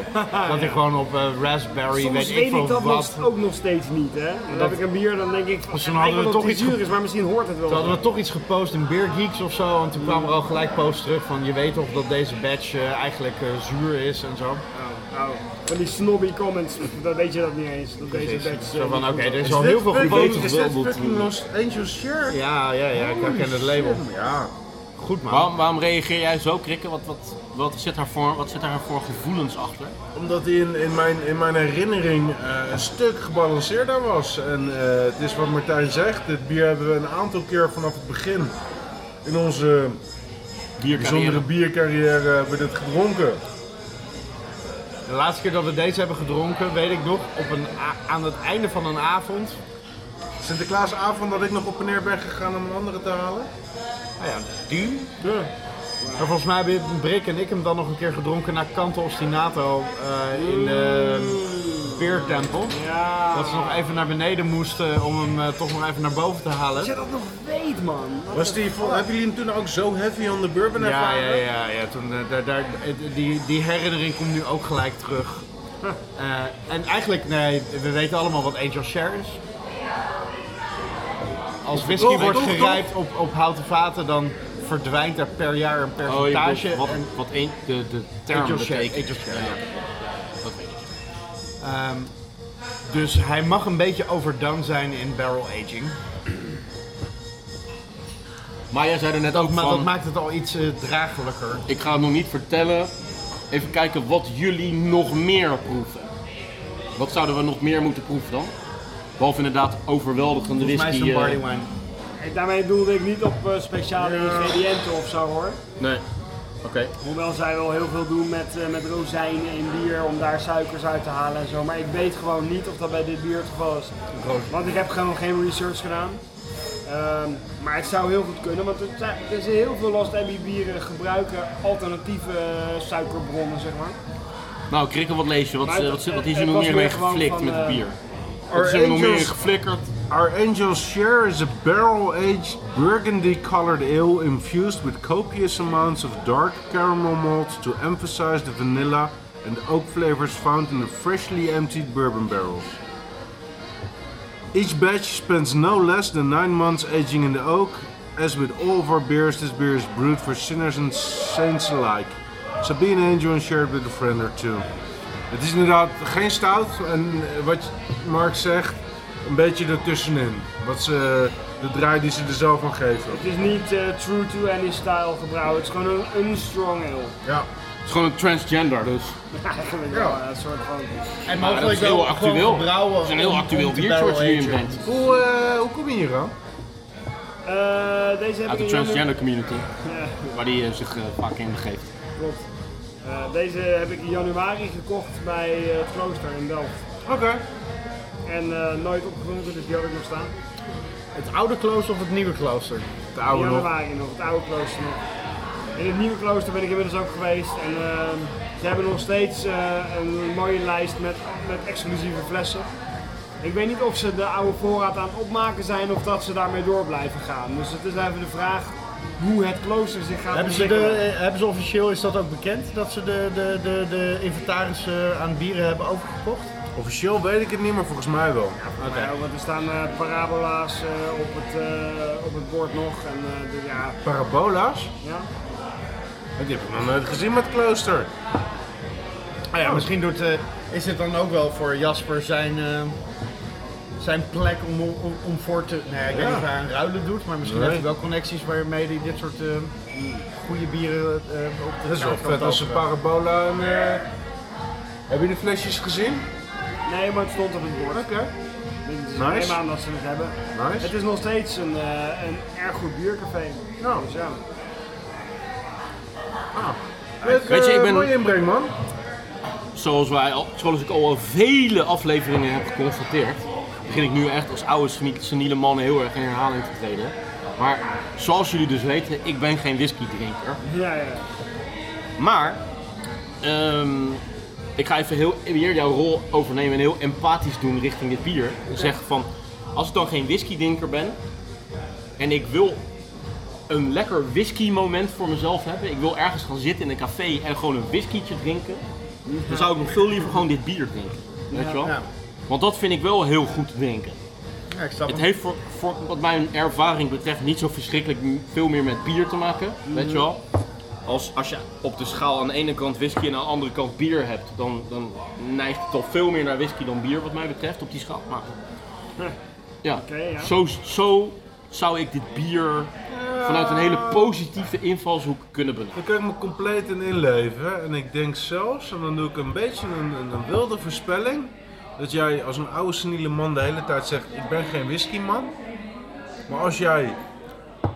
Speaker 2: Dat hij gewoon op eh, raspberry,
Speaker 4: Soms
Speaker 2: weet ik
Speaker 4: weet ik
Speaker 2: veel
Speaker 4: dat nog-
Speaker 2: wat.
Speaker 4: ook nog steeds niet, hè. Dan heb ik een bier, dan denk ik,
Speaker 2: Dus toen
Speaker 4: ik
Speaker 2: hadden we
Speaker 4: weet
Speaker 2: toch
Speaker 4: dat het
Speaker 2: iets
Speaker 4: zuur
Speaker 2: ge-
Speaker 4: is, maar misschien hoort het wel.
Speaker 2: Toen hadden we toch iets gepost in Beer Geeks of zo. En toen kwam er al gelijk post terug van je weet toch dat deze badge eh, eigenlijk eh, zuur is en zo.
Speaker 4: Oh, oh. Van die snobby comments, dat weet je dat niet eens. Dat deze badge, eh,
Speaker 2: Zo van oké, dus- er is
Speaker 3: Is
Speaker 2: al
Speaker 3: dit
Speaker 2: heel veel
Speaker 3: fucking-
Speaker 2: geboten.
Speaker 3: Is dit fucking Lost Angel's Share?
Speaker 2: Ja, ja, ja, ik herken het label.
Speaker 3: Ja.
Speaker 2: Goed man.
Speaker 1: Waarom, waarom reageer jij zo, Krikke? Wat, wat, wat, zit daar voor, wat zit daar voor gevoelens achter?
Speaker 3: Omdat hij in, in, mijn, in mijn herinnering eh, een stuk gebalanceerder was. En eh, het is wat Martijn zegt, dit bier hebben we een aantal keer vanaf het begin in onze bijzondere
Speaker 1: Biercarrière.
Speaker 3: biercarrière hebben we dit gedronken.
Speaker 2: De laatste keer dat we deze hebben gedronken, weet ik nog, op een, a- aan het einde van een avond.
Speaker 3: Sinterklaasavond dat ik nog op en neer ben gegaan om een andere te halen.
Speaker 2: Nou ja, die. Maar volgens mij hebben Brik en ik hem dan nog een keer gedronken na Canto Ostinato eh, in de beertempel.
Speaker 4: Ja.
Speaker 2: Dat ze nog even naar beneden moesten om hem eh, toch nog even naar boven te halen.
Speaker 4: Dat je dat nog weet, man.
Speaker 3: Was die, vol- hebben jullie hem toen ook zo heavy on the bourbon
Speaker 2: Ja,
Speaker 3: ervaren?
Speaker 2: ja, ja, ja. Toen, eh, daar, daar, eh, die, die herinnering komt nu ook gelijk terug. Eh, en eigenlijk, nee, we weten allemaal wat Angel Share is. Als whisky
Speaker 3: Toch,
Speaker 2: wordt
Speaker 3: toch,
Speaker 2: gerijpt op, op houten vaten, dan verdwijnt er per jaar een
Speaker 1: Oh, je
Speaker 2: percentage.
Speaker 1: bedoelt wat,
Speaker 2: en
Speaker 1: wat een, de, de term
Speaker 2: Angel Share.
Speaker 1: betekent.
Speaker 2: Angel Share, ja.
Speaker 1: Dat weet ik.
Speaker 2: Ehm, dus hij mag een beetje overdone zijn in barrel aging.
Speaker 1: Maar jij zei er net ook
Speaker 2: Maar dat
Speaker 1: van,
Speaker 2: maakt het al iets eh draaglijker.
Speaker 1: ik ga het nog niet vertellen. Even kijken wat jullie nog meer proeven. Wat zouden we nog meer moeten proeven dan? Behalve inderdaad overweldigende
Speaker 2: Volgens mij is
Speaker 1: whisky.
Speaker 2: het een
Speaker 1: eh,
Speaker 2: barley wine.
Speaker 4: Hey, daarmee doelde ik niet op eh, speciale ingrediënten of zo, hoor.
Speaker 1: eh, nee. Oké.
Speaker 4: Hoewel zij wel heel veel doen met, eh, met rozijnen in bier om daar suikers uit te halen en zo. Maar ik weet gewoon niet of dat bij dit bier het geval is. Want ik heb gewoon geen research gedaan. Ehm, maar het zou heel goed kunnen, want het zijn, er zijn heel veel Lost Abbey bieren gebruiken alternatieve eh, suikerbronnen, zeg maar.
Speaker 1: Nou, Krikke, wat lees je? Wat,
Speaker 4: Maar
Speaker 1: eh,
Speaker 4: het-
Speaker 1: wat, zit- wat
Speaker 4: het-
Speaker 1: is er
Speaker 4: het
Speaker 1: nog
Speaker 4: was
Speaker 1: meer mee
Speaker 4: meer gewoon
Speaker 1: geflikt
Speaker 4: van,
Speaker 1: met het
Speaker 4: eh,
Speaker 1: bier? Wat
Speaker 3: Our
Speaker 1: is er nog meer in
Speaker 3: Angels-
Speaker 1: geflikkerd?
Speaker 3: Our Angel's Share is a barrel aged burgundy colored ale infused with copious amounts of dark caramel malts to emphasize the vanilla and oak flavors found in the freshly emptied bourbon barrels. Each batch spends no less than nine months aging in the oak. As with all of our beers, this beer is brewed for sinners and saints alike. So be an angel and share it with a friend or two. Het is inderdaad geen stout en eh, wat Mark zegt, een beetje ertussenin. Wat ze, eh, de draai die ze er zelf aan geven.
Speaker 4: Het is niet eh, true to any style gebrouwen, het is gewoon een unstrong ale.
Speaker 3: Ja.
Speaker 1: Het is gewoon een transgender, dus.
Speaker 4: Eigenlijk wel, eh, een soort van...
Speaker 2: En
Speaker 1: Maar dat is heel actueel.
Speaker 2: gebrouwen
Speaker 1: Het is een heel
Speaker 2: om-
Speaker 1: actueel
Speaker 2: om te
Speaker 1: biertje wat je
Speaker 2: barrel
Speaker 1: hierin
Speaker 2: agen.
Speaker 1: brengt.
Speaker 3: Hoe, eh, hoe kom je hier aan?
Speaker 4: Eh,
Speaker 1: Uit
Speaker 4: deze heb
Speaker 1: de
Speaker 4: ik in januari-
Speaker 1: transgender community,
Speaker 4: Ja.
Speaker 1: waar die eh, zich eh, vaak in begeeft.
Speaker 4: Klopt. Eh, deze heb ik in januari gekocht bij eh, het klooster in Delft.
Speaker 3: Oké.
Speaker 4: En eh, nooit opgedronken, dus die had ik nog staan.
Speaker 2: Het oude klooster of het nieuwe klooster?
Speaker 3: De
Speaker 4: In
Speaker 3: oude nog.
Speaker 4: januari nog, het oude klooster nog. In het nieuwe klooster ben ik inmiddels ook geweest. En ehm, ze hebben nog steeds eh, een mooie lijst met, met exclusieve flessen. Ik weet niet of ze de oude voorraad aan het opmaken zijn of dat ze daarmee door blijven gaan. Dus het is even de vraag hoe het klooster zich gaat
Speaker 2: Hebben ze, de,
Speaker 4: ontwikkelen.
Speaker 2: eh, hebben ze officieel, is dat ook bekend, dat ze de, de, de, de inventaris eh, aan bieren hebben overgekocht?
Speaker 3: Officieel weet ik het niet, maar volgens mij wel.
Speaker 4: Ja, want er staan eh, parabola's eh, op, het, eh, op het bord nog. En, eh, de- ja,
Speaker 3: Parabola's?
Speaker 4: ja.
Speaker 3: Die heb ik nog nooit gezien met klooster.
Speaker 2: Ah ja, misschien doet, eh, is dit dan ook wel voor Jasper zijn, eh,
Speaker 7: zijn plek om, om, om voor te... Nee, ik weet niet of hij aan ruilen doet, maar misschien heeft hij wel connecties waarmee hij dit soort eh, goede bieren eh, op de
Speaker 3: Dat is wel
Speaker 7: kaart kan
Speaker 3: vet als een
Speaker 7: toveren.
Speaker 3: parabola en... eh, Hebben jullie de flesjes gezien?
Speaker 4: Nee, maar het stond op het bord.
Speaker 3: Oké.
Speaker 4: Dus ik
Speaker 3: Nice.
Speaker 4: neem aan dat ze het hebben. Het
Speaker 3: Nice.
Speaker 4: is nog steeds een, eh, een erg goed biercafé.
Speaker 3: Nou.
Speaker 4: Dus ja. Ah.
Speaker 3: Weet
Speaker 4: eh,
Speaker 3: je, ik ben... Mooie
Speaker 1: mooie
Speaker 3: inbreng, man.
Speaker 1: Zoals, wij al, zoals ik al vele afleveringen heb geconstateerd, begin ik nu echt als oude senie- seniele man heel erg in herhaling te treden. Maar zoals jullie dus weten, ik ben geen whisky drinker.
Speaker 4: Ja, ja.
Speaker 1: Maar, ehm, ik ga even heel, weer jouw rol overnemen en heel empathisch doen richting dit bier. Zeggen van, als ik dan geen whisky-drinker ben en ik wil een lekker whisky-moment voor mezelf hebben. Ik wil ergens gaan zitten in een café en gewoon een whiskietje drinken. Dan zou ik nog veel liever gewoon dit bier drinken. Weet je wel?
Speaker 7: Ja.
Speaker 1: Want dat vind ik wel heel goed te drinken.
Speaker 7: Ja, ik snap
Speaker 1: Het
Speaker 7: hem.
Speaker 1: heeft voor, voor wat mijn ervaring betreft niet zo verschrikkelijk m- veel meer met bier te maken, weet je wel. Als, als je op de schaal aan de ene kant whisky en aan de andere kant bier hebt, dan, dan neigt het toch veel meer naar whisky dan bier wat mij betreft op die schaal. Maar ja,
Speaker 4: Oké, ja.
Speaker 1: Zo, zo zou ik dit bier vanuit een hele positieve invalshoek kunnen benaderen.
Speaker 3: Dan kan ik me compleet in inleven. En ik denk zelfs, en dan doe ik een beetje een, een, een wilde voorspelling. Dat jij als een oude seniele man de hele tijd zegt, ik ben geen whiskyman. Maar als jij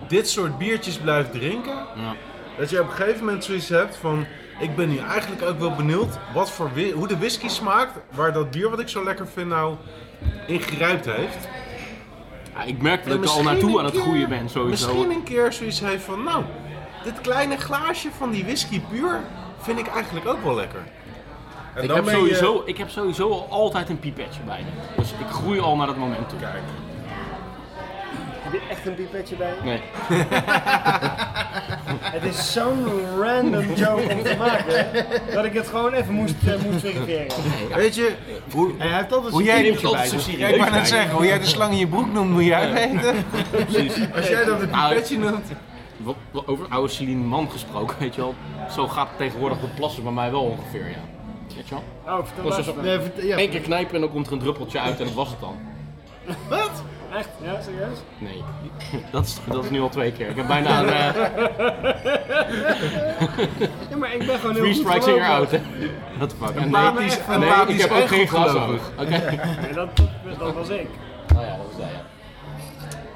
Speaker 3: dit soort biertjes blijft drinken.
Speaker 1: Ja.
Speaker 3: Dat je op een gegeven moment zoiets hebt van, ik ben nu eigenlijk ook wel benieuwd wat voor, wi- hoe de whisky smaakt. Waar dat bier wat ik zo lekker vind nou ingrijpt heeft.
Speaker 1: Ja, ik merk dat
Speaker 3: En
Speaker 1: ik er al
Speaker 3: misschien
Speaker 1: naartoe
Speaker 3: een
Speaker 1: aan het
Speaker 3: keer-
Speaker 1: groeien ben sowieso.
Speaker 3: Misschien een keer zoiets heeft van, nou, dit kleine glaasje van die whisky puur vind ik eigenlijk ook wel lekker. En
Speaker 1: Ik
Speaker 3: dan
Speaker 1: heb,
Speaker 3: ben je-
Speaker 1: sowieso, ik heb sowieso al altijd een pipetje bij me. Dus ik groei al naar dat moment toe.
Speaker 3: Kijk,
Speaker 4: Heb je echt een pipetje bij?
Speaker 1: Nee.
Speaker 4: Het is zo'n random joke om te maken dat ik het gewoon even moest, eh, moest verifiëren.
Speaker 3: weet je, hoe,
Speaker 7: Hij heeft altijd
Speaker 3: hoe jij
Speaker 7: zijn
Speaker 1: Ik
Speaker 3: die
Speaker 1: moet altijd zo serieus
Speaker 3: dus ik wou net
Speaker 1: kijken.
Speaker 3: zeggen, hoe jij de slang in je broek noemt, moet jij weten.
Speaker 1: Precies.
Speaker 3: Als jij dat een
Speaker 1: Nou,
Speaker 3: pipetje noemt.
Speaker 1: Wat- wat Over oude Celine Man gesproken, weet je wel. Zo gaat het tegenwoordig de plassen bij mij wel ongeveer, ja. Weet je wel?
Speaker 4: Oh, vertel
Speaker 1: Was
Speaker 4: maar
Speaker 1: dus
Speaker 4: even.
Speaker 7: Nee, vert- ja.
Speaker 1: Eén keer knijpen en dan komt er een druppeltje uit en dat was het dan.
Speaker 7: Wat?
Speaker 4: Echt? Ja, serieus?
Speaker 1: Nee, dat is, dat is nu al twee keer. Ik heb bijna een eh,
Speaker 4: Ja, maar ik ben gewoon heel
Speaker 1: three
Speaker 4: goed
Speaker 1: strikes in your
Speaker 4: gelopen.
Speaker 1: out. What the fuck? En
Speaker 3: Empathisch-
Speaker 1: nee, nee,
Speaker 3: empathisch
Speaker 1: ik heb
Speaker 3: en
Speaker 1: ook geen
Speaker 3: goed
Speaker 1: glas
Speaker 3: gelovig.
Speaker 1: nodig. Oké.
Speaker 4: Nee, dat, dat, dat Oh was ik.
Speaker 1: Nou ja, dat was dat, ja.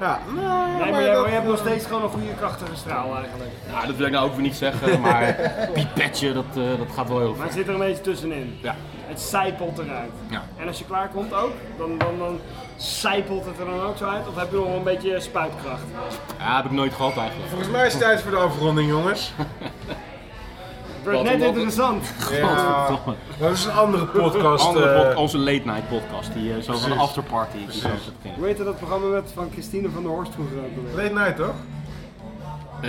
Speaker 3: Ja, nou,
Speaker 4: Nee, maar
Speaker 3: maar
Speaker 4: jij,
Speaker 3: dat-
Speaker 4: maar jij hebt nog steeds gewoon een goede krachtige straal eigenlijk.
Speaker 1: Nou, dat wil ik nou ook weer niet zeggen, maar pipetje, dat, eh, dat gaat wel heel
Speaker 4: Maar
Speaker 1: ver.
Speaker 4: het zit er een beetje tussenin.
Speaker 1: Ja.
Speaker 4: Het zijpelt eruit.
Speaker 1: Ja.
Speaker 4: En als je klaar komt ook, dan, dan, dan zijpelt het er dan ook zo uit. Of heb je nog wel een beetje spuitkracht?
Speaker 1: Ja, heb ik nooit gehad eigenlijk.
Speaker 3: Volgens mij is het tijd voor de afronding, jongens.
Speaker 4: Het wordt
Speaker 1: Wat
Speaker 4: net
Speaker 1: een-
Speaker 4: interessant.
Speaker 1: Godverdomme.
Speaker 3: Dat is een andere podcast.
Speaker 1: Andere
Speaker 3: eh,
Speaker 1: pod- onze late night podcast, die eh, zo van de afterparty. die zo zit te-
Speaker 4: Hoe heette dat programma met van Christine van der Horst vroeger ook alweer?
Speaker 3: Late night, toch?
Speaker 1: Eh,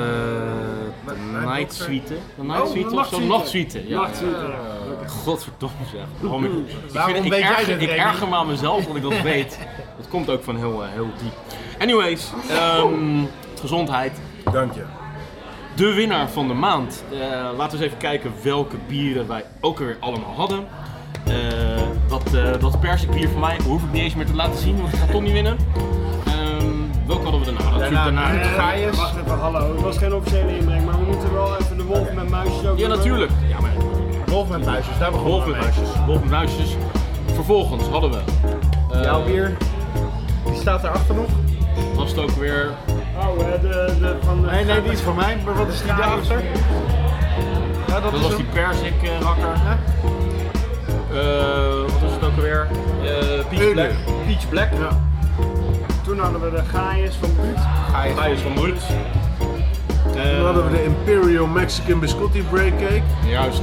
Speaker 3: Night-
Speaker 1: de Night
Speaker 3: Night
Speaker 1: Suite. Eh, De Night
Speaker 4: Oh,
Speaker 1: Suite of zo?
Speaker 4: nachtsuite.
Speaker 1: Nachtsuite. Ja.
Speaker 4: Nachtsuite, ja.
Speaker 1: Godverdomme zeg. Waarom ik, ik vind-
Speaker 7: Waarom
Speaker 1: ik,
Speaker 7: weet jij
Speaker 1: erger,
Speaker 7: dit,
Speaker 1: ik
Speaker 7: Remy?
Speaker 1: erger me aan mezelf dat ik dat weet. Dat komt ook van heel, eh, heel diep. Anyways, ehm, gezondheid.
Speaker 3: Dank je.
Speaker 1: De winnaar van de maand. Eh, laten we eens even kijken welke bieren wij ook weer allemaal hadden. Eh, dat, eh dat persikbier van mij hoef ik niet eens meer te laten zien, want ik ga toch niet winnen. Ehm, welke hadden we daarna? Natuurlijk daarna.
Speaker 4: Eh,
Speaker 7: Gaius.
Speaker 4: Wacht even, hallo. Het was geen officiële inbreng, maar we moeten wel even de wolf met muisjes ook
Speaker 1: Ja,
Speaker 4: noemen.
Speaker 1: natuurlijk. Ja, maar
Speaker 7: Wolf met muisjes, dus daar begonnen
Speaker 1: Wolf
Speaker 7: we
Speaker 1: met
Speaker 7: mee.
Speaker 1: muisjes. Wolf met muisjes. Vervolgens hadden we. eh,
Speaker 7: Jouw bier, die staat daarachter nog.
Speaker 1: was het ook weer.
Speaker 4: Oh, eh, de, de, van de...
Speaker 7: Nee, nee, die is van mij, maar wat is die daarachter? Ja, dat,
Speaker 1: Dat
Speaker 7: is
Speaker 1: was
Speaker 7: hem.
Speaker 1: die perzik eh, rakker.
Speaker 7: Ja.
Speaker 1: Eh, wat was het ook weer? Eh Peach Black. Peach Black. Ja.
Speaker 4: Toen hadden we de gaaiers van Buut.
Speaker 1: Hij is van Brut. Eh,
Speaker 3: Dan hadden we de Imperial Mexican Biscotti Break Cake.
Speaker 1: Juist.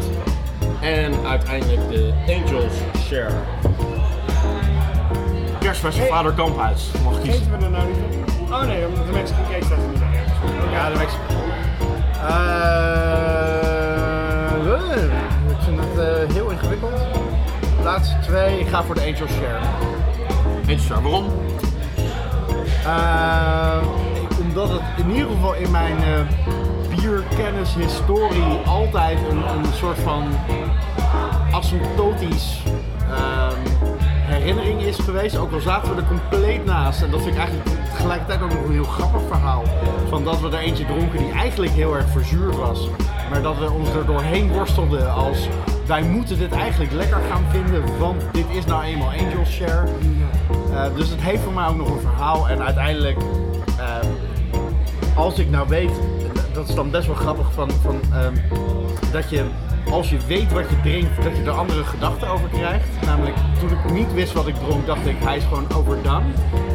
Speaker 1: En uiteindelijk de Angels Share. Kerstfest van Vader Kamphuis. Mag kiezen.
Speaker 4: Eten we er nou niet op? Oh nee, omdat de Mexican cake staat er niet bij.
Speaker 7: Ja, de Mexico. Eh, eh, ik vind het eh, heel ingewikkeld. De laatste twee, ik ga voor de Angel Share.
Speaker 1: Angels Share, waarom?
Speaker 7: Eh, omdat het in ieder geval in mijn eh bierkennis, historie altijd een, een soort van asymptotisch ehm,
Speaker 2: herinnering is geweest, ook al zaten we er compleet naast. En dat vind ik eigenlijk tegelijkertijd ook nog een heel grappig verhaal. Van dat we er eentje dronken die eigenlijk heel erg verzuurd was. Maar dat we ons er doorheen worstelden als wij moeten dit eigenlijk lekker gaan vinden. Want dit is nou eenmaal Angel's Share. Eh, dus het heeft voor mij ook nog een verhaal. En uiteindelijk ehm, als ik nou weet, dat is dan best wel grappig van, van ehm, dat je als je weet wat je drinkt, dat je er andere gedachten over krijgt. Namelijk, toen ik niet wist wat ik dronk, dacht ik, hij is gewoon overdone.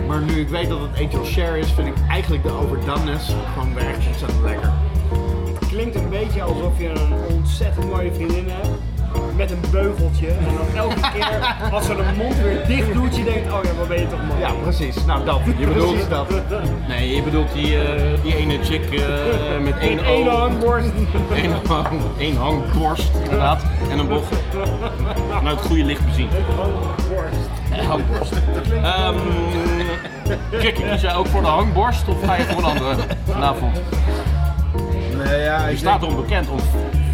Speaker 2: Maar nu ik weet dat het Angel Share is, vind ik eigenlijk de overdones gewoon weer echt ontzettend lekker.
Speaker 4: klinkt een beetje alsof je een ontzettend mooie vriendin hebt. Met een beugeltje. En dan elke keer als ze de mond weer dicht doet, je denkt, oh ja, wat ben je toch man.
Speaker 2: Ja, precies. Nou, dat. Je
Speaker 1: bedoelt-
Speaker 2: dat.
Speaker 1: Nee, je bedoelt die, eh, die ene chick eh, met één
Speaker 4: In één
Speaker 1: oog,
Speaker 4: hangworst.
Speaker 1: één hang, één hangborst inderdaad, en een bocht. Vanuit het goede licht bezien.
Speaker 4: Hangworst.
Speaker 1: Hangborst. Ehm Kikkie, kies jij ook voor de hangborst of ga je voor een andere vanavond?
Speaker 3: Nee, ja,
Speaker 1: Je
Speaker 3: ik
Speaker 1: staat erom bekend om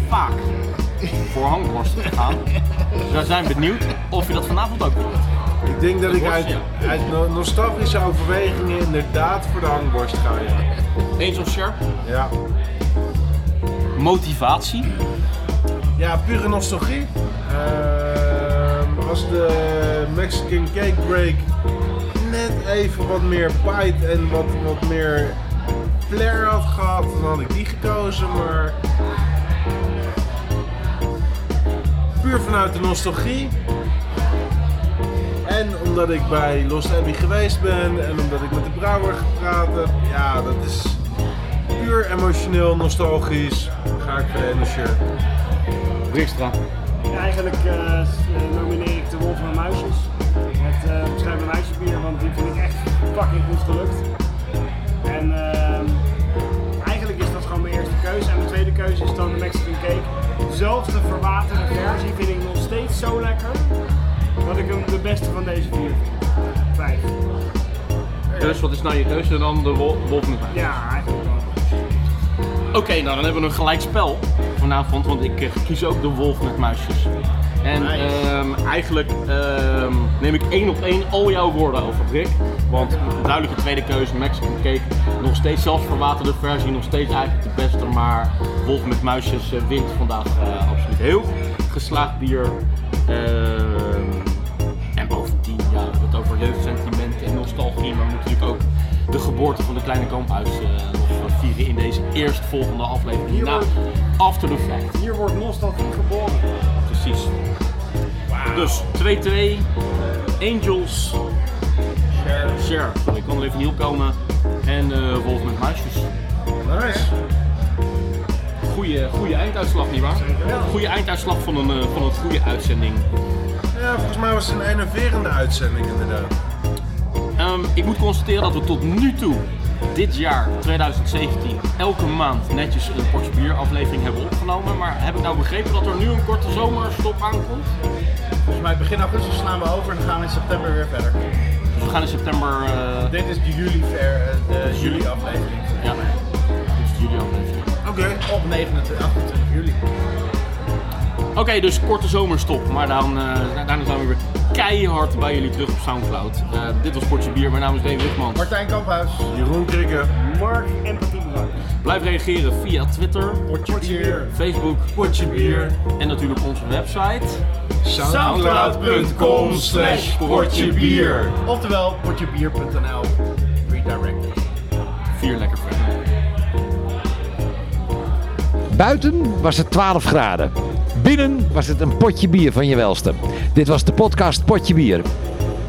Speaker 1: vaak voor hangborsten te gaan. Dus wij zijn benieuwd of je dat vanavond ook doet.
Speaker 3: Ik denk dat ik
Speaker 1: was-
Speaker 3: uit, uit no- nostalgische overwegingen inderdaad voor de hangborst ga. Ja.
Speaker 1: Angel Sharp,
Speaker 3: Ja.
Speaker 1: motivatie.
Speaker 3: ja, pure nostalgie. Ehm, als de Mexican Cake Break net even wat meer bite en wat, wat meer flair had gehad, dan had ik die gekozen. Maar puur vanuit de nostalgie. En omdat ik bij Lost Abbey geweest ben en omdat ik met de brouwer gepraat heb, ja, dat is puur emotioneel, nostalgisch. Ga ik voor de ene shirt.
Speaker 1: Brikstra.
Speaker 4: Eigenlijk eh, s- eh, nomineer ik de Wolf van Muisjes. Het eh beschrijven muisjesbier, want die vind ik echt fucking goed gelukt. En ehm, eigenlijk is dat gewoon mijn eerste keuze. En mijn tweede keuze is dan de Mexican Cake. Zelfs de verwaterde versie vind ik nog steeds zo lekker, dat ik hem de beste van deze vier vind. Vijf.
Speaker 1: Dus wat is nou je keuze dan de wol- wolf met mij?
Speaker 4: Ja, eigenlijk wel.
Speaker 1: Oké, nou dan hebben we een gelijk spel vanavond, want ik eh, kies ook de wolf met muisjes. En ehm, eigenlijk ehm, neem ik één op één al jouw woorden over, Rick. Want duidelijke tweede keuze, Mexican Cake, nog steeds zelfs verwaterde versie, nog steeds eigenlijk de beste. Maar wolf met muisjes eh, wint vandaag eh, absoluut heel goed. geslaagd bier. Ehm, En bovendien, ja, we hebben het over jeugdsentimenten en nostalgie, maar we moeten natuurlijk ook de geboorte van de kleine kamphuis eh, nog vieren in deze eerstvolgende aflevering.
Speaker 4: Hier
Speaker 1: Na
Speaker 4: wordt-
Speaker 1: After the Fact.
Speaker 4: Hier wordt nostalgie geboren.
Speaker 1: Precies. Dus 2-2, Angels. Share. Sorry, ik kon er even niet opkomen. En eh Wolf met Muisjes.
Speaker 3: Nice.
Speaker 1: Goeie, goede einduitslag, nietwaar? Goede einduitslag van een, eh, van een goede uitzending.
Speaker 3: Ja, volgens mij was het een enerverende uitzending inderdaad.
Speaker 1: Ehm, ik moet constateren dat we tot nu toe, dit jaar 2017, elke maand netjes een portje bier aflevering hebben opgenomen. Maar heb ik nou begrepen dat er nu een korte zomerstop aankomt?
Speaker 2: Volgens mij begin augustus slaan we over en dan gaan we in september weer verder.
Speaker 1: Dus we gaan in september. eh
Speaker 2: Dit is de juli, ver, eh, de juli aflevering.
Speaker 1: ja, dit is de juli aflevering.
Speaker 3: Oké.
Speaker 2: Op 29, 28 juli.
Speaker 1: Oké, dus korte zomerstop. Maar dan, eh, daarna zijn we weer keihard bij jullie terug op Soundcloud. Eh, dit was Portje Bier. Mijn naam is Dave Wigman.
Speaker 2: Martijn Kamphuis.
Speaker 3: Jeroen Krikke.
Speaker 4: Mark Empathie Belangrijk.
Speaker 1: Blijf reageren via Twitter,
Speaker 2: Potje bier.
Speaker 1: Facebook
Speaker 3: Potje bier.
Speaker 1: en natuurlijk onze website.
Speaker 3: Soundcloud.com slash potje bier.
Speaker 2: Oftewel, potjebier.nl. Redirect.
Speaker 1: Vier lekker verder.
Speaker 8: Buiten was het 12 graden. Binnen was het een potje bier van je welste. Dit was de podcast Potje Bier.